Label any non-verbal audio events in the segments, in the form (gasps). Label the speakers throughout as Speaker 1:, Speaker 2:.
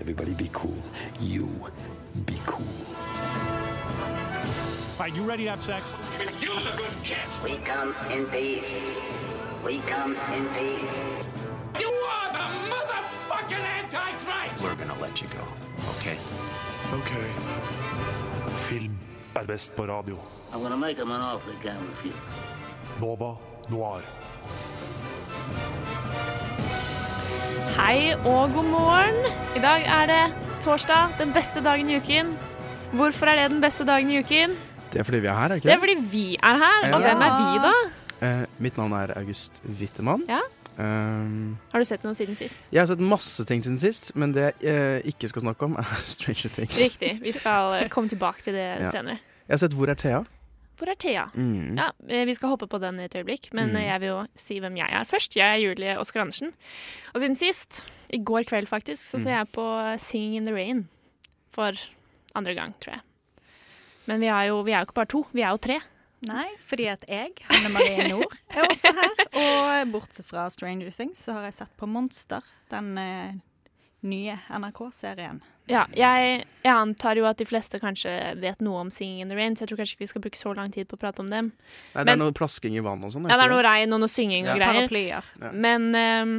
Speaker 1: everybody be cool. You be cool.
Speaker 2: Are you ready to have sex?
Speaker 3: Use a good kiss.
Speaker 4: We come in peace. We come in peace.
Speaker 3: You are the motherfucking Antichrist.
Speaker 5: We're gonna let you go, okay?
Speaker 6: Okay. Film er best på radio.
Speaker 4: I'm gonna make him an offer he can't refuse.
Speaker 6: Nova Noir.
Speaker 7: Hei og god morgen. I dag er det torsdag, den beste dagen i uken. Hvorfor er det den beste dagen i uken?
Speaker 8: Det er fordi vi er her, er
Speaker 7: Det
Speaker 8: ikke
Speaker 7: er fordi vi er her. Og
Speaker 8: Ja.
Speaker 7: hvem er vi, da?
Speaker 8: Eh, mitt navn er August Wittemann.
Speaker 7: Ja.
Speaker 8: Ehm,
Speaker 7: Har du sett noe siden sist?
Speaker 8: jeg har sett masse ting siden sist, men det jeg eh, ikke skal snakke om, er (laughs) Stranger Things.
Speaker 7: Riktig. Vi skal eh, (laughs) komme tilbake til det
Speaker 8: Ja.
Speaker 7: senere.
Speaker 8: Jeg har sett Hvor er Thea?
Speaker 7: Hvor er Thea?
Speaker 8: Mm.
Speaker 7: Ja, eh, Vi skal hoppe på den et øyeblikk, men eh, jeg vil jo si hvem jeg er først. Jeg er Julie Oskar Andersen. Og siden sist, i går kveld faktisk, så
Speaker 8: Mm.
Speaker 7: så jeg på Singing in the Rain for andre gang, tror jeg. Men vi er jo, vi er jo ikke bare to, vi er jo tre.
Speaker 9: Nei, fordi at jeg, Hanne Marie Nord, er også her. Og bortsett fra Stranger Things, så har jeg sett på Monster, den eh, nye NRK-serien.
Speaker 7: Ja, jeg, jeg antar jo at de fleste kanskje vet noe om Singing in the Rain, så jeg tror kanskje ikke vi skal bruke så lang tid på å prate om dem.
Speaker 8: Nei, det
Speaker 7: Men-
Speaker 8: er noe plasking i vann og sånn.
Speaker 7: Ja, det er
Speaker 8: ikke
Speaker 7: noe regn og noe synging og
Speaker 8: Ja.
Speaker 7: greier.
Speaker 9: Paraplyer.
Speaker 8: Ja.
Speaker 7: Men ehm,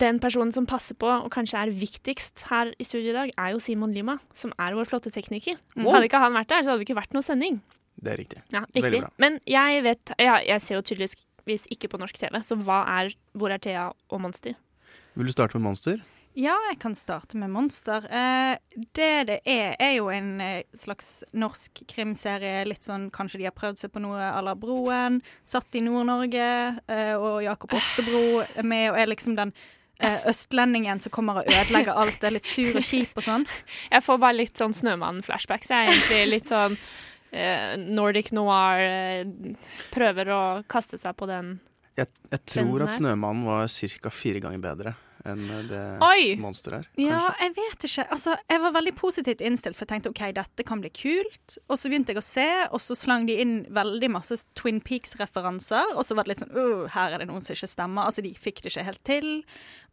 Speaker 7: den personen som passer på, og kanskje er viktigst her i studio i dag, er jo Simon Lima, som er vår flotte tekniker. Hadde ikke han vært der, så hadde det ikke vært noe sending.
Speaker 8: det er riktig.
Speaker 7: Ja,
Speaker 8: Veldig
Speaker 7: riktig.
Speaker 8: bra.
Speaker 7: Men jeg vet ja, Jeg ser jo tydeligvis ikke på norsk TV, så hva er Hvor er Thea og Monster?
Speaker 8: Vil du starte med Monster?
Speaker 9: Ja, jeg kan starte med Monster. Eh, det det er, er jo en eh, slags norsk krimserie. Litt sånn kanskje de har prøvd seg på noe à la Broen. Satt i Nord-Norge, eh, og Jakob Oftebro er med og er liksom den eh, østlendingen som kommer og ødelegger alt. Er litt sur og kjip og sånn.
Speaker 7: Jeg får bare litt sånn Snømannen-flashbacks. Jeg er egentlig litt sånn eh, Nordic noir eh, prøver å kaste seg på den.
Speaker 8: Jeg, jeg tror
Speaker 7: Den
Speaker 8: at
Speaker 7: her.
Speaker 8: Snømannen var ca. fire ganger bedre enn eh, det
Speaker 7: Oi!
Speaker 8: Monster er.
Speaker 9: Ja,
Speaker 8: kanskje.
Speaker 9: jeg vet ikke. Altså, jeg var veldig positivt innstilt, for jeg tenkte OK, dette kan bli kult. Og så begynte jeg å se, og så slang de inn veldig masse Twin Peaks-referanser. Og så var det litt sånn «Åh, her er det noen som ikke stemmer. Altså, de fikk det ikke helt til.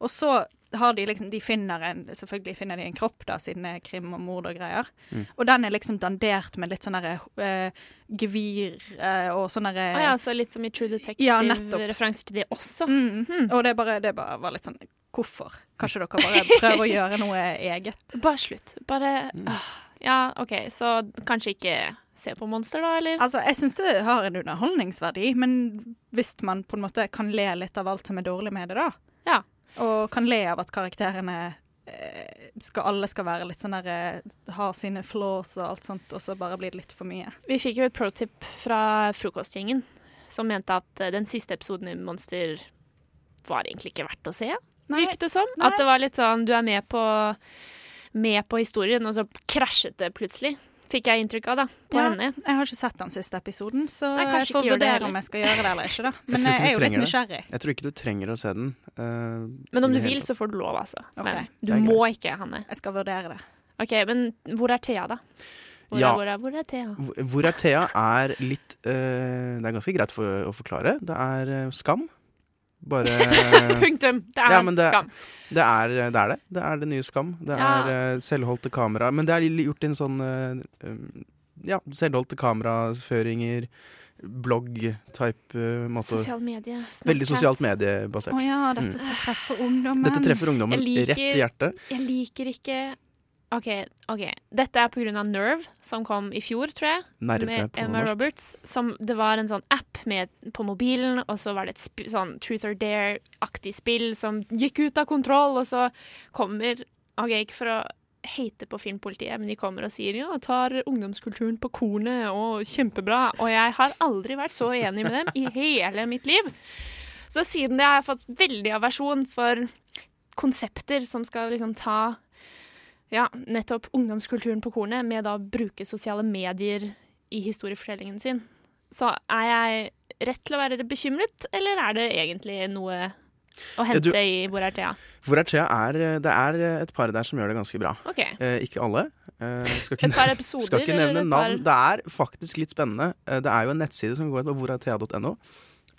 Speaker 9: Og så har de liksom De finner en Selvfølgelig finner de en kropp, da, siden det er krim og mord og greier. Og den er liksom dandert med litt sånn derre eh, gevir eh, og sånn derre
Speaker 7: Å ja, så litt som i True
Speaker 9: Ja, nettopp.
Speaker 7: Detective-referanser til det også.
Speaker 9: mm. Og det bare, det bare var litt sånn Hvorfor? Kanskje dere bare prøver å gjøre noe
Speaker 7: (laughs)
Speaker 9: eget?
Speaker 7: Bare slutt. Bare ah, Ja, OK, så kanskje ikke se på Monster, da, eller?
Speaker 9: Altså, Jeg syns det har en underholdningsverdi, men hvis man på en måte kan le litt av alt som er dårlig med det, da.
Speaker 7: Ja.
Speaker 9: Og kan le av at karakterene eh, skal, alle skal være litt sånn der eh, Har sine flaws og alt sånt, og så bare blir det litt for mye.
Speaker 7: Vi fikk jo et pro-tip fra frokostgjengen, som mente at eh, den siste episoden i Monster var egentlig ikke verdt å se,
Speaker 9: Nei,
Speaker 7: virket det som.
Speaker 9: nei.
Speaker 7: At det var litt sånn du er med på, med på historien, og så krasjet det plutselig. Fikk jeg inntrykk av, da. På
Speaker 9: Ja,
Speaker 7: henne.
Speaker 9: Jeg har ikke sett den siste episoden, så
Speaker 7: Nei, kanskje
Speaker 9: jeg får
Speaker 7: ikke gjør det
Speaker 9: vurdere
Speaker 7: heller.
Speaker 9: om jeg skal gjøre det eller
Speaker 8: (laughs)
Speaker 9: ikke, da.
Speaker 8: tror
Speaker 9: Men
Speaker 8: ikke du
Speaker 9: jeg, er jo litt
Speaker 8: trenger
Speaker 9: nysgjerrig.
Speaker 8: Jeg tror ikke du trenger å se den. eh,
Speaker 7: Men om du
Speaker 8: i det hele
Speaker 7: vil,
Speaker 8: tatt.
Speaker 7: så får du lov, altså.
Speaker 9: Ok,
Speaker 7: Men
Speaker 8: det
Speaker 7: du
Speaker 8: er
Speaker 7: må ikke, Hanne.
Speaker 9: Jeg skal vurdere det.
Speaker 7: OK, men hvor er Thea, da? Hvor, er,
Speaker 8: Ja.
Speaker 7: hvor, er, hvor er Thea?
Speaker 8: Hvor- Hvor er Thea er litt eh, Det er ganske greit for, å forklare. Det er eh, skam.
Speaker 7: (laughs)
Speaker 8: Bare
Speaker 7: Punktum! Det er
Speaker 8: Ja, men det-
Speaker 7: skam.
Speaker 8: det, er, eh, det er det. Det er det nye Skam. Det
Speaker 7: Ja.
Speaker 8: er eh, selvholdte kamera. Men det er gjort i en sånn eh, um, Ja, selvholdte kameraføringer, blogg-type eh, måte.
Speaker 7: Sosiale medier. Snapchat.
Speaker 8: Veldig sosialt mediebasert.
Speaker 9: Å ja, dette skal treffe ungdommen.
Speaker 8: Mm. Dette treffer ungdommen
Speaker 7: Jeg liker-
Speaker 8: rett i hjertet.
Speaker 7: Jeg liker ikke OK, ok. dette er pga. Nerve, som kom i fjor, tror jeg.
Speaker 8: Nerve
Speaker 7: med
Speaker 8: på
Speaker 7: Emma
Speaker 8: norsk.
Speaker 7: Roberts. Som, det var en sånn app med, på mobilen, og så var det et sp sånn Truth or Dare-aktig spill som gikk ut av kontroll, og så kommer OK, ikke for å hate på filmpolitiet, men de kommer og sier ja, tar ungdomskulturen på kornet, og kjempebra. Og jeg har aldri vært så enig med dem i hele mitt liv. Så siden det har jeg fått veldig aversjon for konsepter som skal liksom ta ja, nettopp ungdomskulturen på kornet, med da å bruke sosiale medier i historiefortellingen sin. Så er jeg rett til å være bekymret, eller er det egentlig noe å
Speaker 8: du-
Speaker 7: hente i Hvor er Thea?
Speaker 8: Hvor er Thea? Er, eh, det er eh, et par der som gjør det ganske bra.
Speaker 7: OK.
Speaker 8: Eh, ikke alle. Eh, skal ikke
Speaker 7: Et par episoder
Speaker 8: Skal ikke
Speaker 7: eller
Speaker 8: nevne
Speaker 7: et par
Speaker 8: navn. Det er faktisk litt spennende. Eh, Det er jo en nettside som går ut på hvorarthea.no,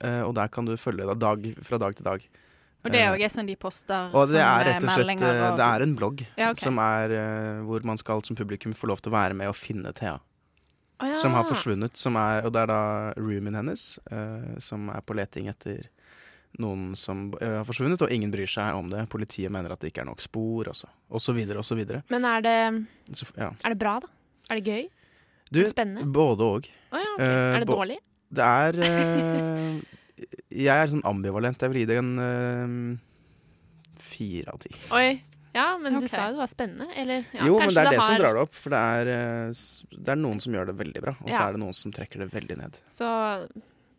Speaker 8: eh, og der kan du følge deg dag, fra dag til dag.
Speaker 9: Og det er
Speaker 8: Eh,
Speaker 9: jo sånn de poster
Speaker 8: Og det
Speaker 9: sånne
Speaker 8: er rett og slett
Speaker 9: meldinger
Speaker 8: eh,
Speaker 9: og
Speaker 8: Det
Speaker 9: sånn.
Speaker 8: er en blogg
Speaker 9: Ja, ok.
Speaker 8: som er eh, hvor man skal som publikum få lov til å være med og finne Thea.
Speaker 7: Å ja.
Speaker 8: Som har forsvunnet. Som er, og det er da roomien hennes eh, som er på leting etter noen som eh, har forsvunnet, og ingen bryr seg om det. Politiet mener at det ikke er nok spor, også. og så videre og så videre.
Speaker 7: Men er det,
Speaker 8: Så, ja.
Speaker 7: er det bra, da? Er det gøy?
Speaker 8: Du,
Speaker 7: Spennende.
Speaker 8: både òg.
Speaker 7: Å ja, ok.
Speaker 8: Eh,
Speaker 7: er det
Speaker 8: bo-
Speaker 7: dårlig?
Speaker 8: Det er
Speaker 9: (laughs)
Speaker 8: eh, Jeg er sånn ambivalent. Jeg vil gi det en eh, fire av ti.
Speaker 7: Oi. Ja, men
Speaker 9: Ok.
Speaker 7: du sa jo det var spennende. Eller ja,
Speaker 8: jo, men
Speaker 7: kanskje
Speaker 8: det er det, som
Speaker 7: har-
Speaker 8: drar det opp. For det er, eh, s- det er noen som gjør det veldig bra, og så
Speaker 7: Ja.
Speaker 8: er det noen som trekker det veldig ned.
Speaker 7: Så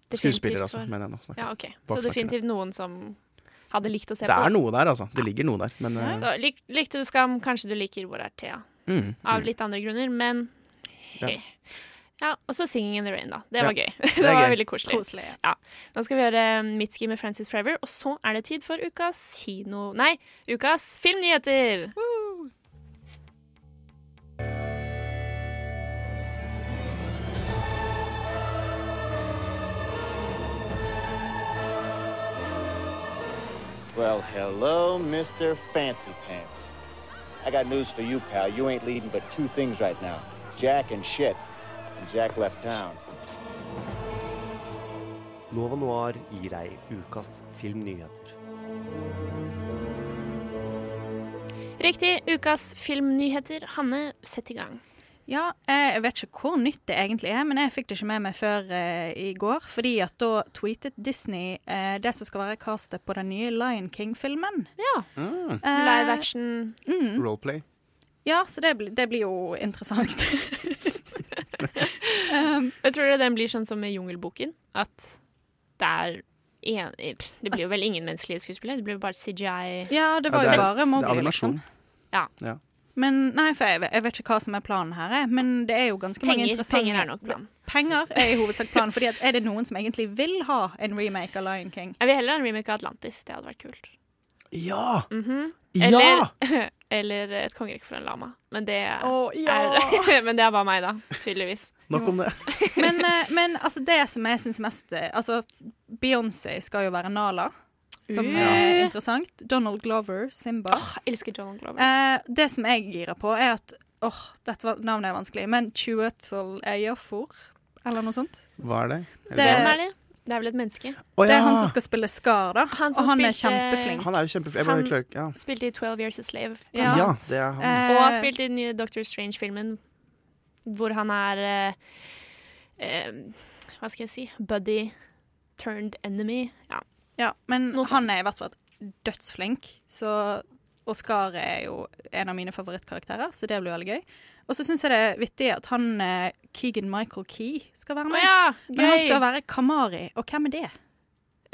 Speaker 7: definitivt
Speaker 8: Skuespiller, altså,
Speaker 7: for-
Speaker 8: mener jeg nå. snakker jeg.
Speaker 7: Ja, OK. Så
Speaker 8: Baksnakker.
Speaker 7: definitivt noen som hadde likt å se
Speaker 8: Det
Speaker 7: på.
Speaker 8: er noe der, altså. Det ligger noe der. Men eh,
Speaker 7: Så lik, likte du Skam, kanskje du liker Hvor er Thea?
Speaker 8: mm,
Speaker 7: Av
Speaker 8: mm.
Speaker 7: litt andre grunner, men eh,
Speaker 8: Ja.
Speaker 7: Ja, og så 'Singing in the Rain', da. Det
Speaker 8: Ja,
Speaker 7: var gøy. (laughs) Det,
Speaker 8: er
Speaker 7: var
Speaker 8: gøy.
Speaker 7: veldig koselig.
Speaker 9: Koselig. ja.
Speaker 7: Nå skal vi gjøre Mitski med Francis Forever, og så er det tid for ukas kino... Nei, ukas filmnyheter!
Speaker 2: Well, hello, Mr. Fancy Pants. I got news for you, pal. You ain't leading but two things right now Jack and shit. And Jack left town.
Speaker 10: Nova Noir gir deg ukas filmnyheter.
Speaker 7: Riktig, ukas filmnyheter. Hanne, sett i gang.
Speaker 9: Ja, eh, jeg vet ikke hvor nytt det egentlig er, men jeg fikk det ikke med meg før eh, i går. Fordi at da tweetet Disney eh, det som skal være castet på den nye Lion King-filmen.
Speaker 7: Ja.
Speaker 9: Eh,
Speaker 7: Live action.
Speaker 8: Mm. Roleplay.
Speaker 9: Ja, så det, blir- det blir jo interessant. (laughs)
Speaker 7: Jeg tror den blir sånn som med Jungelboken, at det er en, eh, Det blir jo vel ingen menneskelige skuespillere, det blir jo bare CGI.
Speaker 9: ja, det var
Speaker 8: Ja,
Speaker 9: jo
Speaker 8: det er-
Speaker 9: bare
Speaker 8: det er
Speaker 9: Mowgli,
Speaker 8: animasjon.
Speaker 9: liksom.
Speaker 7: Ja.
Speaker 9: Men nei, for jeg, jeg vet ikke hva som er planen her, jeg. men det er jo ganske mange
Speaker 7: Penger,
Speaker 9: interessante
Speaker 7: penger er nok planen.
Speaker 9: Penger er i hovedsak planen, fordi at er det noen som egentlig vil ha en remake av Lion King?
Speaker 7: Jeg vil heller ha en remake av Atlantis, det hadde vært kult.
Speaker 8: Ja!
Speaker 7: Mhm. Eller,
Speaker 8: Ja!
Speaker 7: (laughs) eller Et kongerike for en lama. Men det, er, (laughs)
Speaker 9: Å,
Speaker 7: men det er bare meg, da. Tydeligvis.
Speaker 8: Nok
Speaker 7: (laughs)
Speaker 8: om det.
Speaker 9: (laughs) Men, eh, men altså, det som jeg syns mest eh, Altså, Beyoncé skal jo være Nala, som er
Speaker 7: Uh.
Speaker 9: interessant. Donald Glover, Simba.
Speaker 7: Åh, jeg elsker Donald Glover.
Speaker 9: Eh, det som jeg girer på, er at Åh, dette var, navnet er vanskelig, men Chuetzal Eyafor, eller noe sånt.
Speaker 8: Hva er det? Er
Speaker 9: Det-
Speaker 7: Hvem
Speaker 8: det-
Speaker 7: er det? Det er vel et menneske.
Speaker 8: Å,
Speaker 9: Det er
Speaker 8: ja!
Speaker 9: han som skal spille Skar, da.
Speaker 7: Han som
Speaker 9: og han
Speaker 7: spilte-
Speaker 9: er kjempeflink.
Speaker 8: Han er jo kjempeflink. Jeg
Speaker 7: Han-
Speaker 8: bare klarer- ja.
Speaker 7: Spilte i 'Twelve Years a Slave'.
Speaker 9: Ja.
Speaker 8: ja, det er han.
Speaker 9: Eh,
Speaker 7: Og har spilt i den nye Doctor Strange-filmen, hvor han er eh, eh, Hva skal jeg si Buddy turned enemy. Ja.
Speaker 9: Ja, men
Speaker 7: Noe sånt.
Speaker 9: han er i hvert fall dødsflink, så og Skar er jo en av mine favorittkarakterer, så det blir veldig gøy. Og så syns jeg det er vittig at han eh, Keegan Michael Key skal være
Speaker 7: Å
Speaker 9: med.
Speaker 7: ja!
Speaker 9: Men han
Speaker 7: Gøy!
Speaker 9: skal være Kamari, og hvem er det?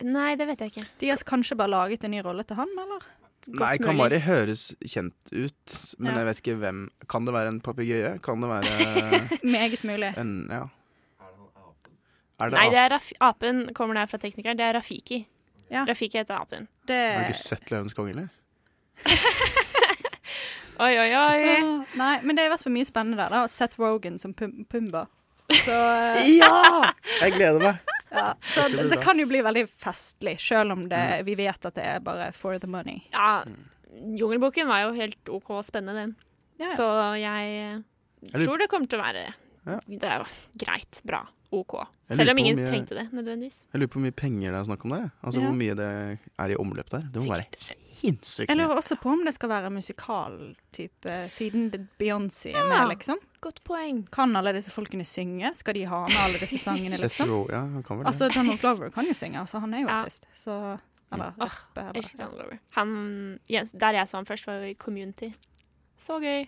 Speaker 7: Nei, det vet jeg ikke.
Speaker 9: De har kanskje bare laget en ny rolle til han, eller?
Speaker 8: Nei,
Speaker 7: Godt mulig.
Speaker 8: Kamari høres kjent ut, men
Speaker 9: Ja.
Speaker 8: jeg vet ikke hvem. Kan det være en papegøye? Kan det
Speaker 7: (laughs)
Speaker 8: være
Speaker 9: Meget mulig.
Speaker 8: en Ja. Er det
Speaker 7: Nei, det
Speaker 8: ape?
Speaker 7: er Raf apen kommer der fra teknikeren. Det er Rafiki.
Speaker 9: Ja.
Speaker 7: Rafiki heter apen.
Speaker 9: Det
Speaker 8: Har du ikke sett Løvens konge, eller?
Speaker 7: Oi, oi,
Speaker 9: (laughs)
Speaker 7: oi.
Speaker 9: Ah, Nei, men det er i hvert fall mye spennende der, da. Seth Rogan som Pum Pumba. Så,
Speaker 8: Ja! Jeg gleder meg.
Speaker 9: ja. så
Speaker 8: Dette
Speaker 9: det,
Speaker 8: blir
Speaker 9: det
Speaker 8: bra.
Speaker 9: kan jo bli veldig festlig, sjøl om det,
Speaker 8: Mm.
Speaker 9: vi vet at det er bare for the money.
Speaker 7: Ja, Jungelboken var jo helt OK og spennende, den.
Speaker 9: Ja, ja.
Speaker 7: Så jeg eh,
Speaker 8: lurer-
Speaker 7: tror det kommer til å være
Speaker 8: Ja.
Speaker 7: Det er jo greit, bra, OK.
Speaker 8: Jeg
Speaker 7: Selv
Speaker 8: lurer
Speaker 7: om
Speaker 8: på
Speaker 7: ingen
Speaker 8: om jeg-
Speaker 7: trengte det nødvendigvis.
Speaker 8: Jeg lurer på hvor mye penger det er snakk om der. jeg. Altså
Speaker 9: Ja.
Speaker 8: Hvor mye det er i omløp der. Det må være sinnssykt
Speaker 9: Jeg
Speaker 8: mye.
Speaker 9: lurer også på om det skal være musikal-type, siden det- Beyoncé er
Speaker 7: Ja.
Speaker 9: med, liksom.
Speaker 7: Godt poeng.
Speaker 9: Kan alle disse folkene synge? Skal de ha med
Speaker 7: (laughs)
Speaker 9: alle disse sangene,
Speaker 8: Seth
Speaker 9: liksom?
Speaker 8: Rogen- ja, han kan vel det.
Speaker 9: Altså, Donald Glover kan jo synge, altså, han er jo
Speaker 7: Ja.
Speaker 9: artist. Så Eller
Speaker 7: Åh,
Speaker 9: rappe,
Speaker 7: Jeg Elsker
Speaker 9: eller
Speaker 7: Donald Glover. Han, Jens- der jeg så han først, var jo i Community. Så gøy.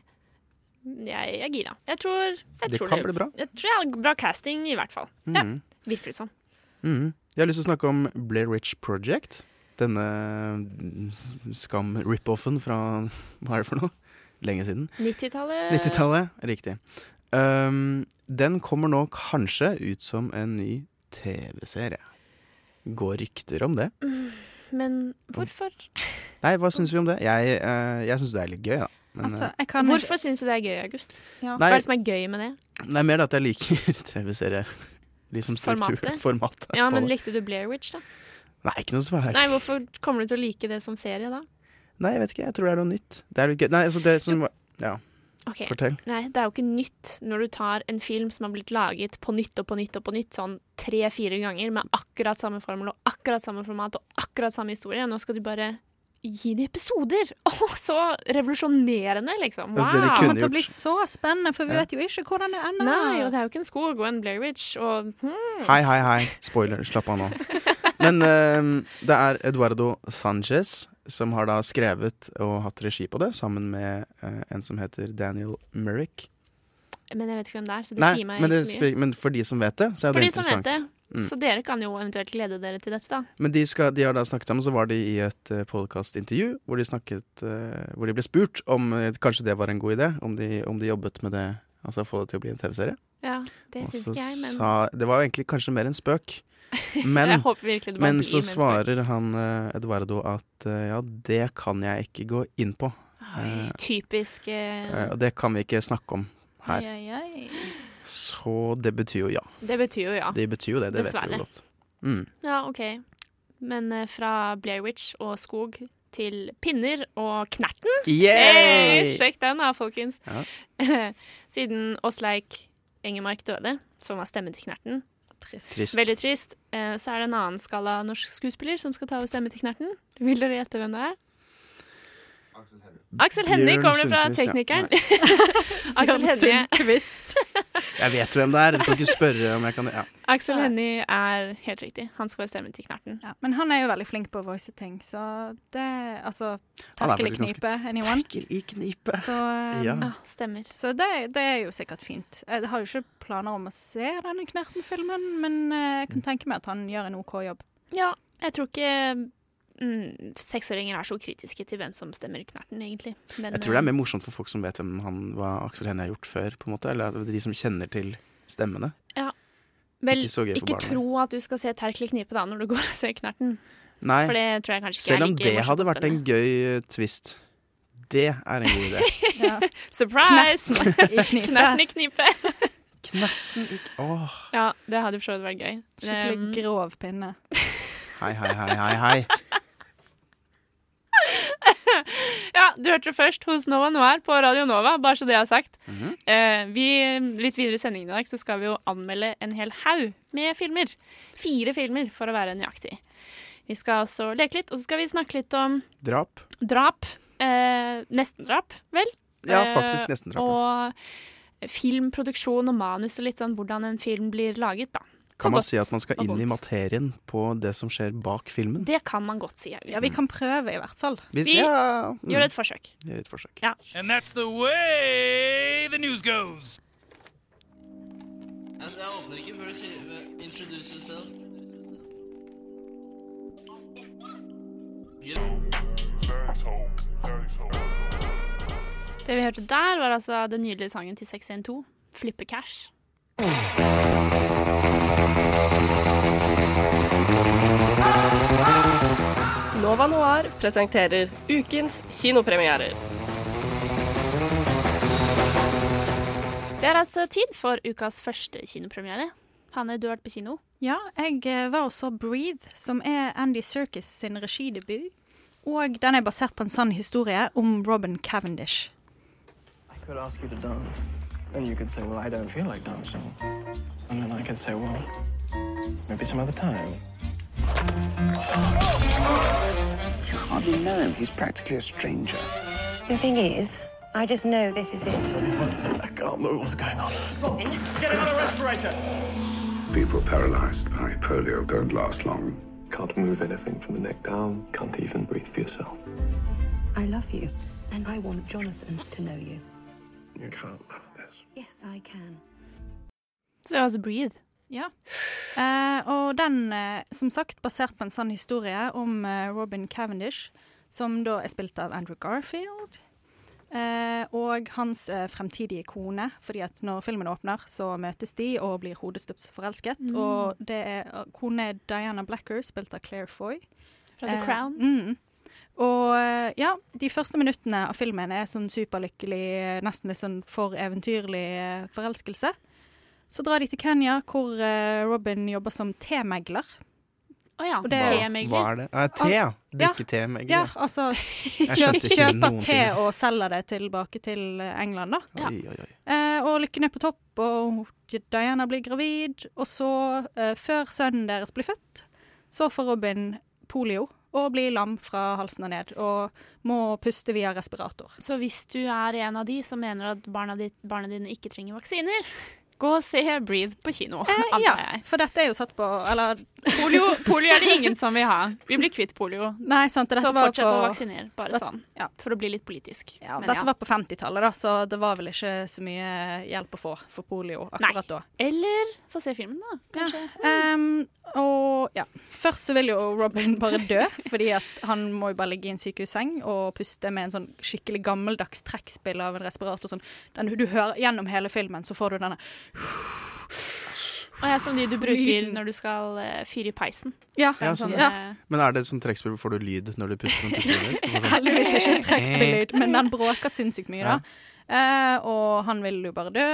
Speaker 7: Jeg jeg er gira. Jeg tror jeg
Speaker 8: Det
Speaker 7: tror
Speaker 8: kan bli bra.
Speaker 7: Jeg tror jeg har bra casting, i hvert fall. Ja, Virker det sånn.
Speaker 8: Mhm. Jeg har lyst til å snakke om Blair Rich Project. Denne mm, s- skam-rip-offen fra Hva er det for noe? Lenge siden.
Speaker 7: 90-tallet
Speaker 8: 90-tallet, riktig. Ehm, den kommer nå kanskje ut som en ny TV-serie. Går rykter om det?
Speaker 7: Mm, Men hvorfor
Speaker 8: Nei, hva syns vi om det? Jeg, eh, jeg syns det er litt gøy, da. Men,
Speaker 9: Altså,
Speaker 8: eh,
Speaker 9: jeg kan
Speaker 7: Hvorfor syns du det er gøy, August? Hva er
Speaker 8: nei,
Speaker 7: det som er gøy med det?
Speaker 8: det er mer det at jeg liker (laughs) TV-serie. Liksom struktur,
Speaker 7: Formatet?
Speaker 8: formatet
Speaker 7: Ja,
Speaker 8: på
Speaker 7: men
Speaker 8: det.
Speaker 7: Likte du Blair Witch, da?
Speaker 8: Nei, ikke noe svar.
Speaker 7: Nei, hvorfor kommer du til å like det som serie, da?
Speaker 8: Nei, jeg vet ikke. Jeg tror det er noe nytt. Det er litt gøy. Nei, altså det som var Ja,
Speaker 7: Ok,
Speaker 8: fortell.
Speaker 7: Nei, det er jo ikke nytt når du tar en film som har blitt laget på nytt og på nytt og på nytt, sånn tre-fire ganger, med akkurat samme formel og akkurat samme format og akkurat samme historie. Nå skal du bare gi det episoder! (laughs) Å, så revolusjonerende, liksom. Wow!
Speaker 8: Altså, dere kunne-
Speaker 9: Kommer til å bli så spennende, for vi vet jo ikke hvordan det ender.
Speaker 7: Nei, og det er jo ikke en skog og en Blair Witch og hmm.
Speaker 8: Hei, hei, hei. Spoiler. Slapp av nå.
Speaker 7: (laughs)
Speaker 8: Men eh, det er Eduardo Sanchez som har da skrevet og hatt regi på det, sammen med eh, en som heter Daniel Murrick.
Speaker 7: Men jeg vet ikke hvem det er, så det
Speaker 8: Nei,
Speaker 7: sier meg
Speaker 8: men, det,
Speaker 7: ikke så mye.
Speaker 8: spiller- men for de som vet det, så er
Speaker 7: For
Speaker 8: det
Speaker 7: de som vet
Speaker 8: interessant.
Speaker 7: det.
Speaker 8: Mm.
Speaker 7: Så dere kan jo eventuelt lede dere til dette, da.
Speaker 8: Men de, skal, de har da snakket sammen, så var de i et uh, podcast-intervju hvor de snakket eh, Hvor de ble spurt om eh, kanskje det var en god idé, om de, om de jobbet med det Altså få det til å bli en TV-serie.
Speaker 7: Ja, det
Speaker 8: Og
Speaker 7: syns
Speaker 8: så
Speaker 7: ikke jeg, men
Speaker 8: sa Det var jo egentlig kanskje mer en
Speaker 7: (laughs)
Speaker 8: spøk. Men,
Speaker 7: jeg håper virkelig det bare
Speaker 8: men
Speaker 7: blir
Speaker 8: så
Speaker 7: mennesker.
Speaker 8: svarer han eh, Eduardo at eh, ja, det kan jeg ikke gå inn på.
Speaker 7: Oi, typisk eh,
Speaker 8: eh, Og det kan vi ikke snakke om her.
Speaker 9: Ai, ai, ai.
Speaker 8: Så det betyr jo ja.
Speaker 7: Det betyr jo ja.
Speaker 8: Det betyr jo det, det vet vi
Speaker 7: Dessverre.
Speaker 8: jo godt. Mm.
Speaker 7: Ja, OK. Men eh, fra Blair Witch og skog til pinner og Knerten. Hey,
Speaker 8: Yay!
Speaker 7: sjekk den da, folkens.
Speaker 8: Ja.
Speaker 7: (laughs) Siden Åsleik Engemark døde, som var stemmen til Knerten,
Speaker 9: Trist.
Speaker 8: Trist.
Speaker 7: veldig trist, eh, så er det en annen skala norsk skuespiller som skal ta over stemmen til Knerten. Vil dere gjette hvem det er? Aksel Hennie
Speaker 8: Bjørn
Speaker 7: kommer det fra
Speaker 8: Sundquist, ja.
Speaker 7: teknikeren.
Speaker 9: Bjørn
Speaker 7: Aksel Hennie
Speaker 9: Sundquist.
Speaker 8: Jeg vet hvem det er, du kan ikke spørre om jeg kan ja.
Speaker 7: Aksel Hennie er helt riktig. Han skal være stemmen til Knerten.
Speaker 9: Ja, men han er jo veldig flink på å voice ting, så det Altså,
Speaker 8: Han er faktisk
Speaker 9: terkelknipe, anyone?
Speaker 8: i knipe. (laughs)
Speaker 9: Så, um,
Speaker 8: Ja.
Speaker 7: Ja, stemmer.
Speaker 9: så det, det er jo sikkert fint. Jeg har jo ikke planer om å se denne Knerten-filmen, men eh, jeg kan tenke meg at han gjør en OK jobb.
Speaker 7: Ja, jeg tror ikke mm, seksåringer er så kritiske til hvem som stemmer Knerten, egentlig. Men,
Speaker 8: Jeg tror det er mer morsomt for folk som vet hvem han, hva Aksel Hennie har gjort før. på en måte Eller de som kjenner til stemmene.
Speaker 7: vel,
Speaker 8: ikke så gøy for
Speaker 7: Ikke
Speaker 8: barna.
Speaker 7: tro at du skal se Terkel i knipe da, når du går og ser Knerten.
Speaker 8: Nei,
Speaker 7: For det tror jeg kanskje ikke
Speaker 8: selv om
Speaker 7: er like
Speaker 8: det
Speaker 7: morsomt
Speaker 8: hadde
Speaker 7: og
Speaker 8: vært en
Speaker 7: spennende.
Speaker 8: gøy eh, twist. Det er en god
Speaker 7: (laughs)
Speaker 8: idé.
Speaker 9: Ja.
Speaker 7: Surprise!
Speaker 9: (laughs) I
Speaker 7: (laughs)
Speaker 9: knipe.
Speaker 7: Knerten i knipe.
Speaker 8: Knerten ikke Åh,
Speaker 7: Ja, det hadde for så vidt vært gøy. Um,
Speaker 9: Skikkelig grov pinne.
Speaker 8: hei, hei, hei, hei. hei
Speaker 7: Ja, du hørte det først hos Nova Noir på Radio Nova, bare så det er sagt.
Speaker 8: Mhm.
Speaker 7: Eh, vi, litt videre i sendingen i dag så skal vi jo anmelde en hel haug med filmer. Fire filmer, for å være nøyaktig. Vi skal også leke litt, og så skal vi snakke litt om
Speaker 8: Drap.
Speaker 7: drap. Eh, nestendrap, vel?
Speaker 8: Ja,
Speaker 7: Eh,
Speaker 8: faktisk nesten drap. ja.
Speaker 7: Og filmproduksjon og manus og litt sånn hvordan en film blir laget, da. på
Speaker 8: Kan man
Speaker 7: godt
Speaker 8: si at man skal
Speaker 7: og
Speaker 8: inn i
Speaker 7: vondt.
Speaker 8: materien på det som skjer bak filmen?
Speaker 7: Det kan man godt si. August.
Speaker 9: Ja, vi kan prøve, i hvert fall.
Speaker 7: vi
Speaker 8: ja, mm,
Speaker 7: Gjør et forsøk.
Speaker 8: gjør et forsøk.
Speaker 3: And that's the way the news goes.
Speaker 7: Det vi hørte der, var altså den nydelige sangen til 612, 'Flippe cash'.
Speaker 11: Nova Noir presenterer ukens kinopremierer.
Speaker 7: Det er altså tid for ukas første kinopremiere. Hanne, du har vært på kino.
Speaker 9: Ja, jeg eh, var og så Breathe, som er Andy Serkis sin regidebut. Og den er basert på en sann historie om Robin Cavendish.
Speaker 12: could ask you to dance. And you could say, well, I don't feel like dancing. And then I could say, well, maybe some other time.
Speaker 1: You hardly know him. He's practically a stranger.
Speaker 4: The thing is, I just know this is it.
Speaker 12: I can't know what's going on.
Speaker 1: People paralyzed by polio don't last long.
Speaker 12: Can't move anything from the neck down. Can't even breathe for yourself.
Speaker 4: I love you, and I want Jonathan to know you.
Speaker 12: You can't have this.
Speaker 4: Yes, I can.
Speaker 7: Så det var altså 'Breathe'.
Speaker 9: Ja. Eh, og den, eh, som sagt, basert på en sann historie om eh, Robin Cavendish, som da er spilt av Andrew Garfield. Eh, og hans eh, fremtidige kone, fordi at når filmen åpner, så møtes de og blir hodestups forelsket. Og det er eh, kone Diana Blacker, spilt av Claire Foy.
Speaker 7: Fra The
Speaker 9: Eh,
Speaker 7: Crown.
Speaker 9: Mm. Og eh, ja, de første minuttene av filmen er sånn superlykkelig, nesten litt sånn for eventyrlig eh, forelskelse. Så drar de til Kenya, hvor eh, Robin jobber som temegler.
Speaker 7: Å ja.
Speaker 9: Og det-
Speaker 7: Temegler.
Speaker 8: Hva er det? Nei, te, ja. Drikke te, Megler.
Speaker 9: Ja,
Speaker 8: (laughs)
Speaker 9: altså
Speaker 8: skjønte
Speaker 9: kjøp,
Speaker 8: ikke
Speaker 9: Kjøper
Speaker 8: noen
Speaker 9: te
Speaker 8: ting.
Speaker 9: og selger det tilbake til eh, England, da.
Speaker 8: Oi, oi, oi.
Speaker 9: Eh, og lykken er på topp, og Diana blir gravid. Og så, eh, før sønnen deres blir født, så får Robin polio og blir lam fra halsen og ned. Og må puste via respirator.
Speaker 7: Så hvis du er en av de som mener at barna, ditt, barna dine ikke trenger vaksiner, gå og se Breathe på kino, antar
Speaker 9: ja,
Speaker 7: jeg.
Speaker 9: For dette er jo satt på Eller
Speaker 7: Eh, (laughs) Polio, polio er det ingen som vil ha. Vi blir kvitt polio.
Speaker 9: Nei, sant. Dette
Speaker 7: så
Speaker 9: var
Speaker 7: fortsett
Speaker 9: på,
Speaker 7: å vaksinere, bare
Speaker 9: Det-
Speaker 7: sånn.
Speaker 9: ja.
Speaker 7: For å bli litt politisk.
Speaker 9: Ja, dette var på 50-tallet, da, så det var vel ikke så mye hjelp å få for polio akkurat da.
Speaker 7: Eller få se filmen, da. Kanskje.
Speaker 9: Ehm, og ja. Først så vil jo Robin bare
Speaker 7: (laughs)
Speaker 9: dø, fordi at han må jo bare ligge i en sykehusseng og puste med en sånn skikkelig gammeldags trekkspill av en respirator. Sånn. Den, du hører Gjennom hele filmen så får du denne
Speaker 7: Og jeg som de du bruker når du skal eh, fyre i peisen.
Speaker 9: Ja,
Speaker 8: Ja, sånn,
Speaker 7: eh,
Speaker 8: Men er det sånn trekkspill hvor får du lyd når du puster? Når du
Speaker 7: (laughs)
Speaker 8: puster ut? Så får du sånn-
Speaker 9: Heldigvis ikke et trekkspillyd, men den bråker sinnssykt mye, da.
Speaker 8: Ja.
Speaker 9: Eh, og han vil jo bare dø,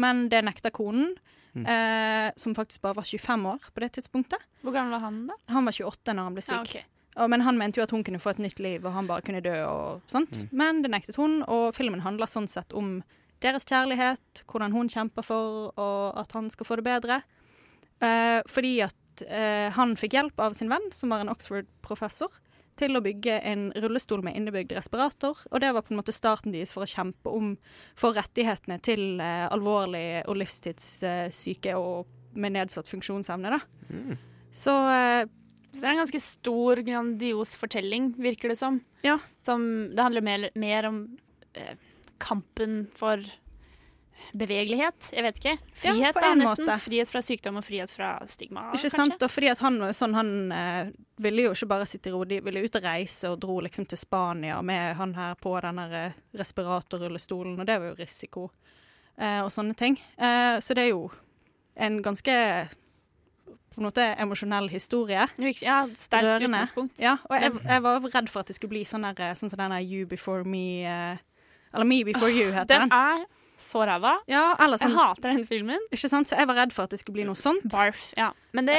Speaker 9: men det nekter konen, eh, som faktisk bare var 25 år på det tidspunktet.
Speaker 7: Hvor gammel var han da?
Speaker 9: Han var 28 når han ble syk.
Speaker 7: Ja, Ah, ok.
Speaker 9: Og- Men han mente jo at hun kunne få et nytt liv, og han bare kunne dø og sånt. Men det nektet hun, og filmen handler sånn sett om deres kjærlighet, hvordan hun kjemper for, og at han skal få det bedre. Eh, fordi at eh, han fikk hjelp av sin venn, som var en Oxford-professor, til å bygge en rullestol med innebygd respirator. Og det var på en måte starten deres for å kjempe om for rettighetene til eh, alvorlig og livstidssyke og med nedsatt funksjonsevne, da. Så eh,
Speaker 7: Så det er en ganske stor, grandios fortelling, virker det som.
Speaker 9: Ja.
Speaker 7: Som det handler mer, mer om eh, kampen for bevegelighet, jeg vet ikke. Frihet,
Speaker 9: på
Speaker 7: da,
Speaker 9: en
Speaker 7: nesten.
Speaker 9: måte.
Speaker 7: Frihet fra sykdom og frihet fra stigma,
Speaker 9: Ikke
Speaker 7: kanskje.
Speaker 9: sant? Og fordi at han var jo sånn, han eh, ville jo ikke bare sitte i ro, de ville ut og reise og dro liksom til Spania med han her på den her eh, respiratorrullestolen, og det var jo risiko eh, og sånne ting. Eh, så det er jo en ganske på en måte emosjonell historie.
Speaker 7: Virk- Ja, sterkt
Speaker 9: Rørende.
Speaker 7: utgangspunkt.
Speaker 9: Ja, og jeg, jeg var redd for at det skulle bli sånn der, eh, sånn som den der You Before Me eh, Eller Me Before You heter
Speaker 7: Den
Speaker 9: den.
Speaker 7: er så ræva.
Speaker 9: Ja, eller
Speaker 7: Jeg
Speaker 9: sånn.
Speaker 7: hater den filmen.
Speaker 9: Ikke sant? Så jeg var redd for at det skulle bli noe sånt.
Speaker 7: Barf. Ja. Men det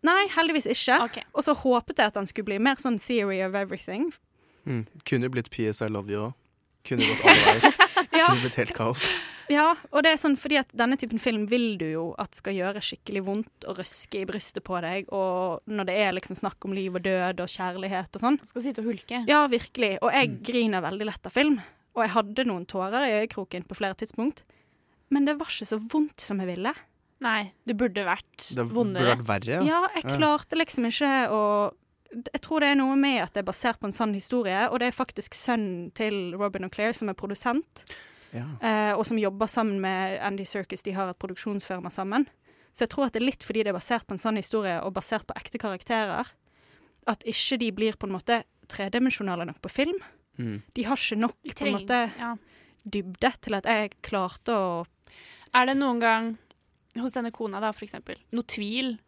Speaker 9: Nei, heldigvis ikke.
Speaker 7: OK.
Speaker 9: Og så håpet jeg at den skulle bli mer sånn theory of everything.
Speaker 8: Mm. Kunne jo blitt PS I love you òg. Kunne gått alle
Speaker 7: (laughs)
Speaker 8: veier.
Speaker 9: Ja.
Speaker 8: Kunne blitt helt kaos.
Speaker 9: Ja, og det er sånn fordi at denne typen film vil du jo at skal gjøre skikkelig vondt og røske i brystet på deg, og når det er liksom snakk om liv og død og kjærlighet og sånn.
Speaker 7: Skal sitte og hulke.
Speaker 9: Ja, virkelig. Og jeg griner veldig lett av film, og jeg hadde noen tårer i øyekroken på flere tidspunkt, men det var ikke så vondt som jeg ville.
Speaker 7: Nei, det burde vært
Speaker 8: Det burde
Speaker 7: vondere.
Speaker 8: vært verre.
Speaker 9: Ja, jeg klarte liksom ikke å Jeg tror det er noe med at det er basert på en sann historie, og det er faktisk sønnen til Robin og Claire som er produsent.
Speaker 8: Ja.
Speaker 9: eh, og som jobber sammen med Andy Circus. De har et produksjonsfirma sammen. Så jeg tror at det er litt fordi det er basert på en sann historie og basert på ekte karakterer, at ikke de blir på en måte tredimensjonale nok på film.
Speaker 8: Mm.
Speaker 9: De har ikke nok på en
Speaker 7: Treng-
Speaker 9: måte
Speaker 7: ja.
Speaker 9: dybde til at jeg klarte å
Speaker 7: Er det noen gang hos denne kona, da, for eksempel, noe tvil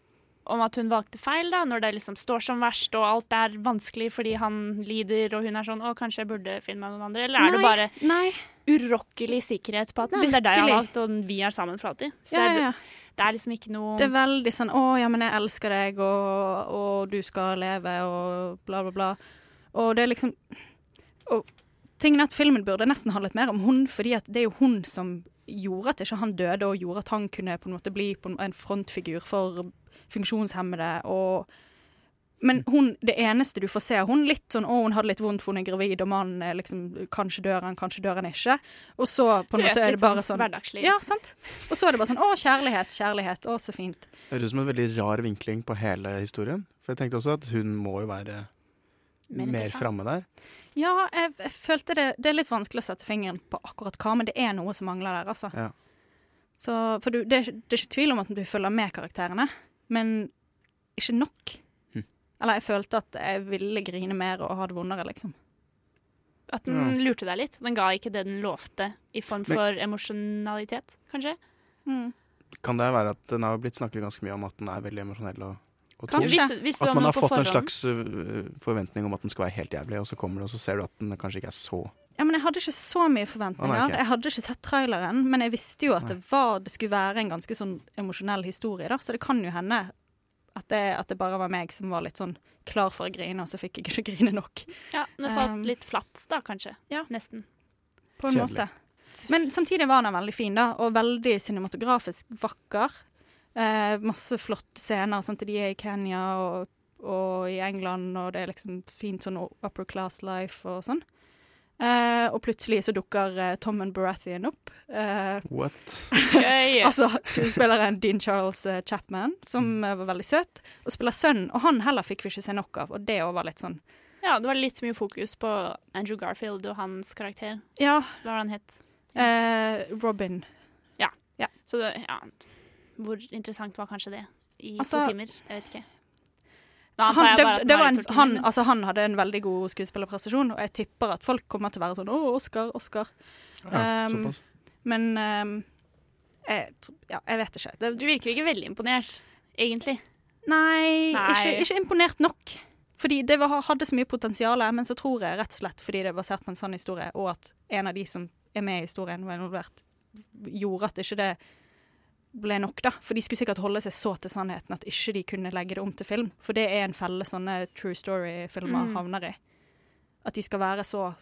Speaker 7: om at hun valgte feil, da, når det liksom står som verst, og alt er vanskelig fordi han lider, og hun er sånn 'Å, kanskje jeg burde filme med noen andre', eller er det bare
Speaker 9: Nei.
Speaker 7: urokkelig sikkerhet på at nei, men 'det er deg jeg har
Speaker 9: Virkelig.
Speaker 7: valgt, og vi er sammen for alltid'? Så
Speaker 9: Ja,
Speaker 7: det,
Speaker 9: ja, ja.
Speaker 7: er, det er liksom ikke noe
Speaker 9: Det er veldig sånn 'Å, ja, men jeg elsker deg, og, og du skal leve', og bla, bla, bla. Og det er liksom Og tingen er at filmen burde nesten handlet mer om hun, fordi at det er jo hun som gjorde at ikke han døde, og gjorde at han kunne på en måte bli på en- en frontfigur for funksjonshemmede og men hun, det eneste du får se av hun, litt sånn 'Å, hun hadde litt vondt, for hun er gravid, og mannen er liksom Kanskje dør han, kanskje dør han ikke.' Og så på en
Speaker 7: Du vet,
Speaker 9: måte er
Speaker 7: litt
Speaker 9: det bare
Speaker 7: sånn
Speaker 9: sånn
Speaker 7: hverdagslig.
Speaker 9: Ja, sant? Og så er det bare sånn 'Å, kjærlighet, kjærlighet. Å, så fint'.
Speaker 8: Det høres ut som en veldig rar vinkling på hele historien. For jeg tenkte også at hun må jo være
Speaker 7: Mer
Speaker 8: mer
Speaker 7: interessant.
Speaker 8: framme der.
Speaker 9: Ja, jeg, jeg følte det Det er litt vanskelig å sette fingeren på akkurat hva, men det er noe som mangler der, altså.
Speaker 8: Ja.
Speaker 9: Så, for du, det, er ikke- det er ikke tvil om at du følger med karakterene, men ikke nok.
Speaker 8: Hm.
Speaker 9: Eller jeg følte at jeg ville grine mer og ha det vondere, liksom.
Speaker 7: At den lurte deg litt. Den ga ikke det den lovte, i form
Speaker 8: Men-
Speaker 7: for emosjonalitet, kanskje.
Speaker 9: Mm.
Speaker 8: Kan det være at den har blitt snakket ganske mye om at den er veldig emosjonell og, og
Speaker 9: Kanskje.
Speaker 8: tung?
Speaker 7: Hvis, hvis du
Speaker 8: At
Speaker 7: om
Speaker 8: man
Speaker 7: noe
Speaker 8: har
Speaker 7: på
Speaker 8: fått en
Speaker 7: forhånd-
Speaker 8: slags øh, forventning om at den skal være helt jævlig, og så kommer det, og så ser du at den kanskje ikke er så
Speaker 9: Ja, men Jeg hadde ikke så mye forventninger.
Speaker 8: Å, nei, ok.
Speaker 9: Jeg hadde ikke sett traileren, men jeg visste jo at det, var, det skulle være en ganske sånn emosjonell historie, da, så det kan jo hende At det, at det bare var meg som var litt sånn klar for å grine, og så fikk jeg ikke grine nok.
Speaker 7: Ja, det falt
Speaker 9: Um,
Speaker 7: litt flatt da, kanskje.
Speaker 9: Ja.
Speaker 7: Nesten.
Speaker 9: På en måte. Men samtidig var den veldig fin, da, og veldig cinematografisk vakker. Eh, masse flotte scener. Sant? De er i Kenya og, og i England, og det er liksom fint sånn upper class life og sånn. Eh, og plutselig så dukker eh, Tom and Baratheon opp. Eh,
Speaker 8: What?
Speaker 7: (laughs) Gøy.
Speaker 9: altså skuespilleren Dean Charles eh, Chapman, som eh, var veldig søt, og spiller sønnen. Og han heller fikk vi ikke se nok av, og det òg var litt sånn
Speaker 7: Ja, det var litt mye fokus på Andrew Garfield og hans karakter.
Speaker 9: Ja.
Speaker 7: Hva var han het?
Speaker 9: eh, Robin.
Speaker 7: Ja.
Speaker 9: Ja.
Speaker 7: Så det, ja. Hvor interessant var kanskje det? I
Speaker 9: Altså-
Speaker 7: to timer? Jeg vet ikke. Da antar
Speaker 9: han,
Speaker 7: jeg bare
Speaker 9: det,
Speaker 7: at den
Speaker 9: det
Speaker 7: var
Speaker 9: var
Speaker 7: i
Speaker 9: en,
Speaker 7: to timer,
Speaker 9: han,
Speaker 7: men-
Speaker 9: altså, han hadde en veldig god skuespillerprestasjon, og jeg tipper at folk kommer til å være sånn 'Å, Oscar, Oscar'.
Speaker 7: (laughs) Ja,
Speaker 9: Um,
Speaker 7: såpass.
Speaker 9: men um, jeg, tr- ja, jeg vet ikke. Det,
Speaker 7: Du virker ikke veldig imponert, egentlig.
Speaker 9: nei,
Speaker 7: Nei.
Speaker 9: Ikke, ikke imponert nok. Fordi det var, hadde så mye potensial, men så tror jeg rett og slett fordi det er basert på en sann historie, og at en av de som er med i historien, var involvert, gjorde at ikke det ble nok, da. For de skulle sikkert holde seg så til sannheten at ikke de kunne legge det om til film. For det er en felle sånne true story-filmer
Speaker 7: Mm.
Speaker 9: havner i. At de skal være så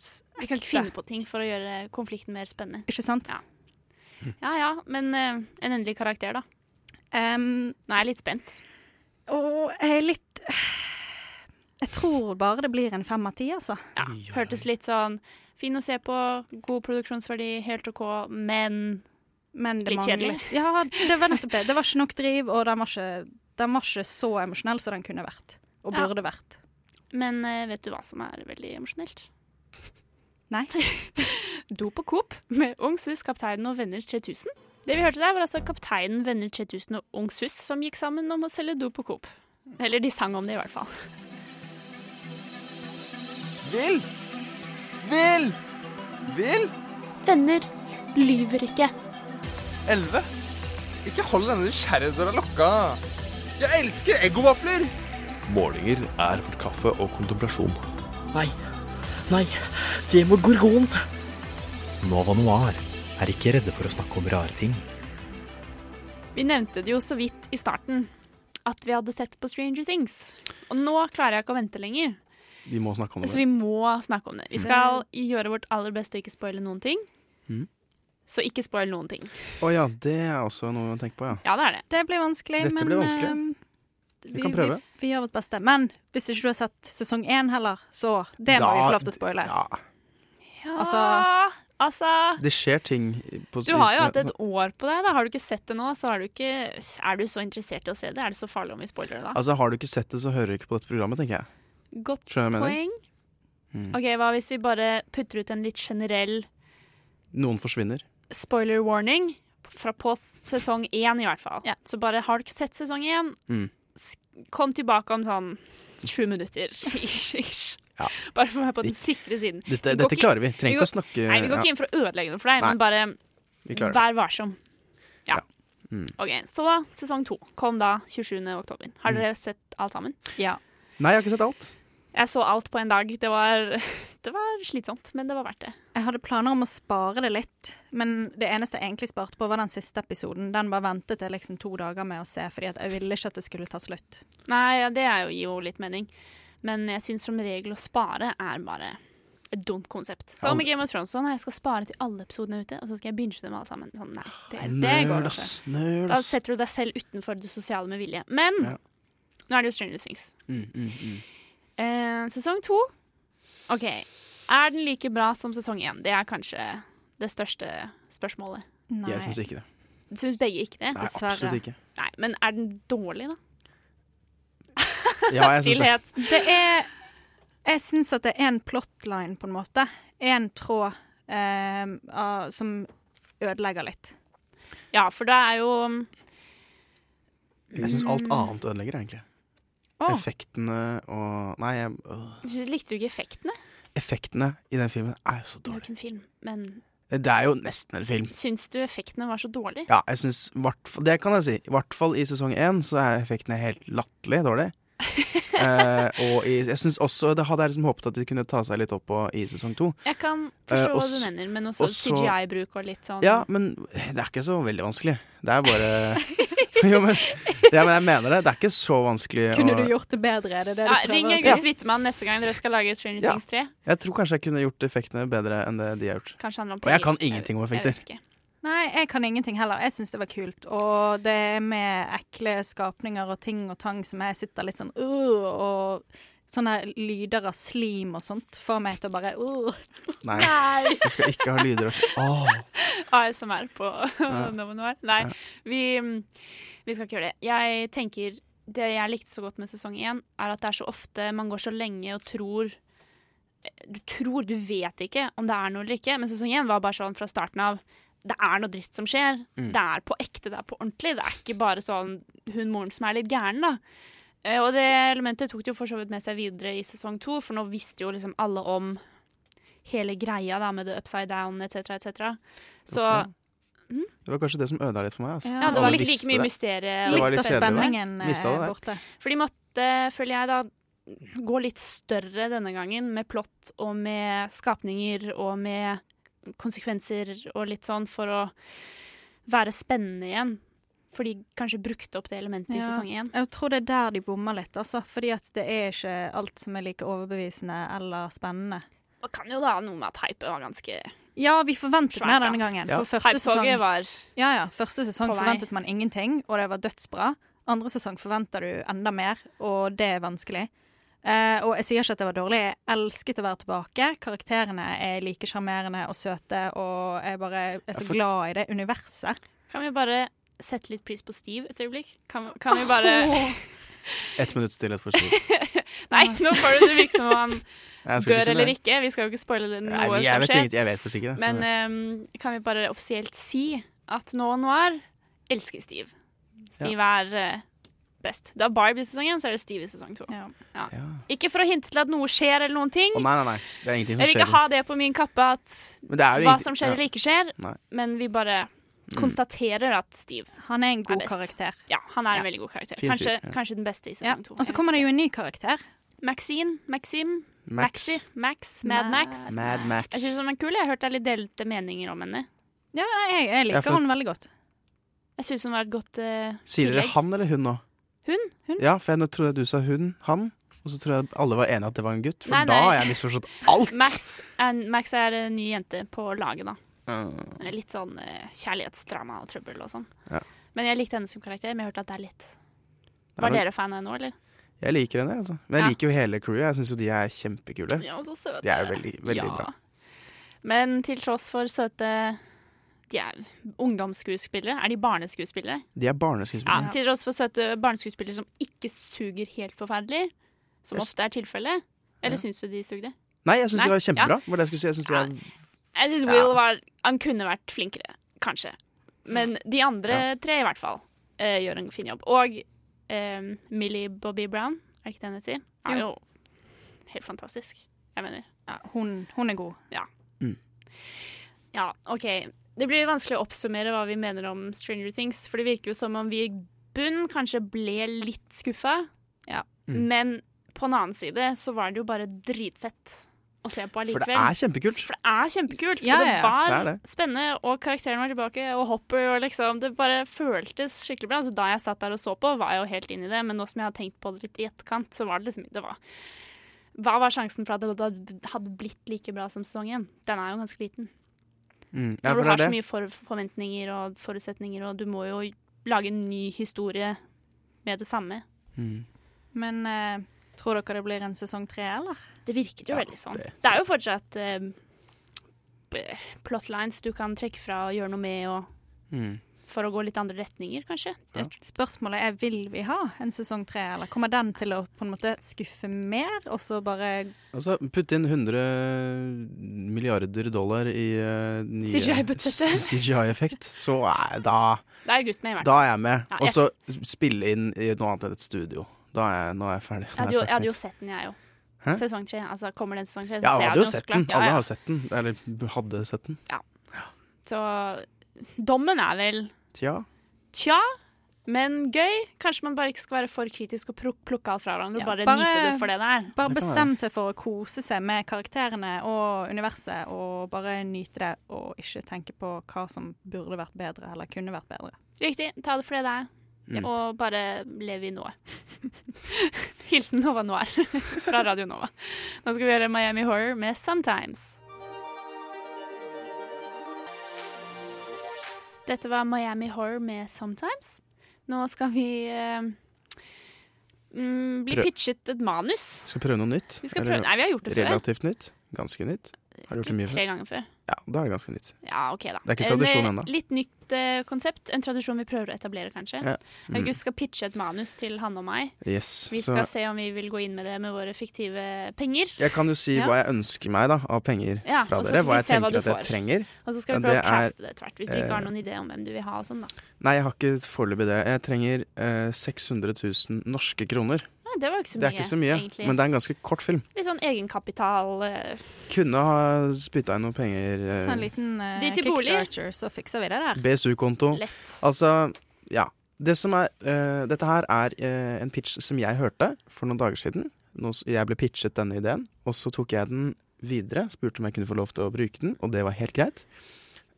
Speaker 9: s-
Speaker 7: Vi kan ikke
Speaker 9: ekte.
Speaker 7: finne på ting for å gjøre konflikten mer spennende.
Speaker 9: Ikke sant?
Speaker 7: Ja ja, ja men eh, en endelig karakter, da. Nå er jeg litt spent.
Speaker 9: Og jeg er litt (sighs) Jeg tror bare det blir en fem av ti, altså.
Speaker 7: Ja, hørtes litt sånn fin å se på, god produksjonsverdi, helt OK, men,
Speaker 9: men det
Speaker 7: litt kjedelig.
Speaker 9: manglet- Ja, det var nettopp det. Det var ikke nok driv, og den var ikke, den var ikke så emosjonell som den kunne vært. Og
Speaker 7: Ja.
Speaker 9: burde vært.
Speaker 7: Men eh, vet du hva som er veldig emosjonelt?
Speaker 9: Nei.
Speaker 7: Do på Coop med Ungshus, Kapteinen og Venner 3000. Det vi hørte der, var altså Kapteinen, Venner 3000 og Ungshus som gikk sammen om å selge do på Coop. Eller de sang om det, i hvert fall.
Speaker 13: Vil! Vil! Vil!
Speaker 7: Venner lyver ikke.
Speaker 13: Elleve. Ikke hold denne nysgjerrighetsdøra lukka. Jeg elsker eggovafler!
Speaker 14: Målinger er for kaffe og kontemplasjon.
Speaker 15: Nei. Nei. Det må gorgon.
Speaker 16: Nova Noir er ikke redde for å snakke om rare ting.
Speaker 7: Vi nevnte det jo så vidt i starten at vi hadde sett på Stranger Things. Og nå klarer jeg ikke å vente lenger,
Speaker 8: De må snakke om det.
Speaker 7: så altså vi må snakke om det. Vi skal gjøre vårt aller beste og ikke spoile noen ting.
Speaker 8: Mm.
Speaker 7: Så ikke spoil noen ting.
Speaker 8: Å ja, det er også noe å tenke på, ja.
Speaker 7: Ja, det er det.
Speaker 9: Det blir vanskelig,
Speaker 8: Dette
Speaker 9: men
Speaker 8: blir vanskelig.
Speaker 9: ehm,
Speaker 8: Vi kan prøve.
Speaker 9: Vi, vi gjør vårt beste. Men hvis ikke du har sett sesong én heller, så det må
Speaker 8: Da-
Speaker 9: vi få lov til å spoile.
Speaker 7: Ja, altså,
Speaker 9: Altså-
Speaker 8: Det skjer ting på altså,
Speaker 7: Du har jo hatt et år på deg. da Har du ikke sett det nå, så er du, ikke, er du så interessert i å se det. Er det så farlig om vi spoiler det, da?
Speaker 8: Altså, har du ikke sett det, så hører du ikke på dette programmet, tenker jeg.
Speaker 7: Godt
Speaker 8: Skjønner jeg
Speaker 7: poeng.
Speaker 8: Mm.
Speaker 7: OK, hva hvis vi bare putter ut en litt generell
Speaker 8: Noen forsvinner.
Speaker 7: spoiler warning fra på sesong én, i hvert fall. Så bare har du ikke sett sesong én,
Speaker 8: Mm.
Speaker 7: s- kom tilbake om sånn sju minutter. (laughs) Ish, ish. Bare for å være på den sikre siden.
Speaker 8: Dette-
Speaker 7: Vi går
Speaker 8: dette
Speaker 7: ikke-
Speaker 8: klarer vi. Trenger
Speaker 7: går-
Speaker 8: ikke å snakke-
Speaker 7: Nei, vi går
Speaker 8: ja.
Speaker 7: ikke inn for å ødelegge det for deg,
Speaker 8: Nei.
Speaker 7: men bare
Speaker 8: Vi klarer det.
Speaker 7: vær varsom. Ja.
Speaker 8: Mm.
Speaker 7: OK, så sesong to kom da 27. oktober. Har
Speaker 8: Mm.
Speaker 7: dere sett alt sammen?
Speaker 9: Ja.
Speaker 8: Nei, jeg har ikke sett alt.
Speaker 7: Jeg så alt på en dag. Det var, (laughs) det var slitsomt, men det var verdt det.
Speaker 9: Jeg hadde planer om å spare det litt, men det eneste jeg egentlig sparte på, var den siste episoden. Den bare ventet jeg liksom to dager med å se, fordi at jeg ville ikke at det skulle ta slutt.
Speaker 7: Nei, ja, det er jo, gir jo litt mening. Men jeg syns som regel å spare er bare et dumt konsept. Som med Game of Thrones. Sånn, jeg skal spare til alle episodene ute, og så skal jeg binge dem alle sammen. Sånn, nei, det, det går
Speaker 8: Nerd,
Speaker 7: ikke.
Speaker 8: ass. Nerd,
Speaker 7: Da
Speaker 8: ass.
Speaker 7: setter du deg selv utenfor det sosiale med vilje. Men
Speaker 8: Ja.
Speaker 7: nå er det jo Stranger Things.
Speaker 8: Mm, mm, mm.
Speaker 7: Eh, sesong to OK. Er den like bra som sesong én? Det er kanskje det største spørsmålet.
Speaker 8: Jeg syns ikke det.
Speaker 7: Syns begge ikke det?
Speaker 8: Nei, Dessverre. absolutt
Speaker 7: (laughs)
Speaker 8: ikke.
Speaker 7: Nei, men er den dårlig, da?
Speaker 8: Ja, jeg syns det.
Speaker 9: Det er Jeg syns at det er en plotline, på en måte. En tråd eh, av- som ødelegger litt.
Speaker 7: Ja, for det er jo
Speaker 8: Jeg syns alt annet ødelegger, egentlig.
Speaker 7: Åh.
Speaker 8: Effektene og Nei, jeg, øh.
Speaker 7: Likte du ikke effektene?
Speaker 8: effektene i den filmen er jo så
Speaker 7: Det er jo
Speaker 8: dårlige.
Speaker 7: ikke en film, men
Speaker 8: Det er jo nesten en film.
Speaker 7: syns du effektene var så dårlige? (laughs)
Speaker 8: Ja, jeg synes, hvert fall- det kan jeg si. I hvert fall i sesong én så er effektene helt latterlig dårlig. Eh, og i, jeg synes også det hadde jeg liksom håpet at de kunne ta seg litt opp på i sesong to.
Speaker 7: Jeg kan forstå
Speaker 8: Eh,
Speaker 7: hva
Speaker 8: og
Speaker 7: du
Speaker 8: s-
Speaker 7: mener, men også
Speaker 8: og så-
Speaker 7: CGI-bruk og litt sånn
Speaker 8: Ja, men det er ikke så veldig vanskelig. Det
Speaker 7: (laughs)
Speaker 8: er bare Jo, men, ja, men jeg mener det. Det er ikke så vanskelig.
Speaker 9: Kunne
Speaker 8: å-
Speaker 9: du gjort det bedre? Er det det
Speaker 7: ja,
Speaker 9: du
Speaker 7: Ring
Speaker 9: prøver å si?
Speaker 7: August Wittmann neste gang dere skal lage Stranger
Speaker 8: Ja.
Speaker 7: Things 3.
Speaker 8: Jeg tror kanskje jeg kunne gjort effektene bedre enn det de har gjort.
Speaker 7: Kanskje handler om
Speaker 8: Og jeg kan
Speaker 7: penger.
Speaker 8: ingenting om
Speaker 7: Jeg
Speaker 8: effekter.
Speaker 7: vet ikke. (laughs)
Speaker 9: Nei, jeg kan ingenting heller. Jeg syns det var kult. Og det er med ekle skapninger og ting og tang som jeg sitter litt sånn uh, Og sånne lyder av slim og sånt får meg til å bare uh.
Speaker 8: Nei.
Speaker 7: Nei.
Speaker 8: Vi skal ikke ha lyder og sl- Åh.
Speaker 7: ASMR på (laughs)
Speaker 8: Ja.
Speaker 7: Nova Noir. Nei, vi, mm, vi skal ikke gjøre det. Jeg tenker Det jeg likte så godt med sesong én, er at det er så ofte man går så lenge og tror eh, Du tror, du vet ikke om det er noe eller ikke, men sesong én var bare sånn fra starten av. Det er noe dritt som skjer.
Speaker 17: Mm.
Speaker 7: Det er på ekte, det er på ordentlig. Det er ikke bare sånn hun moren som er litt gæren, da. Eh, Og det elementet tok de jo for så vidt med seg videre i sesong to, for nå visste jo liksom alle om hele greia da, med the upside down etc., etc. Så
Speaker 8: Det var kanskje det som ødela litt for meg. Altså.
Speaker 7: ja, det
Speaker 8: Alle
Speaker 7: var ikke like
Speaker 8: visste
Speaker 7: mye
Speaker 8: det.
Speaker 7: mysterium.
Speaker 8: Det var litt kjedelig, det.
Speaker 9: eh,
Speaker 8: Mista det der.
Speaker 7: For de måtte, føler jeg da, gå litt større denne gangen med plott og med skapninger og med konsekvenser og litt sånn for å være spennende igjen. For de kanskje brukte opp det elementet i
Speaker 9: Ja,
Speaker 7: sesong én.
Speaker 9: Jeg tror det er der de bommer litt, altså. Fordi at det er ikke alt som er like overbevisende eller spennende.
Speaker 7: Og kan jo da ha noe med at hype var ganske
Speaker 9: Ja, vi forventet mer denne gangen.
Speaker 7: Ja.
Speaker 9: For første sesong,
Speaker 7: Hypetoget var
Speaker 9: ja, ja, første sesong
Speaker 7: på vei.
Speaker 9: forventet man ingenting, og det var dødsbra. Andre sesong forventer du enda mer, og det er vanskelig. Eh, og jeg sier ikke at det var dårlig, jeg elsket å være tilbake. Karakterene er like sjarmerende og søte, og jeg bare er så
Speaker 7: for-
Speaker 9: glad i det universet.
Speaker 7: Kan vi bare sette litt pris på Steve et øyeblikk? Kan, kan vi bare
Speaker 8: Ett minutts stillhet for Steve.
Speaker 7: Nei, nå får du det virke som om han
Speaker 8: Jeg skal ikke
Speaker 7: (laughs) dør
Speaker 8: si
Speaker 7: eller
Speaker 8: det.
Speaker 7: ikke. Vi skal jo ikke spoile det noe
Speaker 8: Nei, men jeg
Speaker 7: som
Speaker 8: vet
Speaker 7: skjer.
Speaker 8: ingenting. Jeg vet faktisk ikke det, så-
Speaker 7: Men ehm, kan vi bare offisielt si at nå og noir elsker Steve. Steve er eh, best. Du har Barb i sesong én, så er det Steve i sesong to. Ja. Ikke for å hinte til at noe skjer eller noen ting.
Speaker 8: Å nei, nei, nei. Det er
Speaker 7: Jeg
Speaker 8: ingenting som
Speaker 7: vil
Speaker 8: skjer.
Speaker 7: ikke ha det på min kappe at
Speaker 8: Men det er jo
Speaker 7: hva
Speaker 8: ingenting-
Speaker 7: som skjer
Speaker 8: ja.
Speaker 7: eller ikke skjer,
Speaker 8: Nei. Mm.
Speaker 7: men vi bare konstaterer at Steve
Speaker 9: Han er en god
Speaker 7: best.
Speaker 9: karakter.
Speaker 7: Ja, han er en veldig god karakter.
Speaker 9: Fin fyr,
Speaker 7: Kanskje,
Speaker 9: ja.
Speaker 7: kanskje den beste i
Speaker 9: Ja.
Speaker 7: sesong to.
Speaker 9: Og så kommer det jo en ny karakter.
Speaker 7: Maxine, Maxim,
Speaker 8: Max.
Speaker 7: Maxi, Max, Mad Max.
Speaker 8: Mad Max.
Speaker 7: Jeg syns hun er kul. Jeg har hørt det er litt delte meninger om henne.
Speaker 9: Ja, jeg,
Speaker 8: liker Ja, for- hun
Speaker 9: veldig godt.
Speaker 7: Jeg syns hun var et godt eh,
Speaker 8: Sier dere
Speaker 7: tillegg.
Speaker 8: han eller hun nå?
Speaker 7: Hun?
Speaker 8: Ja, for jeg nå trodde jeg du sa hun, han. Og så trodde jeg alle var enige at det var en gutt, for
Speaker 7: Nei,
Speaker 8: da har
Speaker 7: nei.
Speaker 8: jeg misforstått alt.
Speaker 7: Max er, Max er en ny jente på laget, da.
Speaker 8: Mm.
Speaker 7: Litt sånn eh, kjærlighetsdrama og trøbbel og sånn.
Speaker 8: Ja.
Speaker 7: Men jeg likte henne som karakter, men jeg hørte at det er litt
Speaker 8: Det er
Speaker 7: Var
Speaker 8: nok-
Speaker 7: dere fan av henne nå, eller?
Speaker 8: Jeg liker henne, altså. Men jeg liker jo hele crewet. Jeg syns jo de er kjempekule.
Speaker 7: Ja, så søte.
Speaker 8: De er jo veldig, veldig
Speaker 7: Ja.
Speaker 8: bra.
Speaker 7: Men til tross for søte De er ungdomsskuespillere. Er de barneskuespillere?
Speaker 8: De
Speaker 7: Ja,
Speaker 8: er barneskuespillere.
Speaker 7: til tross for søte barneskuespillere som ikke suger helt forferdelig, som
Speaker 8: Jeg s-
Speaker 7: ofte er tilfellet. Eller
Speaker 8: Ja.
Speaker 7: syns du de sugde?
Speaker 8: Nei, jeg syns
Speaker 7: Nei,
Speaker 8: de var kjempebra.
Speaker 7: ja.
Speaker 8: Var det jeg skulle si. Jeg synes de er...
Speaker 7: Jeg syns Will var Han kunne vært flinkere, kanskje. Men de andre tre, i hvert fall, eh, gjør en fin jobb. Og eh, Millie Bobby Brown, er det ikke det hun heter? Er jo
Speaker 9: Jo.
Speaker 7: helt fantastisk. Jeg mener.
Speaker 9: Hun, hun er god.
Speaker 7: Ja.
Speaker 8: Mm.
Speaker 7: Ja, OK. Det blir vanskelig å oppsummere hva vi mener om Stranger Things, for det virker jo som om vi i bunn kanskje ble litt skuffa.
Speaker 8: Mm.
Speaker 7: Men på den annen side så var det jo bare dritfett å se på
Speaker 8: For
Speaker 7: allikevel.
Speaker 8: det er kjempekult.
Speaker 7: For det er kjempekult.
Speaker 9: Ja,
Speaker 7: og
Speaker 9: ja,
Speaker 7: det
Speaker 9: ja.
Speaker 7: var
Speaker 8: Det er det.
Speaker 7: spennende, og karakteren var tilbake, og Hopper og liksom Det bare føltes skikkelig bra. Altså, da jeg satt der og så på, var jeg jo helt inn i det, men nå som jeg har tenkt på det litt i etterkant, så var det liksom Det var Hva var sjansen for at det hadde- hadde blitt like bra som sesongen? Den er jo ganske liten.
Speaker 8: Mm.
Speaker 7: Når
Speaker 8: Ja, for
Speaker 7: du
Speaker 8: det
Speaker 7: har
Speaker 8: er
Speaker 7: så
Speaker 8: det.
Speaker 7: mye for forventninger og forutsetninger, og du må jo lage en ny historie med det samme.
Speaker 8: Mm.
Speaker 9: Men eh, tror dere det blir en sesong tre, eller?
Speaker 7: Det virket jo veldig sånn. Det, er jo fortsatt eh, b- plotlines du kan trekke fra og gjøre noe med, og
Speaker 8: Mm.
Speaker 7: for å gå litt andre retninger, kanskje.
Speaker 9: Det- Spørsmålet er vil vi ha en sesong tre, eller kommer den til å på en måte skuffe mer, og så bare
Speaker 8: Altså, putt inn 100 milliarder dollar i eh, nye (laughs)
Speaker 7: CGI-budsjettet.
Speaker 8: CGI-effekt, så er da
Speaker 7: Det er august med, i hvert
Speaker 8: Da
Speaker 7: fall.
Speaker 8: er jeg med.
Speaker 7: Ja,
Speaker 8: Og så
Speaker 7: yes.
Speaker 8: spille inn i noe annet enn et studio. Da er jeg, nå er jeg ferdig.
Speaker 7: Jeg
Speaker 8: Nå har
Speaker 7: hadde jo,
Speaker 8: sagt
Speaker 7: jeg hadde jo
Speaker 8: mitt.
Speaker 7: sett den, jeg òg.
Speaker 8: Hæ?
Speaker 7: Sesong tre. Altså, kommer den sesong tre, så
Speaker 8: Ja,
Speaker 7: ser
Speaker 8: jeg
Speaker 7: jeg
Speaker 8: hadde jo
Speaker 7: den så
Speaker 8: sett den.
Speaker 7: klart. Ja,
Speaker 8: Alle
Speaker 7: ja.
Speaker 8: har sett den. Eller b- hadde sett den.
Speaker 7: Så dommen er vel
Speaker 8: Tja.
Speaker 7: tja, Men gøy. Kanskje man bare ikke skal være for kritisk og pluk- plukke alt fra hverandre.
Speaker 9: Ja,
Speaker 7: bare, nyte det for det det er.
Speaker 9: Bare bestemme seg for å kose seg med karakterene og universet, og bare nyte det, og ikke tenke på hva som burde vært bedre, eller kunne vært bedre.
Speaker 7: Riktig. Ta det for det det er.
Speaker 9: Mm.
Speaker 7: Og bare leve i nået. (laughs) Hilsen Nova Noir (laughs) fra Radio Nova. Nå skal vi gjøre Miami Horror med Sometimes. Dette var Miami Horror med Sometimes. Nå skal vi eh, mm, bli
Speaker 8: Prøv-
Speaker 7: pitchet et manus.
Speaker 8: Skal prøve noe nytt?
Speaker 7: Vi skal prøve- Nei, vi har gjort det før.
Speaker 8: Relativt nytt. Ganske nytt. Har du gjort det mye
Speaker 7: Tre ganger før.
Speaker 8: Ja, da er det ganske nytt.
Speaker 7: Ja, ok da.
Speaker 8: Det er ikke
Speaker 7: Eh,
Speaker 8: tradisjon
Speaker 7: med
Speaker 8: ennå.
Speaker 7: Litt nytt eh, konsept. En tradisjon vi prøver å etablere, kanskje.
Speaker 8: Ja. Mm.
Speaker 7: August skal pitche et manus til Hanne og meg.
Speaker 8: Yes,
Speaker 7: Vi
Speaker 8: så-
Speaker 7: skal se om vi vil gå inn med det med våre fiktive penger.
Speaker 8: Jeg kan jo si
Speaker 7: Ja.
Speaker 8: hva jeg ønsker meg da, av penger
Speaker 7: Ja,
Speaker 8: fra
Speaker 7: og så
Speaker 8: dere.
Speaker 7: får vi
Speaker 8: Hva jeg
Speaker 7: se hva
Speaker 8: tenker
Speaker 7: du
Speaker 8: at jeg
Speaker 7: får.
Speaker 8: trenger.
Speaker 7: Og så skal vi
Speaker 8: Men
Speaker 7: prøve å
Speaker 8: det er,
Speaker 7: caste det tvert, hvis du ikke har
Speaker 8: eh,
Speaker 7: noen idé om hvem du vil ha og sånn, da.
Speaker 8: Nei, jeg har ikke foreløpig det. Jeg trenger eh, 600 000 norske kroner.
Speaker 7: Ja, det var ikke så
Speaker 8: Det er
Speaker 7: mye,
Speaker 8: ikke så mye,
Speaker 7: egentlig.
Speaker 8: men det er en ganske kort film.
Speaker 7: Litt sånn egenkapital. eh,
Speaker 8: Kunne ha spytta inn noen penger. eh,
Speaker 9: Ta en liten eh,
Speaker 7: De til bolig.
Speaker 9: kickstarter, så fikser vi det der.
Speaker 8: BSU-konto.
Speaker 9: Lett.
Speaker 8: Altså, ja. Det som er, eh, dette her er eh, en pitch som jeg hørte for noen dager siden. Nå s- Jeg ble pitchet denne ideen, og så tok jeg den videre. Spurte om jeg kunne få lov til å bruke den, og det var helt greit.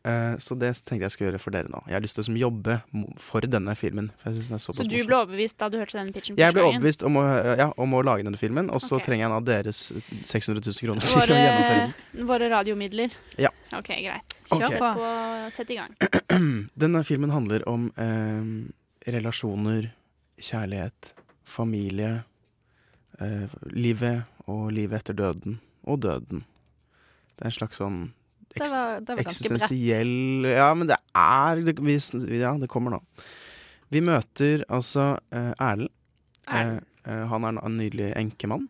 Speaker 8: Eh, så det tenkte jeg skulle gjøre for dere nå. Jeg har lyst til å liksom jobbe mo- for denne filmen. For jeg synes den er såpass
Speaker 7: Så du
Speaker 8: morsom.
Speaker 7: ble overbevist da du hørte den pitchen?
Speaker 8: Jeg ble
Speaker 7: første gangen?
Speaker 8: overbevist om å, ja, om å lage denne filmen, og så
Speaker 7: Ok.
Speaker 8: trenger jeg da deres 600 000 kroner til å gjennomføre
Speaker 7: Våre,
Speaker 8: den.
Speaker 7: våre radiomidler?
Speaker 8: Ja.
Speaker 7: OK, greit.
Speaker 8: Ok. Eh.
Speaker 7: Sett, på, sett i gang.
Speaker 8: Denne filmen handler om eh, relasjoner, kjærlighet, familie, eh, livet og livet etter døden. Og døden. Det er en slags sånn
Speaker 9: Det var- det var ganske bredt.
Speaker 8: eksistensiell Ja, men det er det, vi, Ja, det kommer nå. Vi møter altså eh, Erlend.
Speaker 7: Erlend.
Speaker 8: Eh, eh, han er en, en nydelig enkemann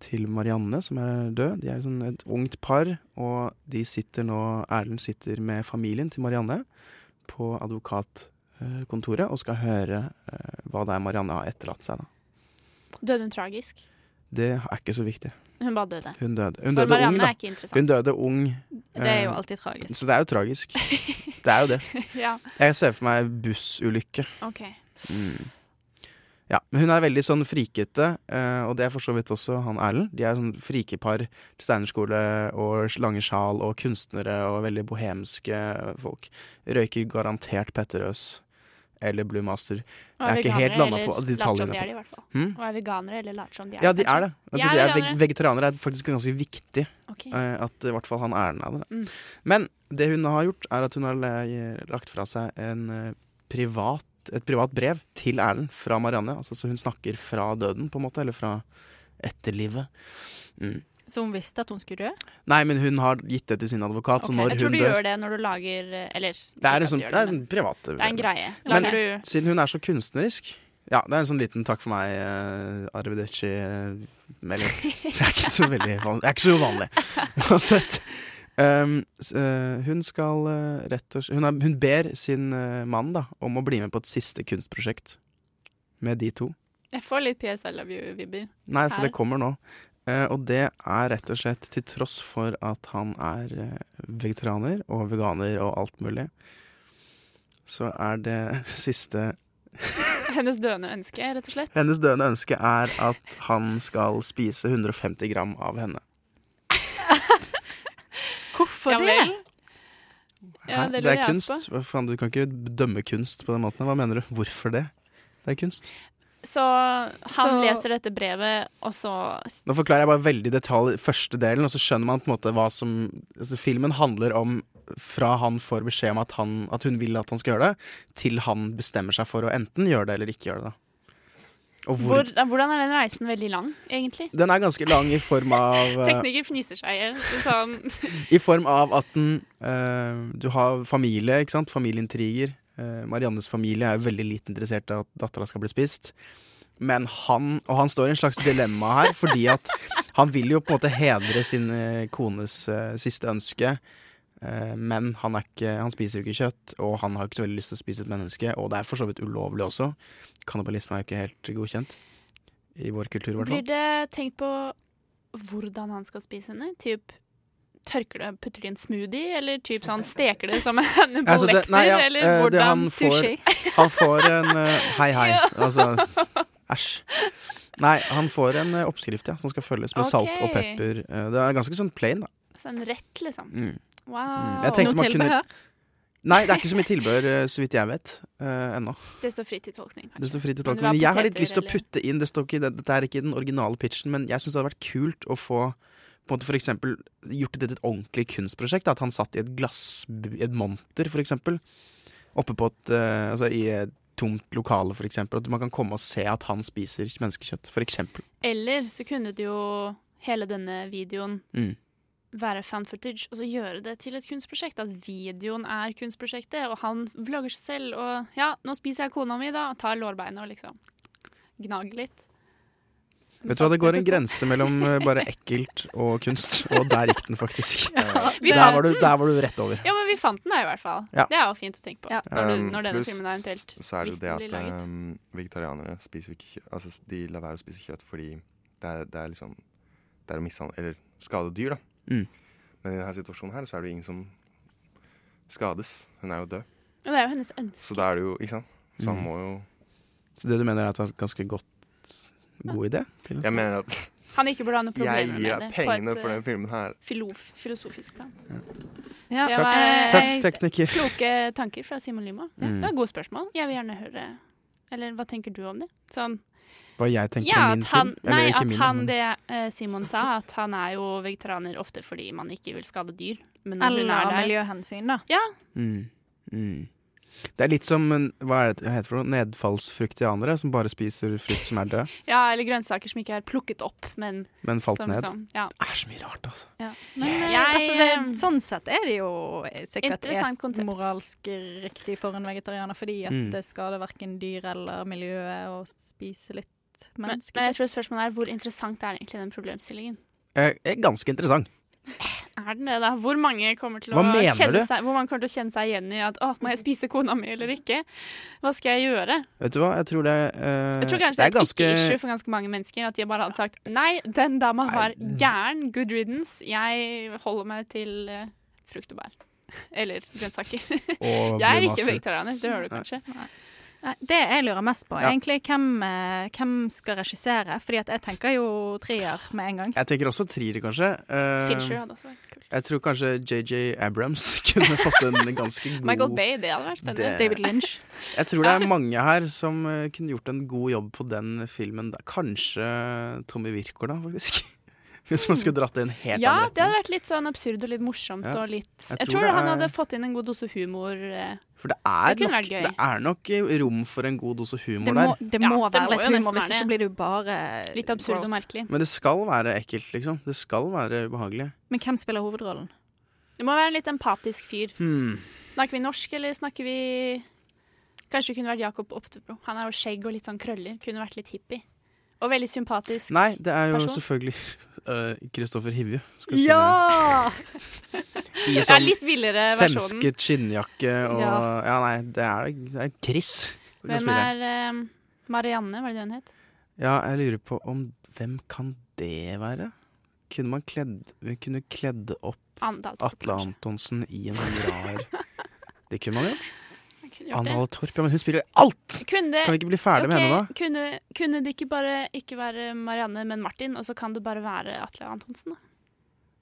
Speaker 8: til Marianne, som er død. De er sånn et ungt par, og de sitter nå Erlend sitter med familien til Marianne på advokatkontoret og skal høre eh, hva det er Marianne har etterlatt seg. Da.
Speaker 7: Døde hun tragisk?
Speaker 8: Det er ikke så viktig.
Speaker 7: Hun bare døde.
Speaker 8: Hun døde, hun
Speaker 7: For
Speaker 8: døde
Speaker 7: Marianne
Speaker 8: ung,
Speaker 7: er ikke
Speaker 8: da.
Speaker 7: interessant.
Speaker 8: Hun døde ung.
Speaker 7: Det er jo
Speaker 8: eh,
Speaker 7: alltid tragisk.
Speaker 8: Så det er jo
Speaker 7: (laughs)
Speaker 8: tragisk. Det er jo det.
Speaker 7: Ja.
Speaker 8: Jeg ser for meg bussulykke.
Speaker 7: OK.
Speaker 8: Mm. Ja, men hun er veldig sånn frikete, eh, og det er for så vidt også han Erlend. De er sånn frikepar, steinerskole og lange sjal og kunstnere og veldig bohemske folk. Røyker garantert Petter Øes eller Blue Master.
Speaker 7: Og
Speaker 8: Jeg er ikke helt landa på
Speaker 7: Eller later som
Speaker 8: detaljene.
Speaker 7: de er det, i
Speaker 8: på.
Speaker 7: hvert fall.
Speaker 8: Hm?
Speaker 7: Og er veganere, eller later som de er
Speaker 8: Ja, de
Speaker 7: kanskje?
Speaker 8: er det.
Speaker 7: er
Speaker 8: Altså, de er
Speaker 7: veganere.
Speaker 8: veg vegetarianere er faktisk ganske viktig.
Speaker 7: Ok.
Speaker 8: eh, At i hvert fall han Erlend er det.
Speaker 7: Mm.
Speaker 8: Men det hun har gjort, er at hun har le- lagt fra seg en eh, privat, et privat brev til Erlend fra Marianne. Altså, så hun snakker fra døden, på en måte, eller fra etterlivet. Mm.
Speaker 9: Så hun visste at hun skulle dø?
Speaker 8: Nei, men hun har gitt det til sin advokat, så
Speaker 7: Ok.
Speaker 8: når
Speaker 7: Jeg tror
Speaker 8: hun
Speaker 7: du
Speaker 8: dør
Speaker 7: gjør det når du lager eh, Eller
Speaker 8: Det
Speaker 7: ikke
Speaker 8: er
Speaker 7: at
Speaker 8: en
Speaker 7: du
Speaker 8: sånn,
Speaker 7: gjør
Speaker 8: det er en
Speaker 7: men
Speaker 8: sånn privat
Speaker 7: Det er en greie.
Speaker 8: Men
Speaker 7: Lager du
Speaker 8: siden hun er så kunstnerisk Ja, det er en sånn liten takk for meg, uh, Arvedeci-melding. Det er ikke så veldig vanlig. (laughs) Det er ikke så uvanlig. Uansett. Um, s- eh, hun skal eh, rett og slett hun, er- hun ber sin eh, mann da om å bli med på et siste kunstprosjekt med de to.
Speaker 7: Jeg får litt PS I love you-vibber.
Speaker 8: Nei, for
Speaker 7: her.
Speaker 8: det kommer nå. Eh, og det er rett og slett til tross for at han er eh, vegetarianer og veganer og alt mulig, så er det (laughs) siste
Speaker 7: (laughs) Hennes døende ønske, rett og slett.
Speaker 8: Hennes døende ønske er at han skal spise 150 gram av henne.
Speaker 9: Hvorfor
Speaker 7: ja,
Speaker 9: det?
Speaker 7: vel. Ja,
Speaker 8: Hæ?
Speaker 7: det
Speaker 8: det
Speaker 7: lurer
Speaker 8: er
Speaker 7: jeg
Speaker 8: kunst.
Speaker 7: også på.
Speaker 8: Hva faen, du kan ikke dømme kunst på den måten. Hva mener du? Hvorfor det? Det er kunst.
Speaker 7: Så han
Speaker 9: Så-
Speaker 7: leser dette brevet, og så
Speaker 8: Nå forklarer jeg bare veldig i detalj første delen, og så skjønner man på en måte hva som altså Filmen handler om fra han får beskjed om at, han, at hun vil at han skal gjøre det, til han bestemmer seg for å enten gjøre det eller ikke gjøre det. Og hvor,
Speaker 7: hvor, Hvordan er den reisen veldig lang, egentlig?
Speaker 8: Den er ganske lang i form av eh,
Speaker 7: Tekniker fniser seg i hjel. så Sånn.
Speaker 8: I form av at den eh, Du har familie, ikke sant? Familieintriger. Eh, Mariannes familie er jo veldig lite interessert i at dattera skal bli spist. Men han Og han står i en slags dilemma her, fordi at han vil jo på en måte hedre sin eh, kones eh, siste ønske. eh, Men han, er ikke, han spiser jo ikke kjøtt, og han har ikke så veldig lyst til å spise et menneske. Og det er for så vidt ulovlig også. Kannibalisme er jo ikke helt godkjent. I vår kultur, i hvert fall.
Speaker 7: Blir det tenkt på hvordan han skal spise henne? Typ Tørker du putter det i en smoothie, eller typ sånn steker det som en
Speaker 8: Altså, det-
Speaker 7: bollekter,
Speaker 8: nei, ja,
Speaker 7: eller
Speaker 8: eh, det-
Speaker 7: hvordan
Speaker 8: han får-
Speaker 7: sushi?
Speaker 8: Han får en eh, Hei, hei.
Speaker 7: Ja.
Speaker 8: Altså,
Speaker 7: (laughs)
Speaker 8: æsj. Nei, han får en eh, oppskrift ja, som skal følges med salt og
Speaker 7: Ok.
Speaker 8: pepper. Eh, Det er ganske sånn plain, da.
Speaker 7: Så en rett, liksom.
Speaker 8: Mm.
Speaker 7: Wow.
Speaker 8: Mm. Jeg tenkte man kunne- Nei, det er ikke så mye tilbehør, eh, så vidt jeg vet. eh, ennå.
Speaker 7: Det står fritt til tolkning.
Speaker 8: Det står fritt til
Speaker 7: Kan det
Speaker 8: tolkning.
Speaker 7: være
Speaker 8: Men jeg har litt
Speaker 7: poteter,
Speaker 8: lyst til å
Speaker 7: eller?
Speaker 8: putte inn det står ikke, i den- Dette er ikke i den originale pitchen, men jeg syns det hadde vært kult å få på en måte for eksempel, gjort det til et ordentlig kunstprosjekt. da, At han satt i et glass, i et monter, for eksempel. Oppe på et eh, Altså i et tomt lokale, for eksempel. At man kan komme og se at han spiser menneskekjøtt, for eksempel.
Speaker 7: Eller så kunne du jo hele denne videoen
Speaker 8: Mm.
Speaker 7: være fan footage, og så gjøre det til et kunstprosjekt. At videoen er kunstprosjektet, og han vlogger seg selv. Og ja, nå spiser jeg kona mi, da. Tar lårbeinet og liksom gnager litt.
Speaker 8: Vet du hva, det går en grense mellom
Speaker 7: (laughs)
Speaker 8: eh, bare ekkelt og kunst, og der gikk den faktisk.
Speaker 7: vi
Speaker 8: Der
Speaker 7: fant
Speaker 8: var du,
Speaker 7: den.
Speaker 8: der var du rett over.
Speaker 7: Ja, men vi fant den da, i hvert fall.
Speaker 18: Ja.
Speaker 7: Det er jo fint å tenke på. Når, du,
Speaker 18: Um,
Speaker 7: når denne
Speaker 18: pluss
Speaker 7: filmen er eventuelt
Speaker 18: Så er det
Speaker 7: hvis
Speaker 18: jo det
Speaker 7: den
Speaker 18: at
Speaker 7: blir laget.
Speaker 18: um, vegetarianere spiser jo ikke kjøtt Altså, de lar være å spise kjøtt fordi det er, det er liksom Det er å mishandle Eller skade dyr, da.
Speaker 8: Mm.
Speaker 18: Men i denne situasjonen her så er det jo ingen som skades. Hun er jo død.
Speaker 7: Og det er jo hennes ønske.
Speaker 18: Så da er det jo Ikke sant? Så han
Speaker 8: Mm.
Speaker 18: må jo
Speaker 8: Så det du mener er at det er et ganske godt god idé? Til.
Speaker 18: Jeg mener at
Speaker 7: Han ikke burde ha noe
Speaker 18: jeg
Speaker 7: problemer med
Speaker 18: gir
Speaker 7: det.
Speaker 18: deg pengene
Speaker 7: eh,
Speaker 18: for den filmen her.
Speaker 7: filof, filosofisk plan.
Speaker 9: Ja.
Speaker 7: Det
Speaker 9: Takk.
Speaker 7: var eh,
Speaker 8: Takk, tekniker.
Speaker 7: kloke tanker fra Simon Lima. Ja,
Speaker 8: Mm.
Speaker 7: Det var gode spørsmål. Jeg vil gjerne høre Eller hva tenker du om det? Sånn,
Speaker 8: Hva jeg tenker
Speaker 7: ja,
Speaker 8: om min
Speaker 7: at han,
Speaker 8: film? Eller
Speaker 7: nei,
Speaker 8: ikke
Speaker 7: at
Speaker 8: min,
Speaker 7: han
Speaker 8: men-
Speaker 7: det eh, Simon sa, at han er jo vegetarianer ofte fordi man ikke vil skade dyr. Men når hun
Speaker 9: Eller
Speaker 7: er der
Speaker 9: miljøhensyn, da.
Speaker 7: Ja.
Speaker 8: Mm. Mm. Det er litt som en- hva er det det heter for noe? nedfallsfruktianere, som bare spiser frukt som er død.
Speaker 7: ja, eller grønnsaker som ikke er plukket opp, men
Speaker 8: Men falt
Speaker 7: som
Speaker 8: ned.
Speaker 7: liksom- ja.
Speaker 8: Det er så mye rart, altså.
Speaker 7: Ja.
Speaker 9: Men eh,
Speaker 7: Jeg,
Speaker 9: altså, det,
Speaker 7: eh,
Speaker 9: sånn sett er det jo sikkert
Speaker 7: Interessant
Speaker 9: et moralsk riktig for en vegetarianer, fordi at
Speaker 7: Mm.
Speaker 9: det skader verken dyr eller miljøet å spise litt
Speaker 7: men,
Speaker 9: menneskekjøtt.
Speaker 7: men jeg tror spørsmålet er hvor interessant er egentlig den problemstillingen?
Speaker 8: Eh, eh, ganske interessant.
Speaker 7: Er den det, da? Hvor mange kommer til å,
Speaker 8: Hva mener
Speaker 7: kjenne
Speaker 8: du?
Speaker 7: seg, hvor mange kommer til å kjenne seg igjen i at å, må jeg spise kona mi eller ikke? Hva skal jeg gjøre?
Speaker 8: Vet du hva, jeg tror det eh,
Speaker 7: Jeg tror kanskje det er et ikke-issue
Speaker 8: (laughs)
Speaker 7: for ganske mange mennesker at de bare hadde sagt nei, den dama var
Speaker 8: mm.
Speaker 7: gæren, good riddance, jeg holder meg til eh, frukt og bær. (laughs) Eller grønnsaker. (laughs)
Speaker 9: Og
Speaker 7: jeg er ikke
Speaker 9: blåbærsuppe.
Speaker 7: vegetarianer, det hører du
Speaker 9: Nei.
Speaker 7: kanskje.
Speaker 9: Nei, det jeg lurer mest på, er
Speaker 8: Ja.
Speaker 9: egentlig hvem, eh, hvem skal regissere? Fordi at jeg tenker jo trier med en gang.
Speaker 8: Jeg tenker også trier, kanskje. Eh,
Speaker 9: Fincher hadde også
Speaker 8: Jeg tror kanskje JJ Abrams (laughs) kunne fått en ganske god
Speaker 7: Michael Bay, det hadde vært spennende.
Speaker 8: Det- David
Speaker 9: (laughs) Lynch.
Speaker 8: Jeg tror det er mange her som eh, kunne gjort en god jobb på den filmen. der. Kanskje eh, Tommy Wirkola, faktisk. (laughs) Hvis man skulle dratt det i en helt
Speaker 7: Ja,
Speaker 8: annen
Speaker 7: det hadde vært litt sånn absurd og litt morsomt
Speaker 8: Ja.
Speaker 7: og litt
Speaker 8: Jeg
Speaker 7: Jeg,
Speaker 8: tror
Speaker 7: tror,
Speaker 8: det
Speaker 7: han
Speaker 8: er-
Speaker 7: hadde fått inn en god dose humor. eh.
Speaker 8: For det er,
Speaker 7: Det kunne
Speaker 8: nok,
Speaker 7: vært gøy.
Speaker 8: det er nok eh, rom for en god dose humor
Speaker 9: Det må,
Speaker 8: der.
Speaker 9: det må
Speaker 7: Ja, det
Speaker 9: være
Speaker 7: må
Speaker 9: litt
Speaker 7: jo
Speaker 9: humor,
Speaker 7: nesten
Speaker 9: hvis
Speaker 7: være
Speaker 9: ikke
Speaker 7: det.
Speaker 9: blir det jo bare
Speaker 7: Litt absurd og
Speaker 9: gross.
Speaker 7: merkelig.
Speaker 8: Men det skal være ekkelt, liksom. Det skal være ubehagelig.
Speaker 9: Men hvem spiller hovedrollen?
Speaker 7: Det må være en litt empatisk fyr.
Speaker 8: Hmm.
Speaker 7: Snakker vi norsk, eller snakker vi Kanskje det kunne vært Jakob Oftebro. Han er jo skjegg og litt sånn krøller. Kunne vært litt hippie. Og veldig sympatisk.
Speaker 8: Nei, det er jo
Speaker 7: Person?
Speaker 8: selvfølgelig (laughs) øh, Kristoffer Hivju. skal spille
Speaker 7: Ja!
Speaker 8: i
Speaker 7: det er
Speaker 8: sånn
Speaker 7: litt villere versjonen.
Speaker 8: Semsket skinnjakke og ja.
Speaker 7: Ja.
Speaker 8: nei, det er, det er Chris. som
Speaker 7: Hvem
Speaker 8: spiller.
Speaker 7: er eh, Marianne, var det det hun het?
Speaker 8: Ja, jeg lurer på om Hvem kan det være? Kunne man kledd, vi kunne kledd opp
Speaker 7: Anne Dahl Torp,
Speaker 8: Atle Antonsen i en sånn rar Det kunne man gjort.
Speaker 7: Jeg kunne gjort det.
Speaker 8: Anne Hall Torp, ja, men hun spiller jo alt!
Speaker 7: Kunne det-
Speaker 8: Kan vi ikke bli ferdig med
Speaker 7: Ok,
Speaker 8: henne, da?
Speaker 7: Kunne, kunne det ikke bare ikke være Marianne, men Martin, og så kan du bare være Atle Antonsen, da?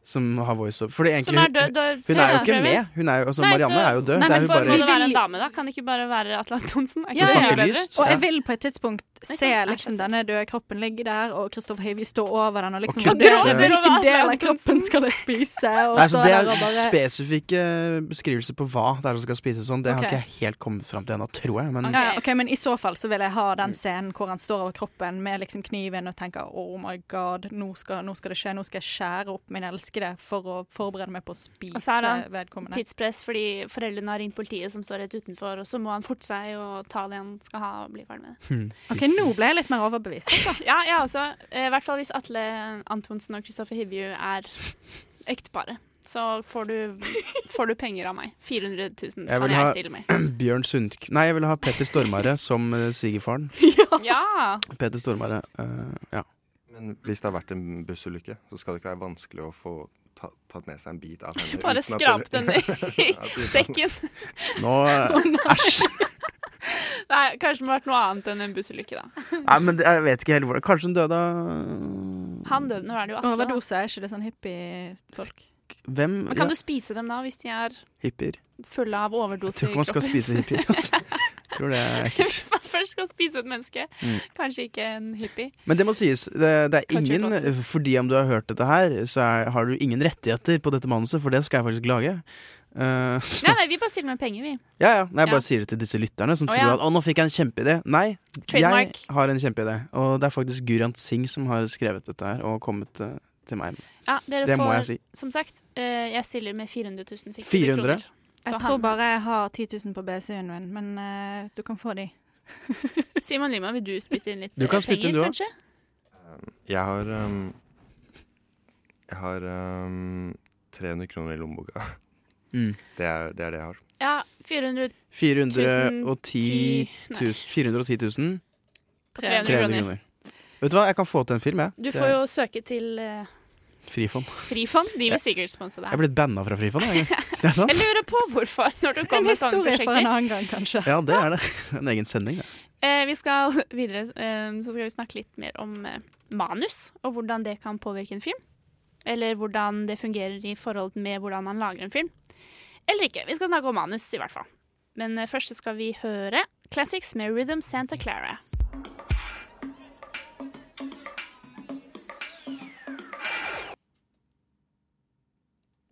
Speaker 8: Som har voiceover. Fordi egentlig,
Speaker 7: Som er død, da-
Speaker 8: hun, hun er jo ikke
Speaker 7: prøver.
Speaker 8: med. Hun er jo, altså,
Speaker 7: Nei,
Speaker 8: Marianne
Speaker 7: så-
Speaker 8: er jo død.
Speaker 7: Nei,
Speaker 8: det
Speaker 7: men
Speaker 8: er jo
Speaker 7: for, må det
Speaker 8: bare
Speaker 7: være en dame, da? Kan det ikke bare være Atle Antonsen? Er ikke
Speaker 8: Ja,
Speaker 7: det
Speaker 8: ja, ja.
Speaker 7: bedre?
Speaker 8: lyst,
Speaker 9: Og
Speaker 8: ja.
Speaker 9: jeg vil på et tidspunkt
Speaker 7: sånn-
Speaker 9: se liksom denne døde kroppen ligge der, og Kristoffer Hivju stå over den og liksom
Speaker 8: kutte-
Speaker 9: vurdere
Speaker 8: Og gråte
Speaker 9: hvilken
Speaker 7: over
Speaker 9: del av
Speaker 7: Atlanten.
Speaker 9: kroppen skal jeg spise. Og
Speaker 8: Nei, så
Speaker 9: stå
Speaker 8: det er
Speaker 9: der og bare-
Speaker 8: spesifikke beskrivelser på hva det er som skal spises sånn. Det har
Speaker 9: Ok.
Speaker 8: ikke jeg helt kommet fram til ennå, tror jeg. Men
Speaker 9: Ja, ja, ok, men I så fall så vil jeg ha den scenen hvor han står over kroppen med liksom kniven og tenker oh my god, nå skal, nå skal det skje, nå skal jeg skjære opp min elskede for å forberede meg på
Speaker 7: Og
Speaker 9: å
Speaker 7: så
Speaker 9: spise
Speaker 7: er han
Speaker 9: vedkommende.
Speaker 7: tidspress fordi foreldrene har ringt politiet som står rett utenfor, og så må han forte seg og ta det han skal ha og bli ferdig med det.
Speaker 9: Ok, Nå ble jeg litt mer overbevist. (laughs) altså.
Speaker 7: Ja, jeg også. Eh, I hvert fall hvis Atle Antonsen og Kristoffer Hivju er ektepare. Så får du, får du penger av meg. 400 000
Speaker 8: jeg
Speaker 7: kan
Speaker 8: vil
Speaker 7: jeg stille med.
Speaker 8: ha (clears throat) Bjørn Sundk... Nei, jeg vil ha Petter Stormare som eh, svigerfaren.
Speaker 7: Ja!
Speaker 8: Peter Stormare, eh, ja.
Speaker 18: Men hvis det har vært en bussulykke, så skal det ikke være vanskelig å få ta, tatt med seg en bit av
Speaker 7: (laughs)
Speaker 18: henne.
Speaker 7: Bare
Speaker 18: uten at
Speaker 7: skrap
Speaker 18: dere- (laughs)
Speaker 7: den i
Speaker 18: at uten-
Speaker 7: (laughs) sekken. (laughs)
Speaker 8: Nå- eh,
Speaker 7: Æsj! Nei, kanskje det må ha vært noe annet enn en bussulykke, da.
Speaker 8: Nei, men det, jeg vet ikke helt hvor det Kanskje hun døde av
Speaker 7: Han døde når han jo 18.
Speaker 9: Overdose er ikke det sånn hippiefolk?
Speaker 8: Hvem?
Speaker 7: Men kan
Speaker 8: Ja,
Speaker 7: du spise dem da, hvis de er
Speaker 8: Hippier.
Speaker 7: fulle av
Speaker 8: Jeg
Speaker 7: overdose
Speaker 8: tror ikke man skal spise hippier,
Speaker 7: (laughs)
Speaker 8: altså. Tror det er ekkelt.
Speaker 7: hvis man først skal spise et menneske,
Speaker 8: Mm.
Speaker 7: kanskje ikke en hippie.
Speaker 8: Men det må sies, det, det er
Speaker 7: Kanskje
Speaker 8: ingen
Speaker 7: klassisk.
Speaker 8: Fordi om du har hørt dette her, så er, har du ingen rettigheter på dette manuset, for det skal jeg faktisk lage. Eh, så,
Speaker 7: Nei, nei, vi bare stiller med penger, vi.
Speaker 8: ja, ja. Nei, jeg bare
Speaker 7: Ja.
Speaker 8: sier det til disse lytterne som
Speaker 7: Å,
Speaker 8: tror
Speaker 7: ja.
Speaker 8: at 'Å, nå fikk jeg en kjempeidé'. Nei,
Speaker 7: Trademark.
Speaker 8: jeg har en kjempeidé. Og det er faktisk Gurant Singh som har skrevet dette her, og kommet eh, til meg.
Speaker 7: Ja, dere
Speaker 8: det
Speaker 7: får,
Speaker 8: må jeg si.
Speaker 7: Som sagt, eh, jeg stiller med 400 000 fiktive
Speaker 8: 400?
Speaker 7: kroner. Så
Speaker 9: Jeg
Speaker 7: han-
Speaker 9: tror bare jeg har 10 000 på BSU-en min, men eh, du kan få de.
Speaker 7: Simon Lima, vil du spytte inn litt
Speaker 18: Du kan
Speaker 7: eh,
Speaker 18: spytte
Speaker 7: penger,
Speaker 18: inn, du også.
Speaker 7: kanskje?
Speaker 18: Jeg har ehm, Jeg har ehm, 300 kroner i lommeboka.
Speaker 8: Mm.
Speaker 18: Det, er, det er det jeg har.
Speaker 7: Ja, 400
Speaker 8: 410
Speaker 7: 10
Speaker 8: 000 410 000
Speaker 7: 300 kroner.
Speaker 8: Vet du hva, jeg kan få til en film, jeg.
Speaker 7: Du
Speaker 8: Det
Speaker 7: får
Speaker 8: er
Speaker 7: jo søke til eh,
Speaker 8: Frifond.
Speaker 7: Frifond. De
Speaker 8: Ja.
Speaker 7: vil sikkert sponse deg.
Speaker 8: Jeg er blitt banna fra Frifond. jeg. Det er sant?
Speaker 7: Jeg lurer på hvorfor, når du
Speaker 9: En
Speaker 7: kommer med sånne
Speaker 9: historie for en
Speaker 7: prosjekter.
Speaker 9: annen gang, kanskje.
Speaker 8: Ja, det er det. (laughs) En egen sending, det.
Speaker 7: Eh, vi skal videre, eh, så skal vi snakke litt mer om eh, manus, og hvordan det kan påvirke en film. Eller hvordan det fungerer i forhold med hvordan man lager en film. Eller ikke. Vi skal snakke om manus, i hvert fall. Men eh, først så skal vi høre Classics med Rhythm Santa Clara. (laughs)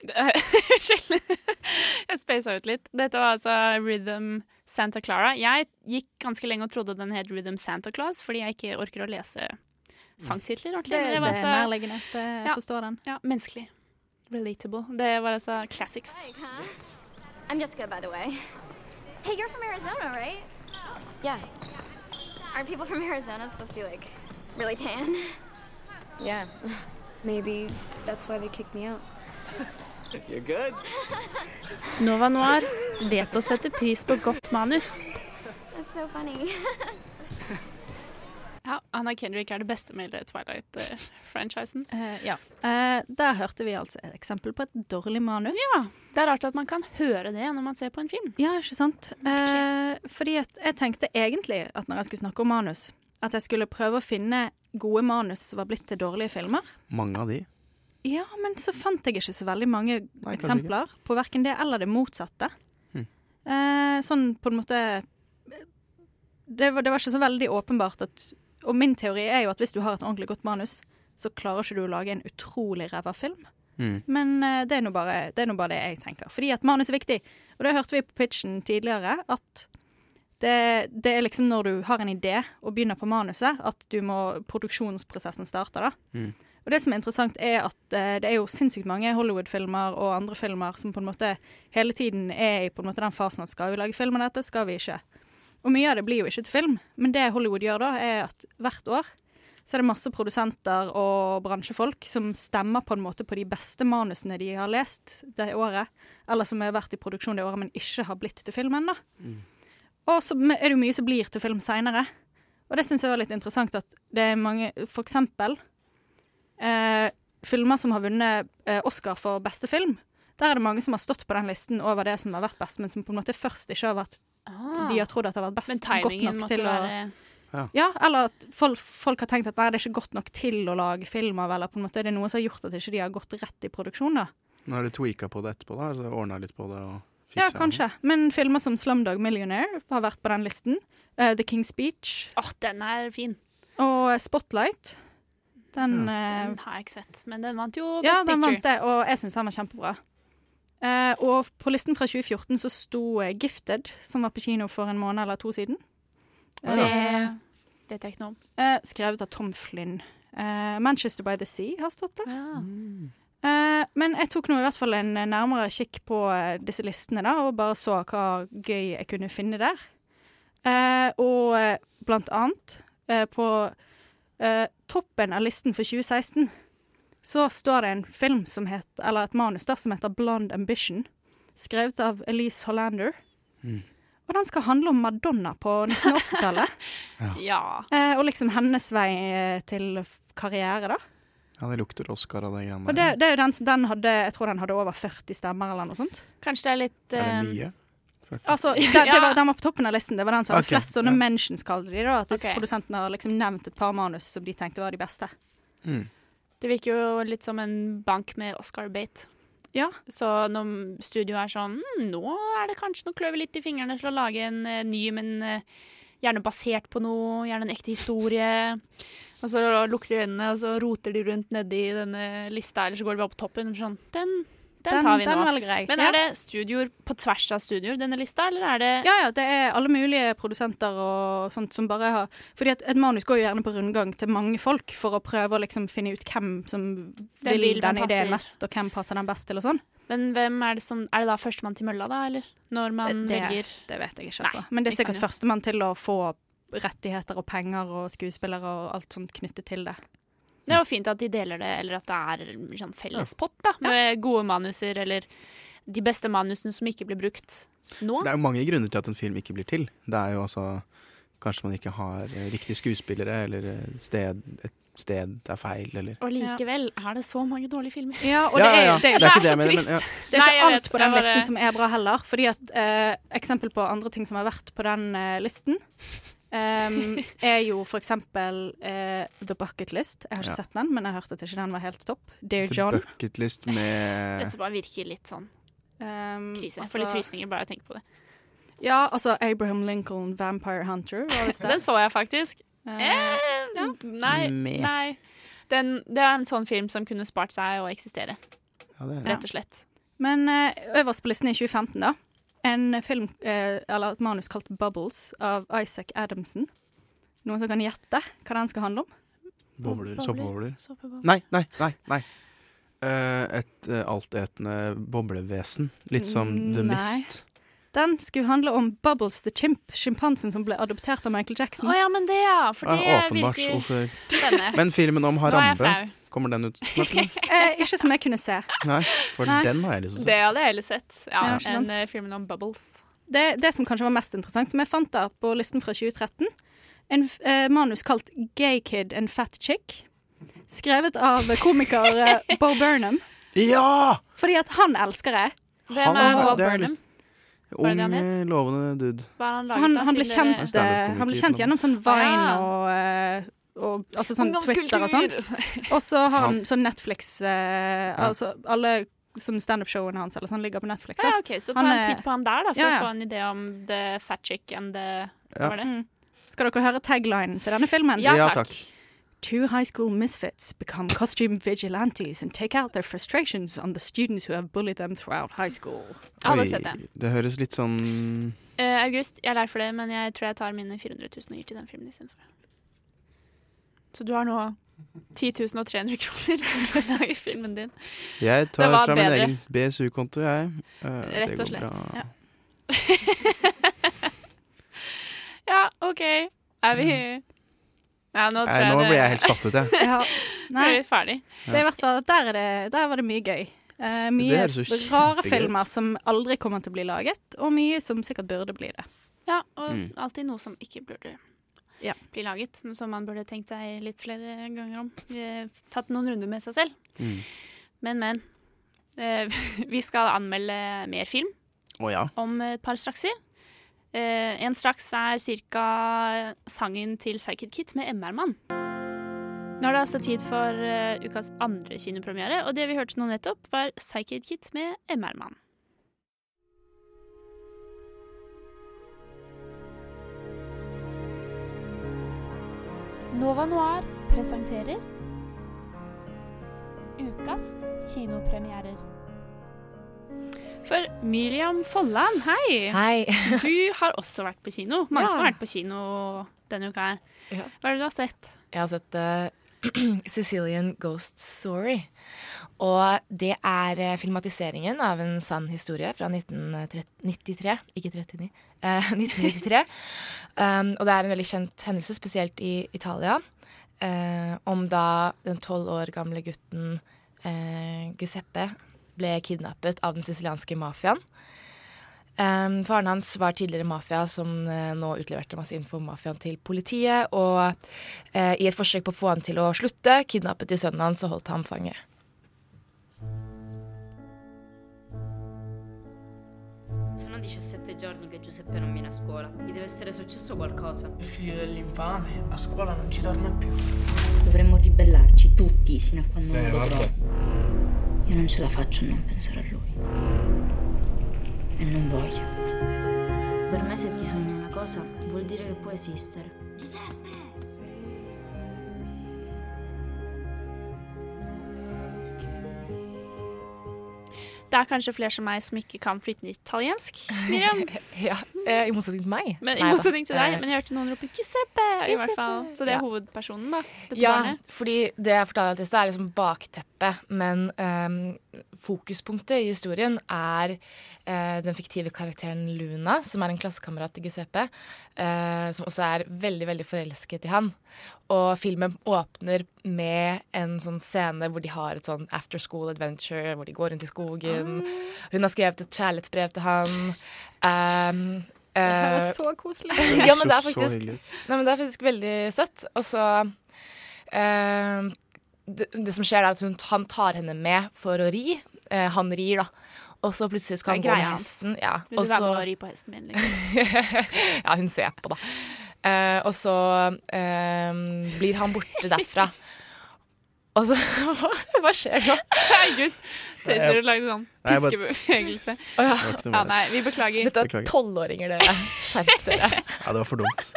Speaker 7: Det- Unnskyld. Jeg spasa ut litt. Dette var altså Rhythm Santa Clara. Jeg gikk ganske lenge og trodde den het Rhythm Santa Claus, fordi jeg ikke orker å lese sangtitler ordentlig.
Speaker 9: (laughs) Det,
Speaker 7: men
Speaker 9: det er
Speaker 7: var altså-
Speaker 9: nærliggende. Det, jeg
Speaker 7: Ja.
Speaker 9: forstår den.
Speaker 7: Ja, menneskelig. Relatable. Det var altså classics.
Speaker 19: I'm Jessica, by the way. Hey, you're from Arizona, right? Yeah. Aren't people from Arizona supposed to be like really tan?
Speaker 20: Yeah. Maybe that's why they kicked me out.
Speaker 2: You're good.
Speaker 7: Nova Noir vet å sette pris på godt manus.
Speaker 19: That's so funny.
Speaker 7: Ja, Anna Kendrick er det beste med hele Twilight-franchisen.
Speaker 9: ja. Eh, der hørte vi altså et eksempel på et dårlig manus.
Speaker 7: Ja, Det er rart at man kan høre det når man ser på en film.
Speaker 9: Ja, ikke sant?
Speaker 8: Mm,
Speaker 9: Eh, fordi at jeg tenkte egentlig at når jeg skulle snakke om manus, at jeg skulle prøve å finne gode manus som var blitt til dårlige filmer.
Speaker 8: Mange av de.
Speaker 9: Ja, men så fant jeg ikke så veldig mange
Speaker 8: kanskje
Speaker 9: eksempler på verken det eller det motsatte.
Speaker 8: Hm.
Speaker 9: Eh, sånn på en måte det var, det var ikke så veldig åpenbart at Og min teori er jo at hvis du har et ordentlig godt manus, så klarer ikke du å lage en utrolig ræva film.
Speaker 8: Mm.
Speaker 9: Men eh, det er nå bare det, er nå bare det jeg tenker. Fordi at manus er viktig. Og det hørte vi på pitchen tidligere, at det, det er liksom når du har en idé og begynner på manuset, at du må produksjonsprosessen starter, da. Og det som er interessant, er at eh, det er jo sinnssykt mange Hollywood-filmer og andre filmer som på en måte hele tiden er i på en måte den fasen at skal vi lage film av dette, skal vi ikke. Og mye av det blir jo ikke til film, men det Hollywood gjør da, er at hvert år så er det masse produsenter og bransjefolk som stemmer på en måte på de beste manusene de har lest det året, eller som har vært i produksjon det året, men ikke har blitt til film ennå. Og så m- er det jo mye som blir til film seinere. Og det syns jeg var litt interessant at det er mange For eksempel eh, filmer som har vunnet eh, Oscar for beste film. Der er det mange som har stått på den listen over det som har vært best, men som på en måte først ikke har vært De har trodd at det har vært best
Speaker 7: Ah, Men
Speaker 9: godt
Speaker 7: timingen
Speaker 9: nok
Speaker 7: måtte
Speaker 9: til å
Speaker 7: være
Speaker 8: Ja.
Speaker 9: eller at folk, folk har tenkt at nei, det er ikke godt nok til å lage film av, eller på en måte er det noe som har gjort at ikke de har gått rett i produksjon, da.
Speaker 8: Nå har du tweaka på det etterpå, da? Altså, Ordna litt på det og fiksa
Speaker 9: Ja, kanskje. Men filmer som 'Slumdog Millionaire' har vært på den listen. Eh, 'The King's Speech'
Speaker 7: Åh, den er fin.
Speaker 9: og 'Spotlight'. Den, eh,
Speaker 7: Den har jeg ikke sett, men den vant jo Best
Speaker 9: ja, den
Speaker 7: Picture.
Speaker 9: vant det, og jeg syns den var kjempebra. Eh, og på listen fra 2014 så sto eh, 'Gifted', som var på kino for en måned eller to siden.
Speaker 7: Og det, det vet jeg ikke noe om.
Speaker 9: Eh, skrevet av Tom Flynn. Eh, 'Manchester by the Sea' har stått der. Eh, men jeg tok nå i hvert fall en nærmere kikk på eh, disse listene, da, og bare så hva gøy jeg kunne finne der. Eh, og eh, blant annet eh, på eh, toppen av listen for 2016 så står det en film som heter, eller et manus der som heter 'Blonde Ambition', skrevet av Elise Hollander.
Speaker 8: Mm.
Speaker 9: Og den skal handle om Madonna på 1980-tallet.
Speaker 7: Ja.
Speaker 9: Eh, og liksom hennes vei eh, til f- karriere, da.
Speaker 8: Ja, det lukter Oscar av de greiene
Speaker 9: Og det, det er jo den, som- den hadde, jeg tror den hadde over 40 stemmer eller noe sånt.
Speaker 7: Kanskje det er litt
Speaker 8: Er det
Speaker 7: eh,
Speaker 8: mye?
Speaker 9: Altså, det, det var, den var på toppen av listen. Det var den som hadde
Speaker 8: Ok,
Speaker 9: flest sånne
Speaker 8: ja.
Speaker 9: mentions, kaller de det. da, At disse produsentene har liksom nevnt et par manus som de tenkte var de beste.
Speaker 7: Det virker jo litt som en bank med Oscar-bate.
Speaker 9: Ja.
Speaker 7: Så når studioet er sånn "Hm, Nå er det kanskje noe kløver litt i fingrene til å lage en eh, ny, men eh, gjerne basert på noe, gjerne en ekte historie. Og så lukker de øynene, og så roter de rundt nedi denne lista, eller så går de bare på toppen. og Sånn, den, den,
Speaker 9: Den-
Speaker 7: tar vi
Speaker 9: den
Speaker 7: nå.
Speaker 9: var grei.
Speaker 7: Men
Speaker 9: Ja.
Speaker 7: er det studioer på tvers av studioer, denne lista, eller er det
Speaker 9: Ja, ja, det er alle mulige produsenter og sånt som bare har Fordi at et manus går jo gjerne på rundgang til mange folk for å prøve å liksom finne ut hvem som
Speaker 7: Hvem
Speaker 9: vil,
Speaker 7: vil, hvem
Speaker 9: den ideen
Speaker 7: passer.
Speaker 9: mest, og hvem passer den best til, og sånn.
Speaker 7: Men hvem er det som Er det da førstemann til mølla, da, eller? Når man
Speaker 9: Det- det-
Speaker 7: velger
Speaker 9: Det vet jeg ikke, altså. Men det er sikkert førstemann til å få rettigheter og penger og skuespillere og alt sånt knyttet til det.
Speaker 7: Det er jo fint at de deler det, eller at det er sånn fellespott da, med gode manuser, eller de beste manusene som ikke blir brukt nå.
Speaker 8: For det er jo mange grunner til at en film ikke blir til. Det er jo altså Kanskje man ikke har eh, riktige skuespillere, eller eh, sted, et sted er feil, eller
Speaker 7: Og likevel er det så mange dårlige filmer.
Speaker 9: Ja, og
Speaker 8: Ja,
Speaker 9: det
Speaker 8: ja,
Speaker 9: er,
Speaker 8: ja.
Speaker 9: Det
Speaker 8: Det er
Speaker 9: er,
Speaker 8: ikke
Speaker 9: så
Speaker 8: det jeg mener, men
Speaker 9: trist.
Speaker 8: ja.
Speaker 9: Det er ikke
Speaker 7: Nei, jeg
Speaker 9: alt
Speaker 7: vet,
Speaker 9: på den
Speaker 7: jeg bare-
Speaker 9: listen som er bra heller. Fordi at eh, Eksempel på andre ting som har vært på den eh, listen,
Speaker 7: (laughs)
Speaker 9: ehm, er jo for eksempel eh, The Bucket List. Jeg har ikke
Speaker 8: Ja.
Speaker 9: sett den, men jeg hørte at ikke den var helt topp. Dear
Speaker 8: The
Speaker 9: John.
Speaker 8: Bucket List med
Speaker 7: Dette bare virker litt sånn
Speaker 8: Mm.
Speaker 7: krise. Jeg
Speaker 9: altså-
Speaker 7: får litt frysninger bare jeg tenker på det.
Speaker 9: Ja, altså Abraham Lincoln, Vampire Hunter. Var visst
Speaker 7: (laughs)
Speaker 9: det.
Speaker 7: Den så jeg faktisk. (laughs) Eh, Nei,
Speaker 8: Mm,
Speaker 9: Meh.
Speaker 7: nei. Den, det er en sånn film som kunne spart seg å eksistere, rett og slett.
Speaker 9: Men eh, øverst på listen i 2015, da. En film, eh, eller et manus kalt 'Bubbles' av Isaac Adamson. Noen som kan gjette hva den skal handle om?
Speaker 8: Bobler,
Speaker 9: Bobler,
Speaker 8: soppebobler.
Speaker 9: soppebobler.
Speaker 8: Nei, nei, nei. nei. Eh, et eh, altetende boblevesen. Litt som
Speaker 7: Mm,
Speaker 8: The
Speaker 9: Nei.
Speaker 8: Mist.
Speaker 9: Den skulle handle om Bubbles the Chimp, sjimpansen som ble adoptert av Michael Jackson.
Speaker 7: Å ja, men det, ja. For det
Speaker 8: Ja, Ah, åpenbart.
Speaker 7: virker
Speaker 8: hvorfor-
Speaker 7: spennende.
Speaker 8: Men filmen om
Speaker 7: Nå er jeg
Speaker 8: Harambe, kommer den ut snart? eller?
Speaker 7: (laughs)
Speaker 9: eh, ikke som jeg kunne se.
Speaker 8: Nei, for
Speaker 9: Nei.
Speaker 8: den har jeg lyst til
Speaker 7: Det
Speaker 8: å se.
Speaker 7: hadde jeg heller sett. Ja,
Speaker 9: Ja, ikke
Speaker 7: enn
Speaker 9: sant?
Speaker 7: eh, filmen om Bubbles.
Speaker 9: Det, det som kanskje var mest interessant, som jeg fant da på listen fra 2013, en f- eh, manus kalt Gay Kid and Fat Chick, skrevet av komiker
Speaker 7: (laughs)
Speaker 9: eh, Bo Burnham.
Speaker 8: Ja!
Speaker 9: Fordi at han elsker jeg.
Speaker 8: Han har- det har jeg lyst-
Speaker 9: Var det det han
Speaker 8: Ung, eh, lovende dude.
Speaker 7: Hva har han laget
Speaker 9: Han,
Speaker 7: da,
Speaker 9: han, ble
Speaker 7: siden
Speaker 9: kjent,
Speaker 8: dere-
Speaker 9: eh, han ble kjent gjennom sånn Vine og, eh, og altså sånn Twitter og
Speaker 7: (laughs)
Speaker 9: sånn. Og så har han sånn Netflix eh, Altså alle som standup-showene hans eller sånn ligger på Netflix. da.
Speaker 7: Ja, ok, Så ta
Speaker 9: Han
Speaker 7: en
Speaker 9: er-
Speaker 7: titt på ham der, da, for
Speaker 9: Ja, ja.
Speaker 7: å få en idé om the fat chick and the Hva
Speaker 9: Ja.
Speaker 7: var det?
Speaker 9: Mm. Skal dere høre taglinen til denne filmen?
Speaker 7: Ja, Ja, takk.
Speaker 9: Two high school misfits become costume vigilantes and take out their frustrations on the students who have bullied them throughout high school.
Speaker 7: Alle har sett den.
Speaker 8: det høres litt sånn
Speaker 7: Eh, August, jeg er lei for det, men jeg tror jeg tar mine 400 000 og gir til den filmen istedenfor. Så du har nå 10 300 kroner til å lage filmen din.
Speaker 8: Jeg
Speaker 7: Det
Speaker 8: tar
Speaker 7: var
Speaker 8: fra min
Speaker 7: bedre.
Speaker 8: egen BSU-konto, jeg. Eh, det
Speaker 7: Rett
Speaker 8: går
Speaker 7: og slett.
Speaker 8: bra.
Speaker 7: Ja. (laughs) ja, OK. Er vi Nei, nå tror
Speaker 8: Mm. Nei,
Speaker 7: jeg
Speaker 8: nå
Speaker 7: det-
Speaker 8: ble jeg helt satt ut,
Speaker 7: (laughs)
Speaker 8: jeg.
Speaker 9: (laughs) Ja. Nei.
Speaker 7: Ble vi ferdig?
Speaker 8: Ja.
Speaker 9: Det er i hvert fall, der, er det, der var det mye gøy. Eh, mye
Speaker 8: høres jo
Speaker 9: rare
Speaker 8: kjempegøy ut.
Speaker 9: filmer som aldri kommer til å bli laget, og mye som sikkert burde bli det.
Speaker 7: Ja, og
Speaker 8: Mm.
Speaker 7: alltid noe som ikke burde bli laget, men som man burde tenkt seg litt flere ganger om. Eh, Tatt noen runder med seg selv.
Speaker 8: Mm.
Speaker 7: Men, men. Eh, (laughs) Vi skal anmelde mer film
Speaker 8: Å ja.
Speaker 7: om et par strakser. Eh, En straks er ca. sangen til Psychic Kit med MR-mann. Nå er det altså tid for eh, ukas andre kinopremiere, og det vi hørte nå nettopp, var Psychic Kit med MR-mann. Nova Noir presenterer ukas kinopremierer. For Miriam Folland, hei!
Speaker 21: Hei.
Speaker 7: du har også vært på kino. Mange
Speaker 21: Ja.
Speaker 7: som har vært på kino denne uka her. Hva er det du har sett?
Speaker 21: Jeg har sett eh, (clears throat) Sicilian Ghost Story. Og det er eh, filmatiseringen av en sann historie fra 1993, ikke 39, eh, (laughs) 1993. um, og det er en veldig kjent hendelse, spesielt i Italia, eh, om da den tolv år gamle gutten eh, Giuseppe ble kidnappet av den sicilianske mafiaen. Um, faren hans var tidligere mafia, som eh, nå utleverte masse info om mafiaen til politiet. Og eh, i et forsøk på å få han til å slutte, kidnappet de sønnen hans og holdt ham fange.
Speaker 5: Sono 17 giorni che Giuseppe non viene a scuola. Gli deve essere successo qualcosa.
Speaker 22: Il figlio dell'infame a scuola non ci torna più.
Speaker 5: Dovremmo ribellarci tutti sino a quando
Speaker 22: Sì,
Speaker 5: non lo
Speaker 22: vabbè.
Speaker 5: trovo. Io non ce la faccio a non pensare a lui. E non voglio. Per me se ti sogni una cosa vuol dire che può esistere.
Speaker 7: Det er kanskje flere som meg som ikke kan flytende italiensk.
Speaker 21: (laughs)
Speaker 7: Miriam.
Speaker 21: ja, eh, I motsetning til meg.
Speaker 7: Men, I
Speaker 21: Neida.
Speaker 7: motsetning til deg,
Speaker 21: Eh,
Speaker 7: men jeg hørte noen rope 'Giuseppe'. i hvert fall. Så det er
Speaker 21: Ja.
Speaker 7: hovedpersonen, da. Dette
Speaker 21: ja,
Speaker 7: barnet.
Speaker 21: fordi det jeg fortalte i stad, er liksom bakteppet. Men ehm, fokuspunktet i historien er eh, den fiktive karakteren Luna, som er en klassekamerat til Giuseppe, eh, som også er veldig, veldig forelsket i han. Og filmen åpner med en sånn scene hvor de har et sånn after school adventure, hvor de går rundt i skogen.
Speaker 9: Ah.
Speaker 21: Hun har skrevet et kjærlighetsbrev til han. Ehm, eh,
Speaker 9: her var så koselig.
Speaker 21: ja, men det er
Speaker 9: Så- så
Speaker 21: faktisk,
Speaker 9: hyggelig ut.
Speaker 21: nei, men det er faktisk veldig søtt. Og så eh, det, det som skjer, er at hun, han tar henne med for å ri. Eh, han rir, da. Og så plutselig skal han
Speaker 7: Det
Speaker 21: gå
Speaker 7: er
Speaker 21: med
Speaker 7: greia hans.
Speaker 21: hesten. Ja.
Speaker 7: Vil du
Speaker 21: og
Speaker 7: være med
Speaker 21: så-
Speaker 7: og ri på hesten
Speaker 21: (laughs)
Speaker 7: min? Liksom?
Speaker 21: ja, hun ser på, da. Eh, og så eh, blir han borte derfra. Og så (laughs) Hva, hva skjer nå?
Speaker 7: August tøyser og lager sånn
Speaker 21: Nei, jeg bare-
Speaker 7: piskebevegelse.
Speaker 21: Å ja.
Speaker 7: ja. nei, vi beklager.
Speaker 21: Dette er
Speaker 8: Beklager.
Speaker 21: tolvåringer, dere. Skjerp dere.
Speaker 8: Ja, det var for dumt.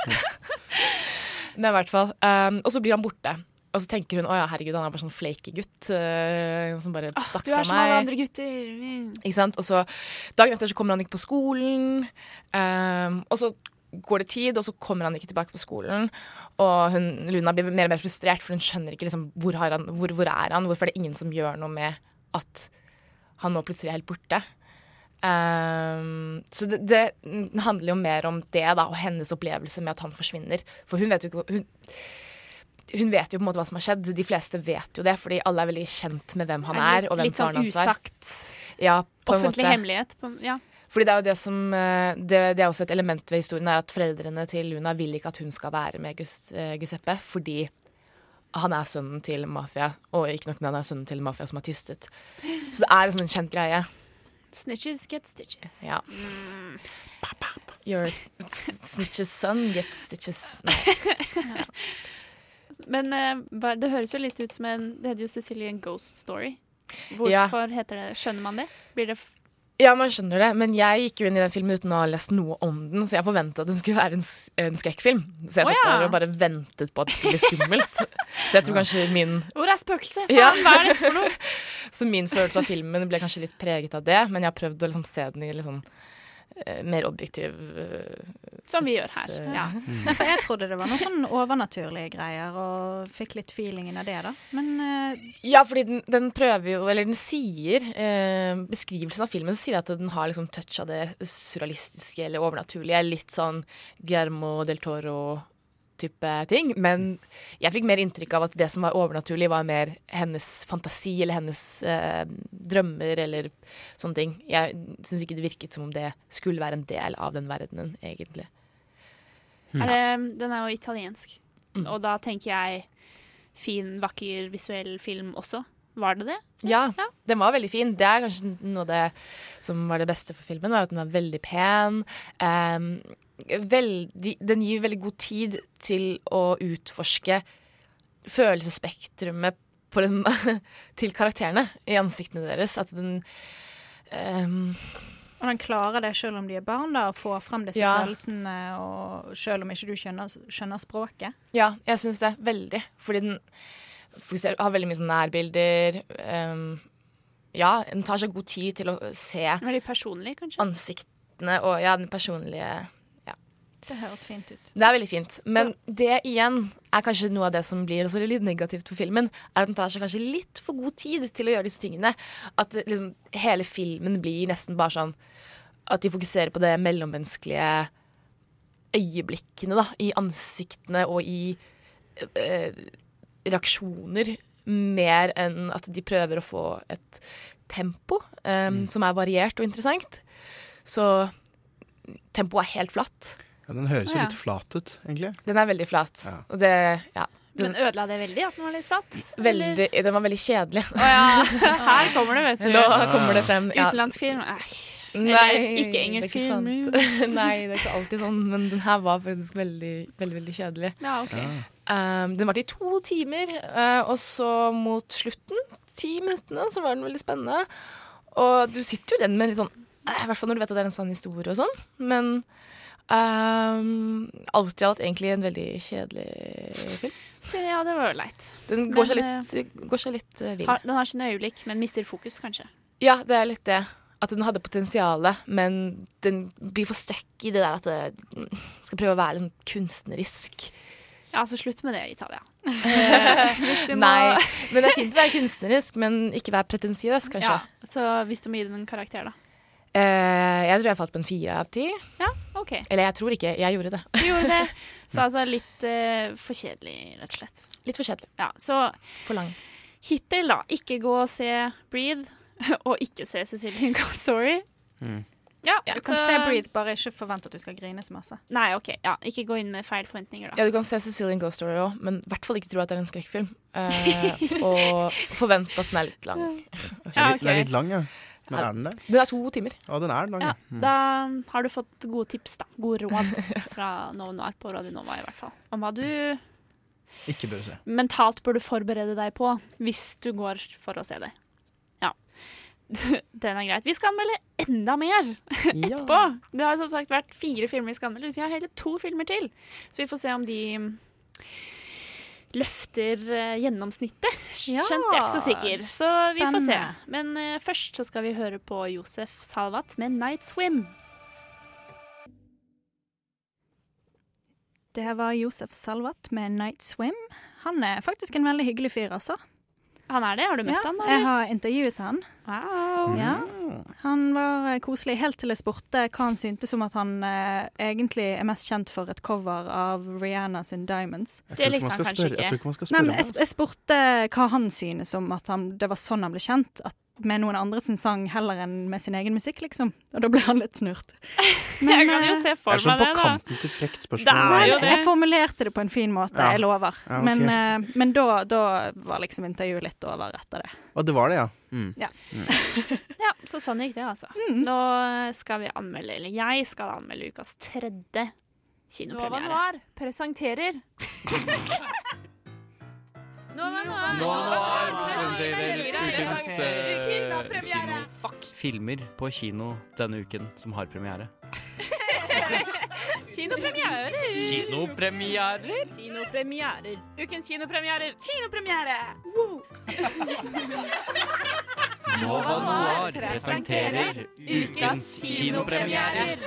Speaker 21: Men i hvert fall. ehm, og så blir han borte. Og så tenker hun å ja, herregud, han er bare sånn flaky gutt. eh, som bare stakk
Speaker 7: Ah, Du er
Speaker 21: fra
Speaker 7: som alle
Speaker 21: meg.
Speaker 7: andre gutter. Mm.
Speaker 21: Ikke sant? Og så Dagen etter så kommer han ikke på skolen. ehm, og så går det tid, og så kommer han ikke tilbake på skolen. Og hun, Luna blir mer og mer frustrert, for hun skjønner ikke liksom, hvor, har han, hvor, hvor er han? Hvorfor er det ingen som gjør noe med at han nå plutselig er helt borte? Ehm, så det, det handler jo mer om det, da, og hennes opplevelse med at han forsvinner. For hun vet jo ikke hun, hun vet jo på en måte hva som har skjedd. De fleste vet jo det, fordi alle er veldig kjent med hvem han
Speaker 7: Det
Speaker 21: er.
Speaker 7: er litt-
Speaker 21: og hvem
Speaker 7: litt sånn
Speaker 21: faren hans var.
Speaker 7: usagt.
Speaker 21: Ja, på en
Speaker 7: Offentlig
Speaker 21: måte.
Speaker 7: hemmelighet. På, ja.
Speaker 21: Fordi det er jo det som eh, det, det er også et element ved historien er at foreldrene til Luna vil ikke at hun skal være med Gus, eh, Giuseppe fordi han er sønnen til mafia, og ikke nok med han er sønnen til mafia som har tystet. Så det er liksom en kjent greie.
Speaker 7: Snitches get stitches.
Speaker 21: Ja.
Speaker 7: Mm.
Speaker 21: Your snitches son gets stitches. Nei.
Speaker 7: Men eh, hva- det høres jo litt ut som en Det heter jo Sicilian Ghost Story.
Speaker 21: Ja.
Speaker 7: Hvorfor heter det Skjønner man det? Blir det f
Speaker 21: Ja, man skjønner det, men jeg gikk jo inn i den filmen uten å ha lest noe om den, så jeg forventa at den skulle være en, s- en skrekkfilm. Så jeg
Speaker 7: Å,
Speaker 21: satt
Speaker 7: ja.
Speaker 21: der og bare ventet på at det skulle bli skummelt. så jeg tror kanskje min
Speaker 7: Hvor er spøkelset?
Speaker 21: Ja.
Speaker 7: Faen, hva er dette
Speaker 21: (laughs)
Speaker 7: for noe?
Speaker 21: Så min følelse av filmen ble kanskje litt preget av det, men jeg har prøvd å liksom se den i litt sånn eh, mer objektiv eh,
Speaker 7: Som vi gjør her.
Speaker 21: sett, eh,
Speaker 7: Ja.
Speaker 21: mm.
Speaker 9: Nei, for jeg trodde det var noen sånn overnaturlige greier, og fikk litt feelingen av det, da. Men eh,
Speaker 21: Ja, fordi den, den prøver jo, eller den sier eh, Beskrivelsen av filmen sier at den har liksom touch av det surrealistiske eller overnaturlige. Litt sånn Guillermo del Toro-type ting. Men jeg fikk mer inntrykk av at det som var overnaturlig, var mer hennes fantasi eller hennes eh, drømmer eller sånne ting. Jeg syns ikke det virket som om det skulle være en del av den verdenen, egentlig.
Speaker 7: Er det, Ehm, den er jo italiensk.
Speaker 21: Mm.
Speaker 7: Og da tenker jeg fin, vakker, visuell film også. Var det det?
Speaker 21: Ja, den var veldig fin. Det er kanskje noe av det som var det beste for filmen, var at den var veldig pen. Em, veldig, den gir veldig god tid til å utforske følelsesspektrumet på den, (laughs) til karakterene i ansiktene deres. At den em,
Speaker 9: Og den klarer det selv om de er barn, da, å få frem disse
Speaker 21: Ja.
Speaker 9: følelsene, og selv om ikke du skjønner, skjønner språket.
Speaker 21: Ja, jeg syns det. Veldig. Fordi den fokuserer, har veldig mye sånn nærbilder. em, ja, den tar seg god tid til å se
Speaker 7: Veldig personlig, kanskje?
Speaker 21: ansiktene og ja, den personlige
Speaker 9: Det høres fint ut.
Speaker 21: Det er veldig fint. Men det igjen er kanskje noe av det som blir også litt negativt for filmen. Er at den tar seg kanskje litt for god tid til å gjøre disse tingene. At det liksom, hele filmen blir nesten bare sånn At de fokuserer på det mellommenneskelige øyeblikkene, da. I ansiktene og i eh, reaksjoner. Mer enn at de prøver å få et tempo eh, som er variert og interessant. Så tempoet er helt flatt.
Speaker 8: Ja, den høres jo
Speaker 21: Ja.
Speaker 8: litt flat ut, egentlig.
Speaker 21: Den er veldig flat.
Speaker 8: Ja.
Speaker 21: Og det, ja.
Speaker 7: Men ødela det veldig at den var litt flatt? eller?
Speaker 21: Veldig, den var veldig kjedelig.
Speaker 7: Ja, her kommer det, vet du.
Speaker 21: (laughs) Nå kommer det frem. ja.
Speaker 7: Utenlandsk film? Æsj.
Speaker 21: Nei,
Speaker 7: Eller ikke engelsk
Speaker 21: det er
Speaker 7: film.
Speaker 21: ikke sant. (laughs) Nei, det er ikke alltid sånn, men den her var faktisk veldig, veldig, veldig kjedelig.
Speaker 7: Ja, ok. Ja.
Speaker 21: Um, den varte i to timer, eh, og så mot slutten, ti minuttene, så var den veldig spennende. Og du sitter jo i den med en litt sånn eh, I hvert fall når du vet at det er en sann historie og sånn, men um, alt i alt egentlig en veldig kjedelig film.
Speaker 7: Så ja, det var jo leit.
Speaker 21: Den går seg
Speaker 7: Men,
Speaker 21: litt, går seg litt eh,
Speaker 7: eh,
Speaker 21: vill.
Speaker 7: har, den har sine øyeblikk, men mister fokus, kanskje.
Speaker 21: Ja, det er litt det. At den hadde potensial, men den blir for stuck i det der at det skal prøve å være litt kunstnerisk.
Speaker 7: Ja, så slutt med det, Italia. Hvis du må-
Speaker 21: Nei, (laughs) men det er fint å være kunstnerisk, men ikke være pretensiøs, kanskje.
Speaker 7: Ja, så hvis du må gi den en karakter, da.
Speaker 21: Eh, jeg tror jeg falt på en fire av ti.
Speaker 7: Ja, OK.
Speaker 21: Eller jeg tror ikke, jeg gjorde det. (laughs)
Speaker 7: Du gjorde det. Så altså litt eh, for kjedelig, rett og slett.
Speaker 21: Litt for kjedelig.
Speaker 7: Ja, så
Speaker 21: For lang.
Speaker 7: hittil, da. Ikke gå og se Breathe, (laughs) og ikke se Cecilie Ghost Story. Ja,
Speaker 9: Du kan
Speaker 7: så-
Speaker 9: se Breathe, bare ikke forvent at du skal grine så masse.
Speaker 7: Nei, OK. Ja, ikke gå inn med feil forventninger, da.
Speaker 21: Ja, du kan se Cecilian Ghost Story òg, men i hvert fall ikke tro at det er en skrekkfilm. Eh, (laughs) og forvent at den er litt lang.
Speaker 8: Den er litt- Den er litt lang, ja. Men
Speaker 21: Ja.
Speaker 8: er den det?
Speaker 21: Den er to timer.
Speaker 8: Ja, den er lang,
Speaker 7: Ja,
Speaker 8: ja. Mm.
Speaker 7: da har du fått gode tips, da. Gode (laughs) råd fra Novo Noir på Radio Nova, i hvert fall. Om hva du
Speaker 8: Ikke bør se.
Speaker 7: mentalt burde forberede deg på hvis du går for å se det. Ja. (laughs) Den er greit. Vi skal anmelde enda mer (laughs) etterpå. Det har som sagt vært fire filmer vi skal anmelde. Vi har hele to filmer til, så vi får se om de mm, løfter eh, gjennomsnittet.
Speaker 23: Ja.
Speaker 7: Skjønt, jeg er ikke så sikker. Så vi får se.
Speaker 23: Spennende.
Speaker 7: Men eh, først så skal vi høre på Josef Salvat med 'Night Swim'.
Speaker 9: Det var Josef Salvat med 'Night Swim'. Han er faktisk en veldig hyggelig fyr, altså.
Speaker 7: Han er det? Har du møtt
Speaker 9: ja,
Speaker 7: han, da,
Speaker 9: Jeg
Speaker 7: eller? Mm.
Speaker 9: har intervjuet han.
Speaker 7: Wow.
Speaker 9: Ja.
Speaker 7: (laughs)
Speaker 9: Han var eh, koselig helt til jeg spurte hva han syntes om at han eh, egentlig er mest kjent for et cover av Rihanna sin 'Diamonds'.
Speaker 8: Jeg tror Det likte ikke man han skal kanskje spørre- jeg ikke. tror ikke man skal spørre
Speaker 9: Nei, men
Speaker 8: om
Speaker 9: jeg,
Speaker 8: det,
Speaker 9: sp- jeg spurte hva han synes om at han, det var sånn han ble kjent. At med noen andre sin sang heller enn med sin egen musikk, liksom. Og da ble han litt
Speaker 7: (laughs)
Speaker 9: snurt. eh,
Speaker 7: Jeg kan jo se for
Speaker 8: Det er sånn
Speaker 7: meg
Speaker 8: på
Speaker 7: det, da.
Speaker 8: kanten til frekt
Speaker 9: Nei,
Speaker 8: spørsmål.
Speaker 9: men Jeg formulerte det på en fin måte,
Speaker 8: Ja.
Speaker 9: jeg lover.
Speaker 8: Ja, ok.
Speaker 9: Men, eh, men da, da var liksom intervjuet litt over etter det.
Speaker 8: Og det var det, ja. Mm.
Speaker 9: Ja.
Speaker 8: Mm.
Speaker 7: Ja, så sånn gikk det, altså. Nå skal vi anmelde, eller jeg skal anmelde ukas tredje
Speaker 23: Nova
Speaker 7: kinopremiere.
Speaker 23: Noir presenterer Nova Noir,
Speaker 6: eh,
Speaker 8: eh,
Speaker 23: Kinopremiere.
Speaker 6: Filmer på kino denne uken som har premiere.
Speaker 7: Kinopremierer!
Speaker 6: Kinopremierer?
Speaker 7: Kinopremierer. Ukens kinopremierer. Kinopremiere!
Speaker 6: Nova Noir presenterer ukens kinopremierer.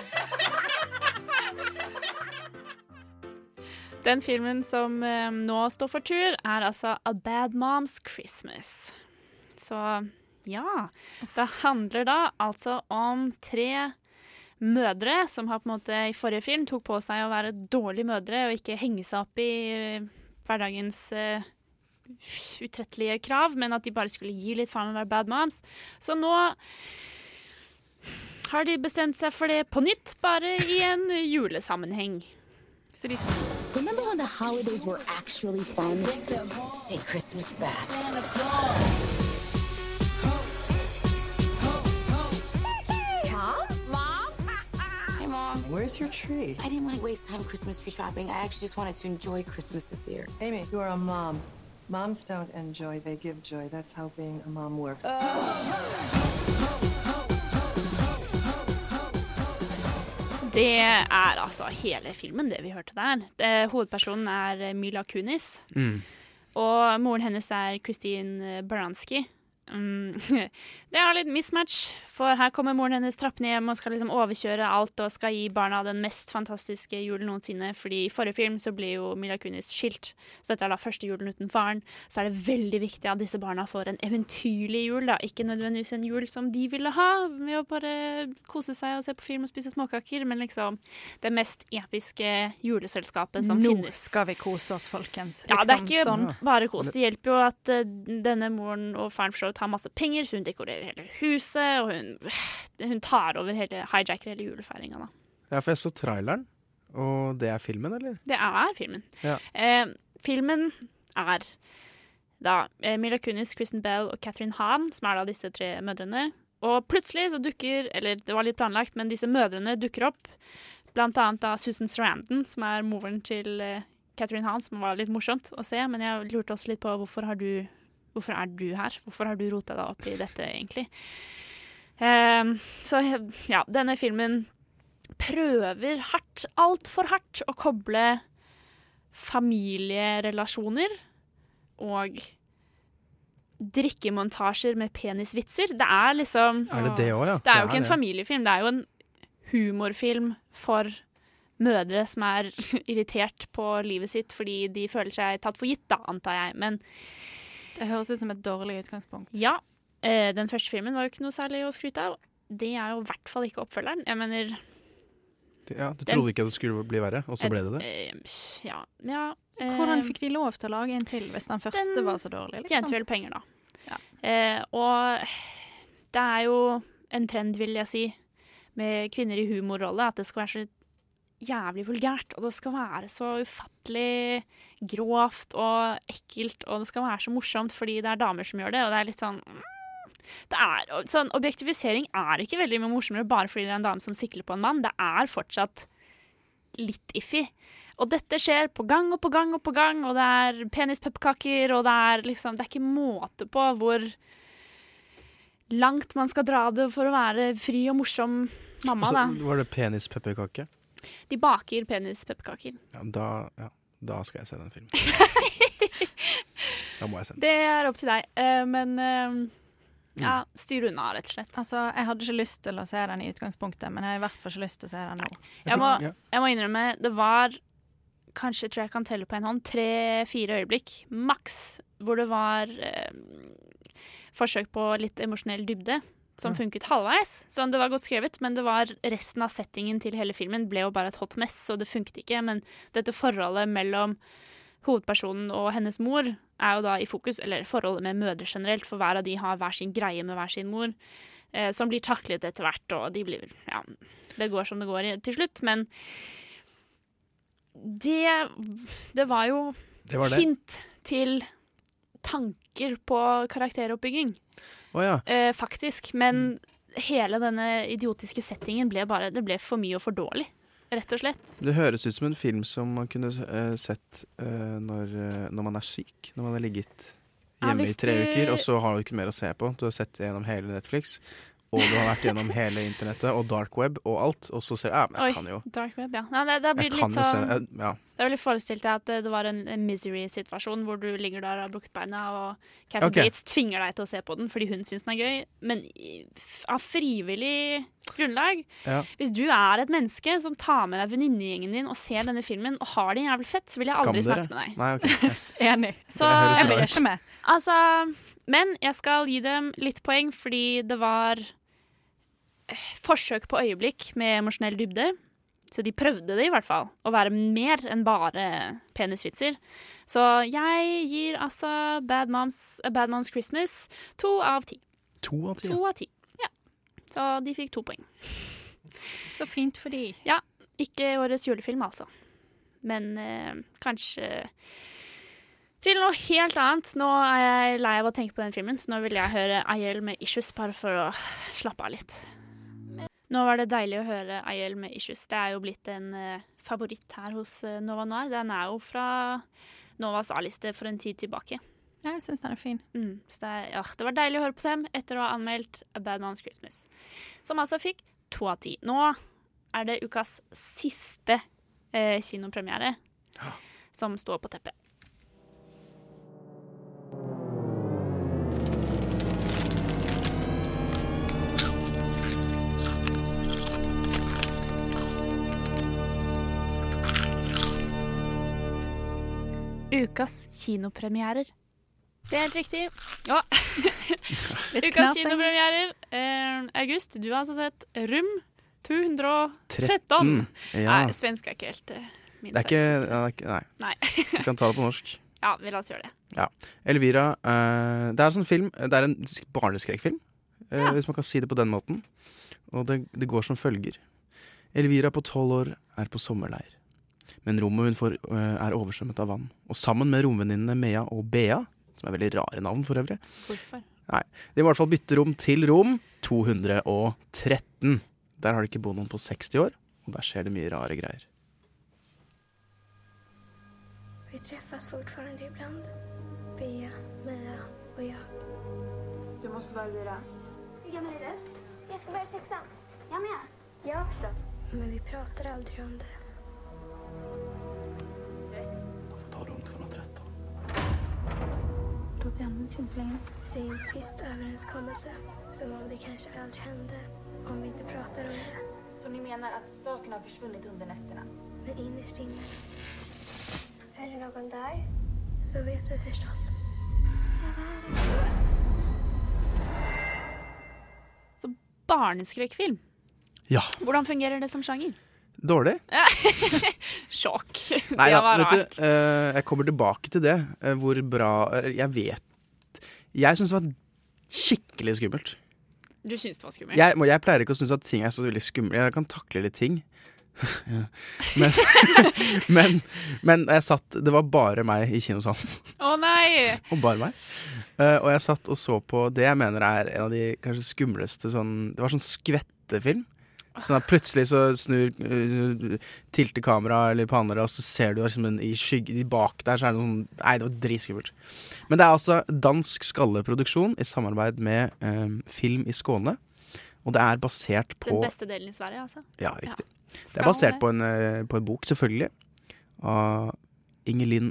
Speaker 7: Den filmen som eh, nå står for tur, er altså A Bad Moms Christmas. Så ja. Det handler da altså om tre mødre som har på en måte i forrige film tok på seg å være dårlige mødre og ikke henge seg opp i eh, hverdagens eh, utrettelige krav, men at de bare skulle gi litt faen i å være bad moms. Så nå har de bestemt seg for det på nytt, bare i en julesammenheng. Så de
Speaker 10: Remember when the holidays were actually fun? Take Christmas back.
Speaker 19: Mom? Mom? Hi, Mom. Where's your tree? I didn't want to waste time Christmas tree shopping. I actually just wanted to enjoy Christmas this year.
Speaker 24: Amy, you are a mom. Moms don't enjoy, they give joy. That's how being a mom works.
Speaker 7: Det er altså hele filmen, det vi hørte der. Eh, hovedpersonen er eh, Mila Kunis,
Speaker 10: Mm.
Speaker 7: og moren hennes er Christine eh, Baranski. Mm. (laughs) Det er litt mismatch, for her kommer moren hennes trappene hjem og skal liksom overkjøre alt og skal gi barna den mest fantastiske julen noensinne, fordi i forrige film så ble jo Mila Kunis skilt, så dette er da første julen uten faren. Så er det veldig viktig at disse barna får en eventyrlig jul, da. Ikke nødvendigvis en jul som de ville ha, med å bare kose seg og se på film og spise småkaker, men liksom det mest episke juleselskapet som
Speaker 9: Nå
Speaker 7: sånn finnes.
Speaker 9: skal vi kose oss, folkens.
Speaker 7: Ja, det er
Speaker 9: Liksom
Speaker 7: ikke
Speaker 9: sånn.
Speaker 7: bare kos. Det hjelper jo at eh, denne moren og faren for så vidt har masse penger, eh, så hun dekorerer hele huset, og hun, hun tar over hele, hijacker hele julefeiringa, da.
Speaker 8: Ja, for jeg så traileren, og det er filmen, eller?
Speaker 7: Det er filmen.
Speaker 8: Ja.
Speaker 7: Eh, filmen er da eh, Mila Kunis, Kristen Bell og Catherine Hahn, som er da disse tre mødrene. Og plutselig så dukker, eller det var litt planlagt, men disse mødrene dukker opp. Blant annet da Susan Sarandon, som er moren til eh, Catherine Hahn, som var litt morsomt å se. Men jeg lurte også litt på hvorfor har du Hvorfor er du her? Hvorfor har du rota deg opp i dette, egentlig? Eh, så ja, denne filmen prøver hardt, altfor hardt, å koble familierelasjoner og drikkemontasjer med penisvitser. Det er liksom
Speaker 8: Er det det også, ja?
Speaker 7: Det er jo
Speaker 8: Det er
Speaker 7: ikke en
Speaker 8: det.
Speaker 7: familiefilm, det er jo en humorfilm for mødre som er (laughs) irritert på livet sitt fordi de føler seg tatt for gitt, da, antar jeg. Men
Speaker 9: Det høres ut som et dårlig utgangspunkt.
Speaker 7: ja, eh, den første filmen var jo ikke noe særlig å skryte av. Det er jo i hvert fall ikke oppfølgeren. Jeg mener
Speaker 8: Ja, du
Speaker 7: Den-
Speaker 8: trodde ikke at det skulle bli verre, og så ble det det?
Speaker 7: eh, Ja. ja eh,
Speaker 9: Hvordan fikk de lov til å lage en til hvis den første
Speaker 7: Den
Speaker 9: var så dårlig?
Speaker 7: Tjente
Speaker 9: Liksom?
Speaker 7: vel penger, da. Eh, og det er jo en trend, vil jeg si, med kvinner i humorrolle, at det skal være så jævlig vulgært. Og det skal være så ufattelig grovt og ekkelt, og det skal være så morsomt fordi det er damer som gjør det, og det er litt sånn mm, det er, og sånn, Objektifisering er ikke veldig mye morsommere bare fordi det er en dame som sikler på en mann. Det er fortsatt litt iffy. Og dette skjer på gang og på gang og på gang, og det er penispepperkaker, og det er liksom Det er ikke måte på hvor langt man skal dra det for å være fri og morsom mamma,
Speaker 8: Altså,
Speaker 7: da.
Speaker 8: var det penispepperkake?
Speaker 7: De baker penispepperkaker.
Speaker 8: Ja, da, ja, da skal jeg se den filmen.
Speaker 7: (laughs)
Speaker 8: da må jeg se den.
Speaker 7: Det er opp til deg, eh, men eh, ja, styr unna, rett og slett.
Speaker 9: Altså, jeg hadde ikke lyst til å se den i utgangspunktet, men jeg har i hvert fall ikke lyst til å se den nå.
Speaker 7: Jeg må, jeg må innrømme, det var kanskje, tror jeg kan telle på en hånd, tre-fire øyeblikk, maks, hvor det var eh, forsøk på litt emosjonell dybde, som
Speaker 23: Ja.
Speaker 7: funket halvveis. Så det var godt skrevet, men det var resten av settingen til hele filmen ble jo bare et hot mess, så det funket ikke. Men dette forholdet mellom hovedpersonen og hennes mor er jo da i fokus, eller forholdet med mødre generelt, for hver av de har hver sin greie med hver sin mor, eh, som blir taklet etter hvert, og de blir, ja, det går som det går i- til slutt, men det, det var jo
Speaker 8: Det var det.
Speaker 7: hint til tanker på karakteroppbygging,
Speaker 8: Å ja.
Speaker 7: eh, faktisk,
Speaker 8: Mm.
Speaker 7: men hele denne idiotiske settingen ble bare, det ble for mye og for dårlig, rett og slett.
Speaker 8: Det høres ut som en film som man kunne eh, sett eh, når, eh, når man er syk. Når man har ligget
Speaker 7: Ja,
Speaker 8: hjemme
Speaker 7: hvis
Speaker 8: i tre
Speaker 7: du-
Speaker 8: uker, og så har du ikke mer å se på. Du har sett det gjennom hele Netflix, og du har
Speaker 7: (laughs)
Speaker 8: vært gjennom hele internettet og dark web og alt, og så ser du Ja, men jeg kan jo
Speaker 7: dark web, ja. Nei, det, da blir
Speaker 8: Jeg
Speaker 7: det
Speaker 8: kan
Speaker 7: litt
Speaker 8: jo se
Speaker 7: sånn...
Speaker 8: jeg- Ja.
Speaker 7: Det er veldig forestilt deg at eh, det var en en misery-situasjon hvor du ligger der og har brukket beina, og Catherine
Speaker 8: Ok.
Speaker 7: Bates tvinger deg til å se på den fordi hun syns den er gøy, men i- f- av frivillig grunnlag.
Speaker 8: Ja.
Speaker 7: Hvis du er et menneske som tar med deg venninnegjengen din og ser denne filmen og har det jævlig fett, så vil jeg
Speaker 8: Skam
Speaker 7: aldri
Speaker 8: dere.
Speaker 7: snakke med deg. (laughs)
Speaker 8: Nei, ok.
Speaker 9: Enig.
Speaker 7: Så
Speaker 8: høres Jeg bra blir ut. ikke
Speaker 9: med.
Speaker 7: Altså, men jeg skal gi dem litt poeng fordi det var eh, forsøk på øyeblikk med emosjonell dybde. Så de prøvde det i hvert fall, å være mer enn bare penisvitser. Så jeg gir altså Bad Moms, eh, Bad Moms Christmas to av ti.
Speaker 8: To av ti.
Speaker 7: To av ti, ja. Så de fikk to poeng.
Speaker 9: Så fint for de.
Speaker 7: Ja, ikke årets julefilm altså. Men eh, kanskje til noe helt annet. Nå er jeg lei av å tenke på den filmen, så nå vil jeg høre Ayel med Issues bare for å slappe av litt. Nå var det deilig å høre Ayel med Issues. Det er jo blitt en eh, favoritt her hos eh, Nova Noir. Den er jo fra Novas A-liste for en tid tilbake.
Speaker 9: Ja, jeg syns den er fin.
Speaker 7: Mm, så det, er, ja, det var deilig å høre på dem etter å ha anmeldt A Bad Moms Christmas. Som altså fikk to av ti. Nå er det ukas siste eh, kinopremiere som står på teppet. Ukas kinopremierer. Det er helt riktig.
Speaker 9: (laughs)
Speaker 7: Ja.
Speaker 9: Litt
Speaker 7: Ukas
Speaker 9: knasing.
Speaker 7: kinopremierer. Eh, August, du har altså sett Rum 213.
Speaker 8: Tretten, Mm. ja.
Speaker 7: Nei, svensk er ikke helt eh, min
Speaker 8: Det er ikke
Speaker 7: sterkeste side.
Speaker 8: ja, det er ikke- Nei. (laughs)
Speaker 7: Nei.
Speaker 8: Du kan ta det på norsk.
Speaker 7: Ja, vi la oss gjøre det.
Speaker 8: Ja. Elvira. eh, det er en sånn film Det er en sk- barneskrekkfilm, eh, hvis man kan si det på den måten. Og det, det går som følger. Elvira på tolv år er på sommerleir. Men rommet hun får, øh, er oversvømmet av vann. Og sammen med romvenninnene Mea og Bea, som er veldig rare navn for øvrig
Speaker 23: Hvorfor?
Speaker 8: Nei, De må i hvert fall bytte rom til rom 213. Der har det ikke bodd noen på 60 år, og der skjer det mye rare greier.
Speaker 1: Vi träffas fortfarande ibland. Bea, Mia och jag. Du måste börja bli
Speaker 19: Hur gammal är du? Jag ska börja sexan. Jag med. Jag också.
Speaker 1: Men vi pratar aldrig om det.
Speaker 3: Ta rum 213.
Speaker 1: Då används inte längre. Det är en tyst överenskommelse. Som om det kanske aldrig hände. Om vi inte pratar om det.
Speaker 12: Så ni menar att sakerna har försvunnit under nätterna?
Speaker 1: Men innerst inne. Är det någon där? Så vet vi förstås.
Speaker 7: Barneskrekkfilm.
Speaker 8: Ja,
Speaker 7: Hvordan fungerer det som sjanger?
Speaker 8: dårlig.
Speaker 7: Sjokk. (laughs)
Speaker 8: Nei
Speaker 7: det
Speaker 8: da,
Speaker 7: var
Speaker 8: vet
Speaker 7: rart.
Speaker 8: du, eh, jeg kommer tilbake til det. eh, hvor bra eh, Jeg vet Jeg syns det var skikkelig skummelt.
Speaker 7: Du, syns det var skummelt?
Speaker 8: Jeg, og jeg pleier ikke å synes at ting er så veldig skumle. Jeg kan takle litt ting. (laughs) Ja. men, (laughs) men, men jeg satt Det var bare meg i kinosalen.
Speaker 7: Å nei!
Speaker 8: (laughs) Og bare meg. Eh, og jeg satt og så på det jeg mener er en av de kanskje skumleste sånn Det var sånn skvettefilm. Sånn at Plutselig så snur eh, tilter kameraet eller panner, og så ser du liksom en, i skygge i bak der, så er det noe sånn Nei, det var dritskummelt. Men det er altså dansk skalleproduksjon i samarbeid med eh, Film i Skåne. Og det er basert på
Speaker 7: Den beste delen i Sverige, altså.
Speaker 8: ja, riktig. Det
Speaker 7: Skal
Speaker 8: er basert
Speaker 7: det?
Speaker 8: på en, eh, på en bok, selvfølgelig. Av Ingelin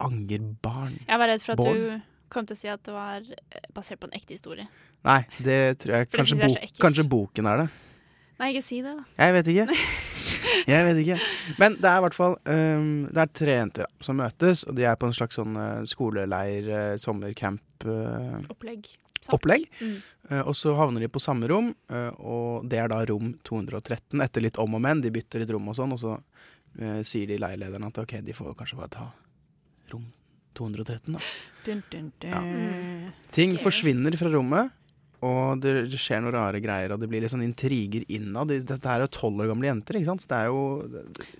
Speaker 8: Angerbarn.
Speaker 7: Jeg var redd for at
Speaker 8: Born.
Speaker 7: du kom til å si at det var eh, basert på en ekte historie.
Speaker 8: Nei, det tror jeg
Speaker 7: For det
Speaker 8: kanskje,
Speaker 7: synes jeg er så
Speaker 8: bok,
Speaker 7: ekkelt.
Speaker 8: kanskje boken er det.
Speaker 7: Nei, ikke si det, da.
Speaker 8: Jeg vet ikke.
Speaker 7: (laughs)
Speaker 8: Jeg vet ikke. Men det er i hvert fall ehm, Det er tre jenter da, som møtes, og de er på en slags sånn eh, skoleleir, eh, sommercamp eh,
Speaker 7: Opplegg.
Speaker 8: opplegg.
Speaker 7: Mm.
Speaker 8: Eh, og så havner de på samme rom, eh, og det er da rom 213. Etter litt om og men, de bytter litt rom og sånn, og så eh, sier de leilederne at ok, de får kanskje bare ta rom 213, da.
Speaker 9: Dun, dun, dun.
Speaker 8: Ting forsvinner fra rommet, og det det skjer noen rare greier, og det blir litt sånn intriger innad. De- Dette her er jo tolv år gamle jenter, ikke sant? Så det er jo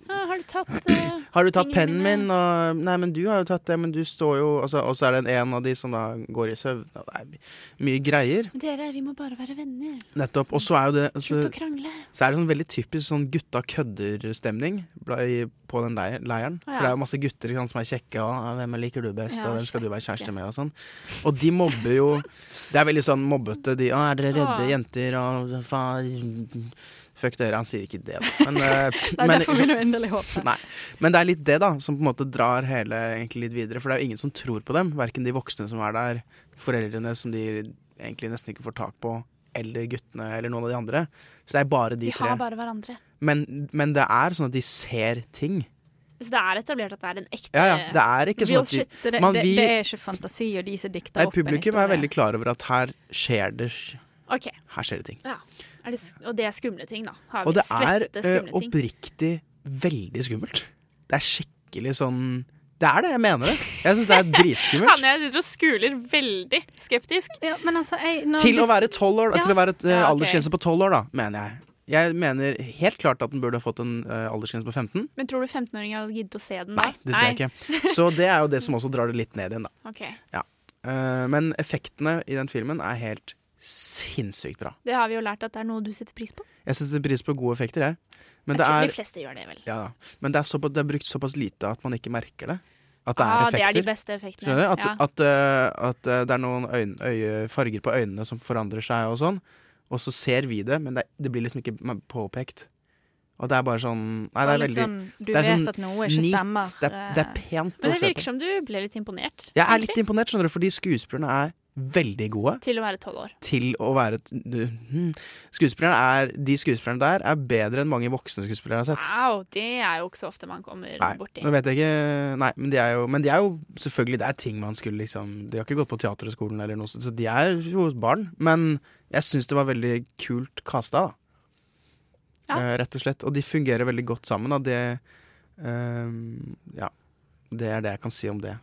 Speaker 7: Ah, har du tatt eh,
Speaker 8: (clears throat) Har du tatt
Speaker 7: tingene
Speaker 8: pennen min? Og, nei, men du har jo tatt det, men du står jo Og så, og så er det en av de som da går i søvn. Og det er my- mye greier.
Speaker 7: Men Dere, vi må bare være venner.
Speaker 8: Nettopp. Og så er jo det altså,
Speaker 7: Slutt å krangle.
Speaker 8: Så er det sånn veldig typisk sånn gutta kødder-stemning bla- i- på den leir- leiren.
Speaker 7: Å, ja.
Speaker 8: For det er jo masse gutter ikke sant, som er kjekke, og ah, 'hvem liker du best',
Speaker 7: Ja,
Speaker 8: og 'hvem skal du være kjæreste med', og sånn. Og de mobber jo Det er veldig sånn mobbete. De ah, 'er dere redde
Speaker 7: Å.
Speaker 8: jenter', og faen Fuck dere. Han sier ikke det, da.
Speaker 9: (laughs)
Speaker 8: Men, eh,
Speaker 9: Det er
Speaker 8: men-
Speaker 9: derfor vi nå endelig håper.
Speaker 8: (laughs) Nei. Men det er litt det da som på en måte drar hele egentlig litt videre. For det er jo ingen som tror på dem. Verken de voksne som er der, foreldrene som de egentlig nesten ikke får tak på, eller guttene eller noen av de andre. Så det er bare de,
Speaker 7: Vi
Speaker 8: tre.
Speaker 7: har bare hverandre.
Speaker 8: Men, men det er sånn at de ser ting.
Speaker 7: Så det er etablert at det er en ekte
Speaker 8: Ja, ja. Det er ikke
Speaker 7: Eh,
Speaker 8: sånn
Speaker 7: real
Speaker 8: at de,
Speaker 7: shit.
Speaker 9: Så det,
Speaker 8: man,
Speaker 9: det,
Speaker 8: vi,
Speaker 9: det er ikke fantasi, og de som dikter
Speaker 8: nei,
Speaker 9: opp en
Speaker 8: Publikum
Speaker 9: historie.
Speaker 8: er veldig klar over at her skjer det
Speaker 7: OK.
Speaker 8: Her skjer det ting.
Speaker 7: Ja. Er det, s- og det er skumle ting, da. Har vi
Speaker 8: Og det er
Speaker 7: skvettete,
Speaker 8: eh,
Speaker 7: skumle ting.
Speaker 8: oppriktig veldig skummelt. Det er skikkelig sånn Det er det, jeg mener det. Jeg syns det er
Speaker 7: (laughs)
Speaker 8: dritskummelt.
Speaker 7: Hanne, jeg sitter og skuler veldig skeptisk.
Speaker 9: Ja, men altså, jeg, når
Speaker 8: Til
Speaker 9: du
Speaker 8: å være
Speaker 9: s-
Speaker 8: tolv år,
Speaker 9: Ja.
Speaker 8: til å være eh,
Speaker 9: Ja, ok.
Speaker 8: aldersgrense på tolv år, da, mener jeg. Jeg mener helt klart at den burde ha fått en eh, aldersgrense på 15.
Speaker 7: Men tror du 15-åringer hadde giddet å se den da?
Speaker 8: Det tror jeg ikke. Så det er jo
Speaker 7: (laughs)
Speaker 8: det som også drar det litt ned igjen, da.
Speaker 7: OK.
Speaker 8: Ja. Eh, men effektene i den filmen er helt sinnssykt bra.
Speaker 7: Det har vi jo lært at det er noe du setter pris på.
Speaker 8: Jeg setter pris på gode effekter, jeg. Men
Speaker 7: Jeg
Speaker 8: det
Speaker 7: tror
Speaker 8: er,
Speaker 7: de fleste gjør det, vel.
Speaker 8: ja, da. men det er, såpass, det er brukt såpass lite at man ikke merker det. At det er
Speaker 7: Ah, det er
Speaker 8: effekter.
Speaker 7: de beste effektene.
Speaker 8: Skjønner du? At,
Speaker 7: Ja.
Speaker 8: at, eh, at eh, det er noen øyn- øye, farger på øynene som forandrer seg og sånn. Og så ser vi det, men det, er- det blir liksom ikke ma- påpekt. Og det er bare sånn Nei, det er
Speaker 9: Bare litt
Speaker 8: veldig
Speaker 9: sånn, du
Speaker 8: det er
Speaker 9: vet at noe ikke stemmer. eh,
Speaker 8: Det er, det er pent
Speaker 7: Eh, Men det
Speaker 8: å se
Speaker 7: virker
Speaker 8: på.
Speaker 7: som du ble litt imponert.
Speaker 8: Jeg er
Speaker 7: egentlig,
Speaker 8: litt imponert, skjønner du, fordi skuespillerne er veldig gode
Speaker 7: Til å være tolv år.
Speaker 8: til å være t- du- hm. Skuespillerne er De skuespillerne der er bedre enn mange voksne skuespillere jeg har sett.
Speaker 7: Wow, det er jo ikke så ofte man kommer
Speaker 8: Nei,
Speaker 7: borti.
Speaker 8: nå vet jeg ikke Nei, men de er jo, men de er jo selvfølgelig Det er ting man skulle liksom De har ikke gått på teaterskolen eller noe sånt, så de er jo barn. Men jeg syns det var veldig kult kasta, da.
Speaker 7: Ja.
Speaker 8: Eh, rett og slett. Og de fungerer veldig godt sammen, da. Det ehm, Ja. Det er det jeg kan si om det.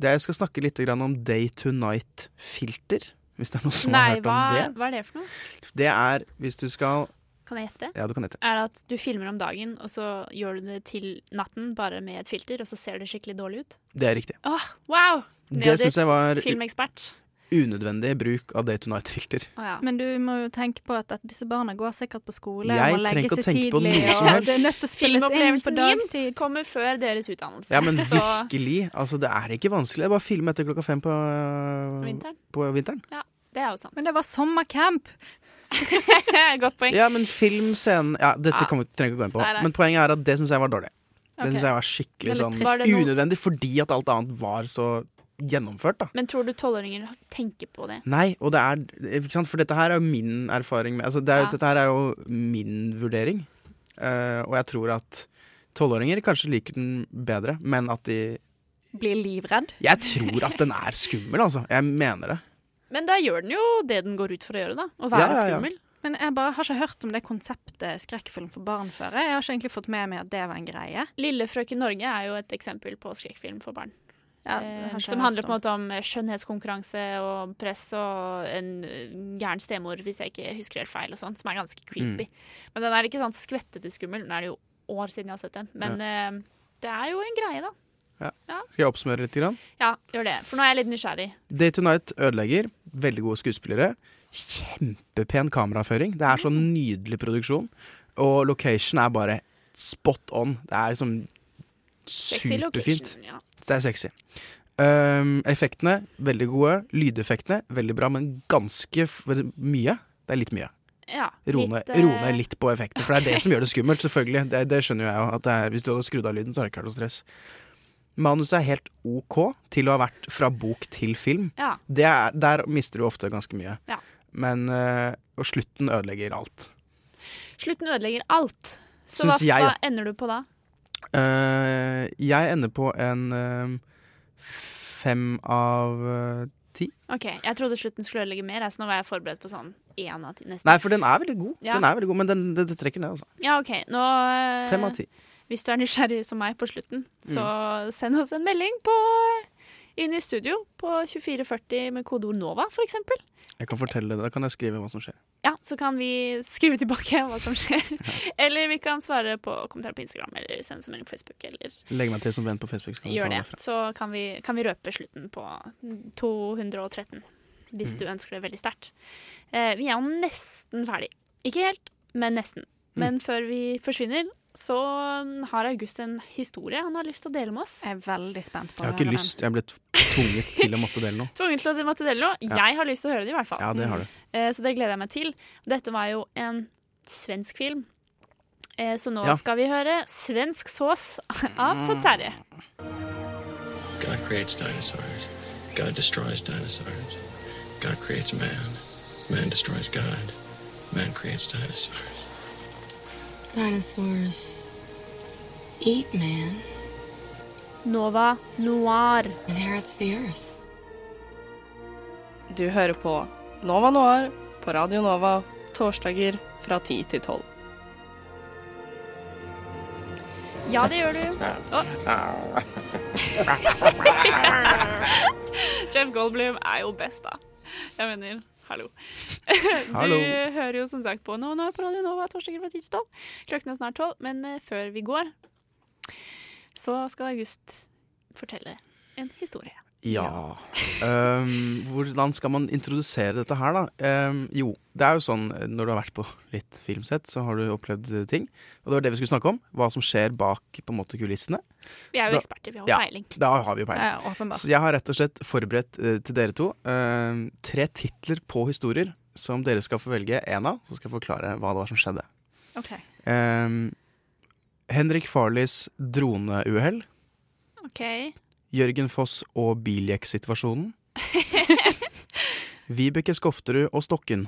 Speaker 8: det jeg skal snakke litt grann om Day to Night-filter, hvis det er noen som
Speaker 7: Nei,
Speaker 8: har hørt om
Speaker 7: hva,
Speaker 8: det.
Speaker 7: hva er det for noe?
Speaker 8: Det er hvis du skal
Speaker 7: Kan jeg gjette?
Speaker 8: Ja, du kan gjette.
Speaker 7: Er at du filmer om dagen, og så gjør du det til natten bare med et filter, og så ser det skikkelig dårlig ut?
Speaker 8: Det er riktig.
Speaker 7: Åh, wow!
Speaker 8: Det
Speaker 7: Nailed
Speaker 8: synes jeg
Speaker 7: it.
Speaker 8: var-
Speaker 7: Filmekspert.
Speaker 8: Unødvendig bruk av day to night-filter.
Speaker 9: Men du må jo tenke på at, at disse barna går sikkert på skole.
Speaker 8: Jeg
Speaker 9: må legge
Speaker 8: trenger ikke å
Speaker 9: seg
Speaker 8: tenke på
Speaker 9: tidlig,
Speaker 8: noe
Speaker 9: (laughs)
Speaker 8: som
Speaker 9: og
Speaker 8: helst.
Speaker 9: Det er nødt til å spilles inn på
Speaker 7: Filmopplevelsen
Speaker 9: dag.
Speaker 7: min kommer før deres utdannelse.
Speaker 8: (laughs) Ja, men
Speaker 7: Så
Speaker 8: virkelig. Altså, det er ikke vanskelig. Det er bare å filme etter klokka fem på øh,
Speaker 7: Vinteren.
Speaker 8: På vinteren.
Speaker 7: det er jo sant.
Speaker 9: Men det var sommercamp!
Speaker 7: (laughs) Godt poeng.
Speaker 8: Ja, men film, scenen Ja, dette
Speaker 7: Ja.
Speaker 8: kommer, trenger vi ikke gå inn på.
Speaker 7: Ah. Nei, nei.
Speaker 8: Men poenget er at det syns jeg var dårlig. Det
Speaker 7: Ok.
Speaker 8: synes jeg var skikkelig
Speaker 7: Det er litt
Speaker 8: sånn
Speaker 7: trist. Var det noe-
Speaker 8: unødvendig, fordi at alt annet var så gjennomført, da.
Speaker 7: Men tror du tolvåringer tenker på det?
Speaker 8: Nei, og det er ikke sant? For dette her er jo min erfaring med altså det er,
Speaker 7: Ja.
Speaker 8: Dette her er jo min vurdering. Eh, og jeg tror at tolvåringer kanskje liker den bedre, men at de
Speaker 9: Blir livredd.
Speaker 8: Jeg tror at den er skummel, altså. Jeg mener det.
Speaker 7: Men da gjør den jo det den går ut for å gjøre, da. Å
Speaker 8: Ja,
Speaker 7: være
Speaker 8: ja, ja.
Speaker 7: skummel.
Speaker 9: Men jeg bare har ikke hørt om det konseptet skrekkfilm for barn før. Jeg har ikke egentlig fått med meg at det var en greie.
Speaker 7: Lille frøken Norge er jo et eksempel på skrekkfilm for barn.
Speaker 9: Ja, det har
Speaker 7: eh,
Speaker 9: ikke
Speaker 7: som
Speaker 9: jeg
Speaker 7: handler
Speaker 9: hørt
Speaker 7: på en måte om eh, skjønnhetskonkurranse og press og en eh, gæren stemor, hvis jeg ikke husker helt feil, og sånt, som er ganske creepy.
Speaker 4: Mm.
Speaker 7: Men den er ikke sånn skvettete skummel. Nå er det jo år siden jeg har sett den. Men eh, det er jo en greie, da.
Speaker 8: Ja.
Speaker 7: Ja.
Speaker 8: Skal jeg oppsummere litt? Grann?
Speaker 7: Ja, gjør det. For nå er jeg litt nysgjerrig.
Speaker 8: Day to Night ødelegger. Veldig gode skuespillere. Kjempepen kameraføring. Det er så
Speaker 7: Mm.
Speaker 8: nydelig produksjon. Og location er bare spot on. Det er liksom
Speaker 7: Sexy
Speaker 8: superfint.
Speaker 7: location, ja.
Speaker 8: Det er sexy. Ehm, effektene veldig gode. Lydeffektene veldig bra, men ganske f mye. Det er litt mye.
Speaker 7: Ja,
Speaker 8: Roe ned
Speaker 7: litt, eh,
Speaker 8: roe ned litt på effekter, for det er
Speaker 7: ok.
Speaker 8: det som gjør det skummelt. selvfølgelig Det, det skjønner jo jeg jo. at det er- Hvis du hadde skrudd av lyden, så hadde det ikke vært noe stress. Manuset er helt OK til å ha vært fra bok til film.
Speaker 7: Ja.
Speaker 8: Det er, der mister du ofte ganske mye.
Speaker 7: Ja.
Speaker 8: Men eh, Og slutten ødelegger alt.
Speaker 7: Slutten ødelegger alt. Så hva,
Speaker 8: Syns jeg,
Speaker 7: hva
Speaker 8: da.
Speaker 7: ender du på da?
Speaker 8: Eh, jeg ender på en eh, fem av eh, ti.
Speaker 7: OK, jeg trodde slutten skulle ødelegge mer, jeg, så nå var jeg forberedt på sånn én av ti. Nesten.
Speaker 8: Nei, for den er veldig god,
Speaker 7: Ja.
Speaker 8: Den er veldig god men den, det, det trekker ned, altså.
Speaker 7: Ja, OK. Nå eh,
Speaker 8: Fem av ti. Mm.
Speaker 7: Hvis du er nysgjerrig som meg på slutten, så send oss en melding på eh, inn i studio på 2440 med kodeord NOVA, for eksempel.
Speaker 8: Jeg kan fortelle det, Da kan jeg skrive hva som skjer.
Speaker 7: Ja, så kan vi skrive tilbake hva som skjer.
Speaker 8: (laughs)
Speaker 7: Eller vi kan svare på kommentarer på Instagram, eller sende oss en melding på Facebook, eller
Speaker 8: Legg meg til som venn på Facebook. så kan vi ta
Speaker 7: gjør det.
Speaker 8: derfra.
Speaker 7: Så kan vi, kan vi røpe slutten på 213, hvis
Speaker 8: Mm.
Speaker 7: du ønsker det veldig sterkt. Eh, vi er jo nesten ferdig. Ikke helt, men nesten.
Speaker 8: Mm.
Speaker 7: Men før vi forsvinner, så har August en historie han har lyst til å dele med oss.
Speaker 9: Jeg er veldig spent
Speaker 8: Jeg har ikke lyst, jeg ble t- tvunget til å måtte
Speaker 7: (laughs)
Speaker 8: dele noe.
Speaker 7: Tvunget til å måtte dele noe.
Speaker 8: Ja.
Speaker 7: Jeg har lyst til å høre det, i hvert fall.
Speaker 8: Ja, det har du.
Speaker 7: Eh, Så det gleder jeg meg til. Dette var jo en svensk film. Eh, Så nå
Speaker 16: Ja.
Speaker 7: skal vi høre 'Svensk sås' av
Speaker 8: Mm.
Speaker 7: Todd Terje.
Speaker 16: God creates dinosaurs. God destroys dinosaurs. God creates man. Man destroys God. Man creates dinosaurs.
Speaker 25: Dinosaurs eat man.
Speaker 7: Nova Noir.
Speaker 25: Inherits the earth.
Speaker 11: Du hører på Nova Noir på Radio Nova torsdager fra 10 til 12.
Speaker 7: Ja, det gjør du. Å, (laughs) Jeff Goldblum er jo best, da. Jeg mener, hallo. (laughs) Du
Speaker 4: Hallo.
Speaker 7: hører jo som sagt på nå, nå på Radio Nova torsdager fra 10 til 12. Klokken er snart 12, men eh, før vi går, så skal August fortelle en historie.
Speaker 8: Ja. Ehm, hvordan skal man introdusere dette her, da? Ehm, jo, det er jo sånn eh, når du har vært på litt filmsett, så har du opplevd eh, ting. Og det var det vi skulle snakke om. Hva som skjer bak på en måte kulissene.
Speaker 7: Vi er
Speaker 8: Så
Speaker 7: jo
Speaker 8: da-
Speaker 7: eksperter, vi har
Speaker 8: ja,
Speaker 7: peiling.
Speaker 8: Da har vi jo peiling.
Speaker 7: Ja, ja, åpenbart.
Speaker 8: så jeg har rett og slett forberedt eh, til dere to eh, tre titler på historier som dere skal få velge én av, så skal jeg forklare hva det var som skjedde.
Speaker 7: OK.
Speaker 8: Ehm, Henrik Farleys droneuhell.
Speaker 7: Ok.
Speaker 8: Jørgen Foss og biljekksituasjonen. Vibeke Skofterud og Stokken.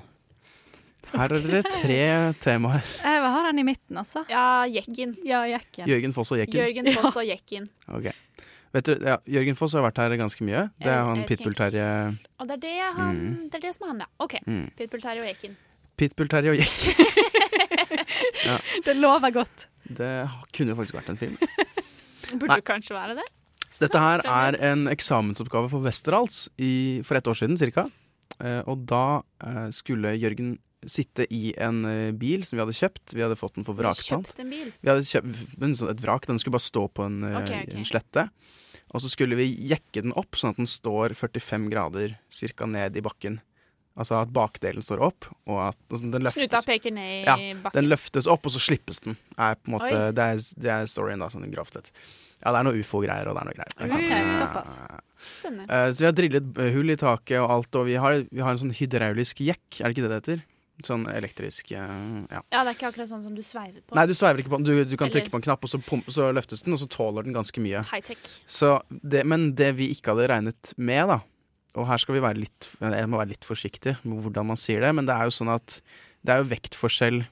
Speaker 8: Her er det tre temaer.
Speaker 9: Jeg vil ha Eh, den i midten, altså.
Speaker 7: Ja, jekken.
Speaker 9: Ja, jekken.
Speaker 8: Jørgen Foss og Jekken.
Speaker 7: Jørgen Foss og Jekken.
Speaker 8: Ok. Vet du, ja, Jørgen Foss har vært her ganske mye. Det
Speaker 7: Jeg-
Speaker 8: er han
Speaker 7: jeg husker ikke.
Speaker 8: Pitbull-Terje
Speaker 7: Og det er det, jeg har-
Speaker 8: Mm.
Speaker 7: det er det som er han, ja. OK.
Speaker 8: Mm.
Speaker 7: Pitbull Terje og Jekken.
Speaker 8: Pitbull-Terje og Jekken. ja,
Speaker 9: Det lover godt.
Speaker 8: det kunne jo faktisk vært en film.
Speaker 7: Burde
Speaker 8: Nei.
Speaker 7: du kanskje være det?
Speaker 8: Dette her er en eksamensoppgave for Westerdals i- for et år siden ca. Og da eh, skulle Jørgen sitte i en eh, bil som vi hadde kjøpt. Vi hadde fått den for vrakpant.
Speaker 23: Kjøpt en bil?
Speaker 8: Vi hadde kjøpt en sånn- et vrak. Den skulle bare stå på en, eh,
Speaker 23: Ok, ok.
Speaker 8: en slette. Og så skulle vi jekke den opp sånn at den står 45 grader cirka ned i bakken. Altså at bakdelen står opp, og at altså, den løftes.
Speaker 7: Snuta peker ned i
Speaker 8: ja,
Speaker 7: bakken.
Speaker 8: Den løftes opp, og så slippes den. Er på en måte,
Speaker 7: Oi.
Speaker 8: det, er, det er storyen, da, sånn grovt sett. Ja, det er noe ufo-greier, og det er noe greier. ikke sant?
Speaker 7: Ok,
Speaker 8: Ja.
Speaker 7: såpass. Spennende.
Speaker 8: Eh, så vi har drillet eh, hull i taket og alt, og vi har, vi har en sånn hydraulisk jekk, er det ikke det det heter? Sånn elektrisk eh, ja.
Speaker 7: Ja, det er ikke akkurat sånn som du sveiver på.
Speaker 8: Nei, du sveiver ikke på den. Du, du kan
Speaker 7: Eller-
Speaker 8: trykke på en knapp, og så, pump, så løftes den, og så tåler den ganske mye.
Speaker 7: High-tech.
Speaker 8: Så det, men det vi ikke hadde regnet med, da Og her skal vi være litt Jeg må være litt forsiktig med hvordan man sier det, men det er jo sånn at det er jo vektforskjell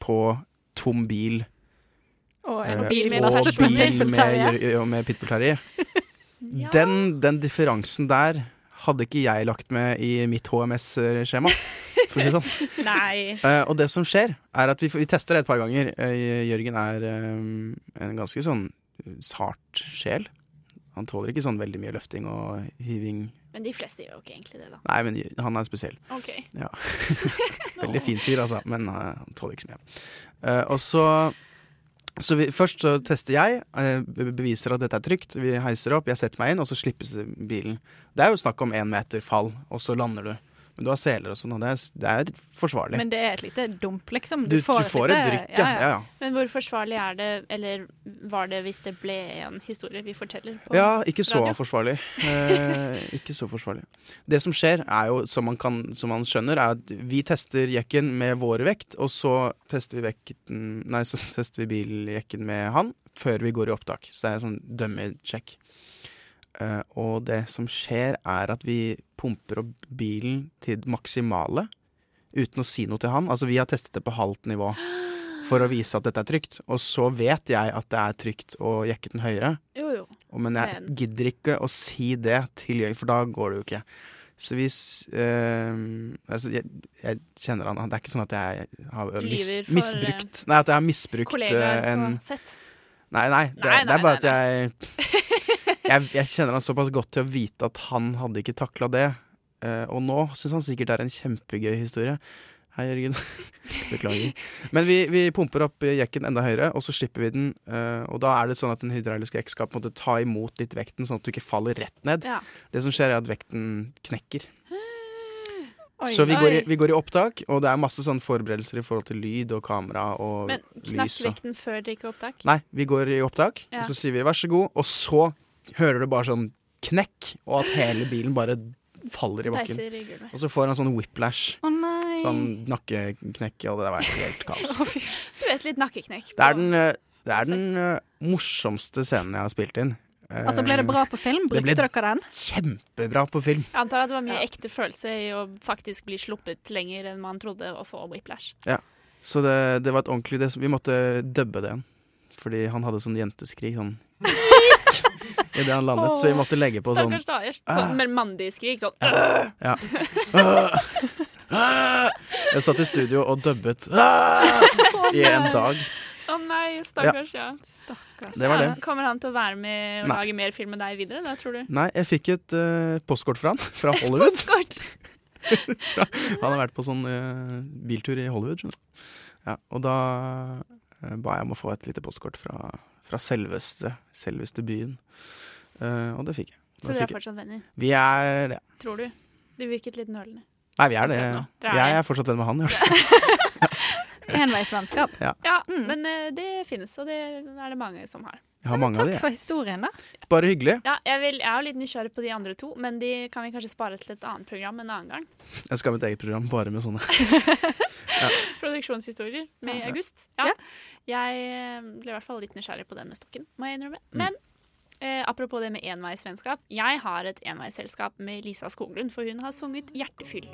Speaker 8: på tom bil
Speaker 9: Og
Speaker 8: eh,
Speaker 9: en bil med
Speaker 8: og
Speaker 9: lastebil
Speaker 8: bil
Speaker 9: med
Speaker 8: med,
Speaker 9: pitbullterrier.
Speaker 8: med
Speaker 9: (laughs)
Speaker 8: pitbullterrier. Den, den differansen der hadde ikke jeg lagt med i mitt HMS-skjema, for å si det sånn.
Speaker 7: Nei.
Speaker 8: Eh, og det som skjer, er at vi, får- vi tester det et par ganger. Eh, Jørgen er eh, en ganske sånn sart sjel. Han tåler ikke sånn veldig mye løfting og hiving.
Speaker 7: Men de fleste gjør jo ikke egentlig det, da.
Speaker 8: Nei, men han er spesiell.
Speaker 7: Ok.
Speaker 8: Ja. veldig fin fyr, altså, men eh, han tåler ikke så mye. Eh, og så så vi, Først så tester jeg, eh, be- beviser at dette er trygt. Vi heiser opp, jeg setter meg inn, og så slippes bilen. Det er jo snakk om én meter fall, og så lander du. Men du har seler og sånn, og det er, det er forsvarlig.
Speaker 9: Men det er et lite dump, liksom.
Speaker 8: Du- du får et
Speaker 9: lite-
Speaker 8: drykk, ja. Ja, ja.
Speaker 7: Men hvor forsvarlig er det, eller var det hvis det ble en historie vi forteller på
Speaker 8: Ja, ikke så
Speaker 7: radio?
Speaker 8: forsvarlig. Eh, ikke så forsvarlig. Det som skjer, er jo, som man, kan, som man skjønner, er at vi tester jekken med vår vekt, og så tester vi, vekten, nei, så (laughs) tester vi biljekken med han før vi går i opptak. Så det er en sånn dummy-check. Eh, og det som skjer, er at vi pumper opp bilen til det maksimale uten å si noe til han. Altså, vi har testet det på halvt nivå for å vise at dette er trygt. Og så vet jeg at det er trygt å jekke den høyere.
Speaker 7: Jo, jo.
Speaker 8: Og- Men jeg
Speaker 7: Men-
Speaker 8: gidder ikke å si det til Jørgen, for da går det jo ikke. Så hvis eh, altså jeg, jeg kjenner han Det er ikke sånn at jeg har
Speaker 7: Du
Speaker 8: mis,
Speaker 7: lyver for,
Speaker 8: misbrukt Nei, at jeg har misbrukt
Speaker 7: Kollegaer
Speaker 8: eh, en
Speaker 7: på sett.
Speaker 8: Nei, nei. Det,
Speaker 7: Nei,
Speaker 8: det
Speaker 7: nei,
Speaker 8: er bare
Speaker 7: nei,
Speaker 8: at jeg, (laughs) jeg Jeg kjenner han såpass godt til å vite at han hadde ikke takla det. Eh, og nå syns han sikkert det er en kjempegøy historie. Hei, Jørgen. (laughs) Beklager. Men vi, vi pumper opp jekken enda høyere, og så slipper vi den. eh, og da er det sånn at den hydrauliske jekk skal på en måte ta imot litt vekten, sånn at du ikke faller rett ned.
Speaker 7: Ja.
Speaker 8: Det som skjer, er at vekten
Speaker 7: (gasps)
Speaker 8: knekker.
Speaker 7: Oi,
Speaker 8: så vi går, i,
Speaker 7: oi.
Speaker 8: vi går i opptak, og det er masse sånn forberedelser i forhold til lyd og kamera og
Speaker 7: Men knakk
Speaker 8: lys. og-
Speaker 7: vekten før dere gikk opptak?
Speaker 8: Nei, vi går i opptak,
Speaker 7: Ja.
Speaker 8: og så sier vi vær så god, og så hører du bare sånn knekk, og at hele bilen bare faller i bakken.
Speaker 7: Deiser i gulvet.
Speaker 8: Og så får han sånn whiplash.
Speaker 7: Å, nei.
Speaker 8: Sånn nakkeknekk, og det der var helt kaos.
Speaker 7: Du vet, litt nakkeknekk.
Speaker 8: Det er den, eh, det er den eh, morsomste scenen jeg har spilt inn. Eh,
Speaker 9: Altså, ble det bra på film?
Speaker 8: Det
Speaker 9: Brukte
Speaker 8: ble-
Speaker 9: dere den?
Speaker 8: Kjempebra på film.
Speaker 7: Jeg antar at det var mye ekte følelse i å faktisk bli sluppet lenger enn man trodde, og få whiplash.
Speaker 8: Ja. Så det, det var et ordentlig det, Vi måtte dubbe det igjen. Fordi han hadde sånn jenteskrik sånn (laughs) idet han landet, så vi måtte legge på sånn
Speaker 7: Stakkars da. Jeg, sånn med mandig skrik, sånn
Speaker 8: Ja.
Speaker 7: «Åh!»
Speaker 8: (laughs) Jeg satt i studio og dubbet i en dag.
Speaker 7: Å nei, stakkars, ja. Stakkars.
Speaker 8: Det var det.
Speaker 7: Ja, Kommer han til å være med og
Speaker 8: Nei.
Speaker 7: lage mer film med deg videre, da, tror du?
Speaker 8: Nei, jeg fikk et eh, postkort fra han, fra Hollywood.
Speaker 7: Postkort.
Speaker 8: Fra- han har vært på sånn eh, biltur i Hollywood, skjønner du. Ja, og da eh, ba jeg om å få et lite postkort fra, fra selveste, selveste byen. Eh, og det fikk jeg. Da
Speaker 7: Så dere er
Speaker 8: fikk jeg-
Speaker 7: fortsatt venner?
Speaker 8: Vi er det.
Speaker 7: Tror du? Du virket litt nølende.
Speaker 8: Nei, vi er det.
Speaker 7: Akkurat nå. Dere er
Speaker 8: Jeg
Speaker 7: det.
Speaker 8: er fortsatt venn med (laughs) han, ja.
Speaker 9: Enveisvennskap.
Speaker 8: ja.
Speaker 7: Ja, men eh, det finnes, og det er det mange som har.
Speaker 8: Jeg har mange av de.
Speaker 9: Takk for
Speaker 8: jeg.
Speaker 9: historien, da.
Speaker 8: Bare hyggelig.
Speaker 7: Ja, jeg, vil, jeg er jo litt nysgjerrig på de andre to, men de kan vi kanskje spare til et annet program en annen gang.
Speaker 8: Jeg skal ha mitt eget program bare med sånne.
Speaker 7: Produksjonshistorier med
Speaker 8: Ja.
Speaker 7: August. Ja. Jeg eh, ble i hvert fall litt nysgjerrig på den med stokken, må jeg innrømme.
Speaker 9: Mm.
Speaker 7: Men eh, apropos det med enveisvennskap. Jeg har et enveisselskap med Lisa Skoglund, for hun har sunget 'Hjertefyll'.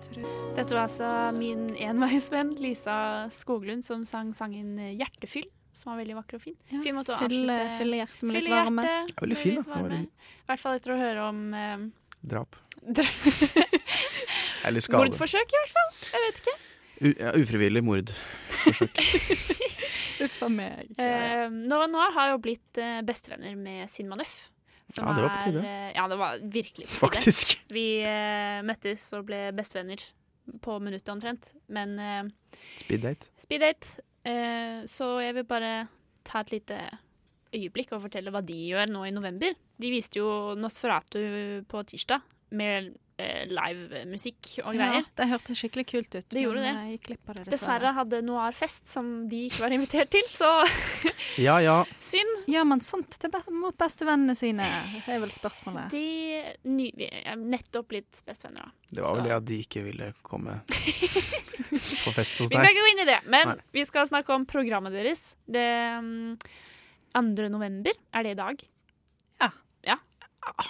Speaker 7: Dette var altså min enveisvenn Lisa Skoglund som sang sangen 'Hjertefyll'. Som var veldig vakker og fin. fin måte å
Speaker 9: fyll- eh,
Speaker 7: avslutte-
Speaker 9: fyll hjertet med litt
Speaker 7: Fylle
Speaker 9: varme.
Speaker 7: hjertet
Speaker 8: Ja, veldig
Speaker 7: med
Speaker 8: fin,
Speaker 7: litt
Speaker 8: da. Det var
Speaker 7: varme.
Speaker 8: veldig-
Speaker 7: I hvert fall etter å høre om eh, (laughs)
Speaker 8: Drap.
Speaker 7: dr-
Speaker 8: Eller skade.
Speaker 7: Mordforsøk, i hvert fall. Jeg vet ikke.
Speaker 8: U ja, ufrivillig
Speaker 7: (laughs)
Speaker 8: mordforsøk.
Speaker 9: Uff a meg.
Speaker 7: Eh, Nova Noir har jo blitt eh, bestevenner med Sin Manøff. som
Speaker 8: Ja, det var på
Speaker 7: er,
Speaker 8: tide.
Speaker 7: eh, ja, det var virkelig på tide.
Speaker 8: Faktisk.
Speaker 7: Vi eh, møttes og ble bestevenner på minuttet omtrent. Men eh,
Speaker 8: Speed date.
Speaker 7: speed date. Eh, så jeg vil bare ta et lite øyeblikk og fortelle hva de gjør nå i november. De viste jo Nosferatu på tirsdag med eh, livemusikk og greier.
Speaker 9: det hørtes skikkelig kult ut.
Speaker 7: Det gjorde
Speaker 9: men
Speaker 7: det.
Speaker 9: Jeg gikk glipp av det,
Speaker 7: Dessverre hadde Noir-fest, som de ikke var invitert til, så (laughs)
Speaker 8: Ja, ja.
Speaker 7: synd.
Speaker 9: Gjør man sånt til be mot bestevennene sine? Det er vel spørsmålet.
Speaker 7: De ny, vi er nettopp blitt bestevenner, da.
Speaker 8: Det var vel det at de ikke ville
Speaker 7: (laughs)
Speaker 8: komme på fest hos
Speaker 7: Vi skal
Speaker 8: deg.
Speaker 7: ikke gå inn i det, men
Speaker 8: Nei.
Speaker 7: vi skal snakke om programmet deres. Det mm, 2. november, er det i dag?
Speaker 9: Ja.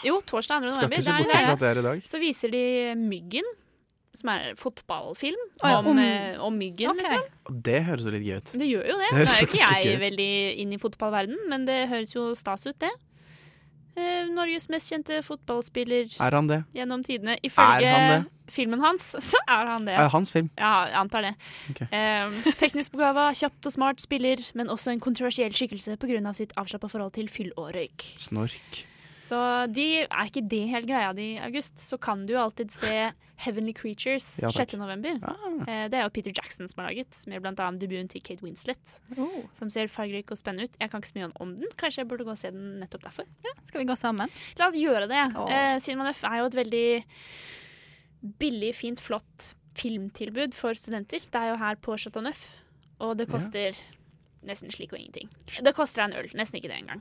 Speaker 7: Jo, torsdag 2.
Speaker 8: Skal
Speaker 7: november.
Speaker 8: ikke se
Speaker 7: det er
Speaker 8: bort fra
Speaker 7: det.
Speaker 8: at det er i dag.
Speaker 7: Så viser de Myggen, som er en fotballfilm
Speaker 8: Å ja,
Speaker 7: om,
Speaker 8: om-
Speaker 7: eh, om myggen, liksom.
Speaker 8: Og Det høres jo litt gøy ut.
Speaker 7: Det gjør jo det.
Speaker 8: Det
Speaker 7: Nå er
Speaker 8: høres
Speaker 7: jo ikke
Speaker 8: faktisk
Speaker 7: jeg
Speaker 8: gøy ut.
Speaker 7: veldig inn i fotballverden, men det høres jo stas ut, det. Eh, Norges mest kjente fotballspiller
Speaker 8: Er han det?
Speaker 7: gjennom tidene.
Speaker 8: han
Speaker 7: Ifølge filmen hans, (laughs) så er han det.
Speaker 8: Er det hans film?
Speaker 7: Ja, jeg antar det.
Speaker 8: Ok.
Speaker 7: Eh, teknisk begava, kjapt og smart spiller, men også en kontroversiell skikkelse pga. sitt avslappa forhold til fyll og røyk.
Speaker 8: Snork.
Speaker 7: Så de, er ikke det helt greia di, August, så kan du jo alltid se Heavenly Creatures
Speaker 8: Ja, takk.
Speaker 7: 6. november. Eh, Det er jo Peter Jackson som har laget, med blant annet debuten til Kate Winslet.
Speaker 9: Oh.
Speaker 7: Som ser fargerik og spennende ut. Jeg kan ikke så mye om den, kanskje jeg burde gå og se den nettopp derfor.
Speaker 9: Skal vi gå sammen?
Speaker 7: La oss gjøre det.
Speaker 9: Åh.
Speaker 7: Eh, Cinema Nøff er jo et veldig billig, fint, flott filmtilbud for studenter. Det er jo her på Chateau Neuf, og det
Speaker 9: Ja.
Speaker 7: koster nesten slik og ingenting. Det koster deg en øl, nesten ikke det engang.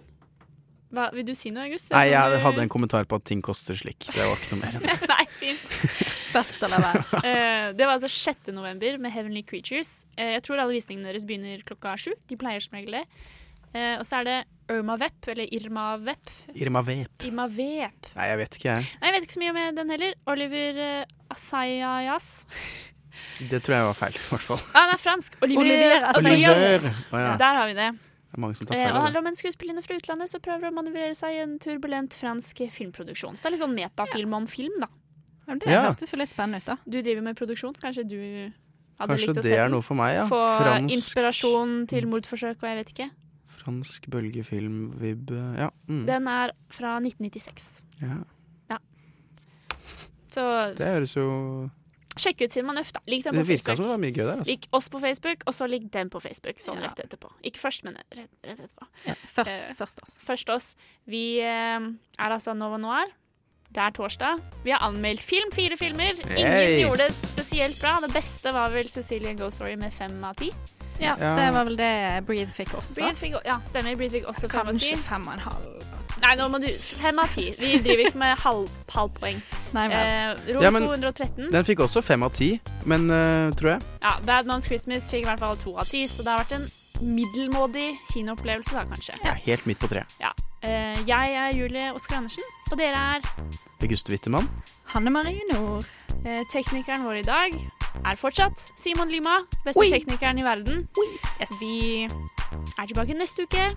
Speaker 7: Hva, vil du si noe, August?
Speaker 8: Nei,
Speaker 7: Eller
Speaker 8: jeg
Speaker 7: du- (laughs)
Speaker 8: hadde en kommentar på at ting koster slik. Det var ikke noe mer enn det.
Speaker 7: Nei, fint.
Speaker 8: (laughs)
Speaker 9: Best å la være.
Speaker 7: (laughs) Eh, det var altså 6. november med Heavenly Creatures. Eh, jeg tror alle visningene deres begynner klokka sju. De pleier som regel det. Eh, og så er det Irma Vep, eller Irma Vep.
Speaker 8: Irma Vep.
Speaker 7: (laughs) Irma Vep.
Speaker 8: Nei, jeg vet ikke, jeg.
Speaker 7: Nei, jeg vet ikke så mye om den heller. Oliver uh, Asayas.
Speaker 8: Det tror jeg var feil, i hvert fall.
Speaker 7: Ah, han er fransk. Oliver,
Speaker 9: Olivier
Speaker 7: Assayas.
Speaker 8: Oliver. Å, ja.
Speaker 7: Der har vi det.
Speaker 8: Det er mange som tar
Speaker 7: Eh, og det
Speaker 8: feil. av det.
Speaker 7: handler om en skuespillerinne fra utlandet som prøver å manøvrere seg i en turbulent fransk filmproduksjon. Så det er litt sånn metafilm om film, da.
Speaker 9: det
Speaker 8: Ja.
Speaker 9: hørtes jo litt spennende ut, da.
Speaker 7: Du driver med produksjon, kanskje du hadde
Speaker 8: Kanskje
Speaker 7: likt å
Speaker 8: det
Speaker 7: se
Speaker 8: er
Speaker 7: den?
Speaker 8: noe for meg, ja.
Speaker 7: Få
Speaker 8: Fransk- Mm.
Speaker 7: inspirasjon til mordforsøk og jeg vet ikke.
Speaker 8: Fransk bølgefilm-vib Ja. Mm.
Speaker 7: Den er fra 1996.
Speaker 8: ja.
Speaker 7: Så
Speaker 8: Det høres jo
Speaker 7: sjekk ut Cinema Nøff, da. Lik den
Speaker 8: Det
Speaker 7: på
Speaker 8: virka som det
Speaker 7: Facebook.
Speaker 8: var mye gøy der. Altså.
Speaker 7: Lik oss på Facebook, og så lik den på Facebook, sånn rett etterpå. Ikke først, men rett, rett etterpå.
Speaker 9: Først,
Speaker 7: Eh,
Speaker 9: først oss.
Speaker 7: Først oss. Vi eh, er altså Nova Noir. Det er torsdag. Vi har anmeldt film, fire filmer. Ingen
Speaker 9: Hey.
Speaker 7: gjorde det spesielt bra. Det beste var vel Cecilie Ghostory med fem av ti.
Speaker 9: Ja,
Speaker 7: Ja.
Speaker 9: det var vel det Breathe fikk også.
Speaker 7: Breed fikk, ja, stemmer. Breed fikk også fem av ti.
Speaker 9: Kanskje fem og en halv.
Speaker 7: Nei, nå må du Fem av ti. Vi driver ikke med halv, halvpoeng.
Speaker 9: Nei,
Speaker 7: eh,
Speaker 9: vel.
Speaker 7: Rom
Speaker 8: Ja, men
Speaker 7: 213.
Speaker 8: Den fikk også fem av ti, men eh, tror jeg.
Speaker 7: Mm. Ja, Bad Moms Christmas fikk i hvert fall to av ti, så det har vært en middelmådig kinoopplevelse da, kanskje.
Speaker 8: Jeg er helt midt på treet.
Speaker 7: Ja. Eh, jeg er Julie Oskar Andersen, og dere er
Speaker 8: Auguste Wittemann.
Speaker 9: Hanne Marie Nord.
Speaker 7: eh, Teknikeren vår i dag er fortsatt Simon Lima, beste
Speaker 9: Oui.
Speaker 7: teknikeren i verden. Vi er tilbake neste uke.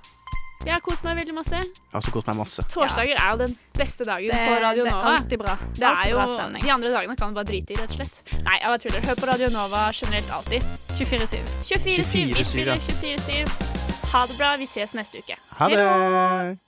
Speaker 7: Jeg har kost meg veldig masse.
Speaker 8: Jeg har også kost meg masse.
Speaker 7: Torsdager er jo den beste dagen
Speaker 9: Det-
Speaker 7: på Radio
Speaker 9: det er
Speaker 7: Nova.
Speaker 9: alltid bra.
Speaker 7: Det er
Speaker 9: Alltid
Speaker 7: jo,
Speaker 9: bra stemning.
Speaker 7: de andre dagene kan du bare drite i, rett og slett. Nei, jeg bare tuller. Hør på Radio Nova generelt alltid.
Speaker 9: 24-7.
Speaker 7: 24-7. Vi
Speaker 8: 24-7, ja.
Speaker 7: spiller 24-7. Ha det bra. Vi ses neste uke.
Speaker 8: Ha det!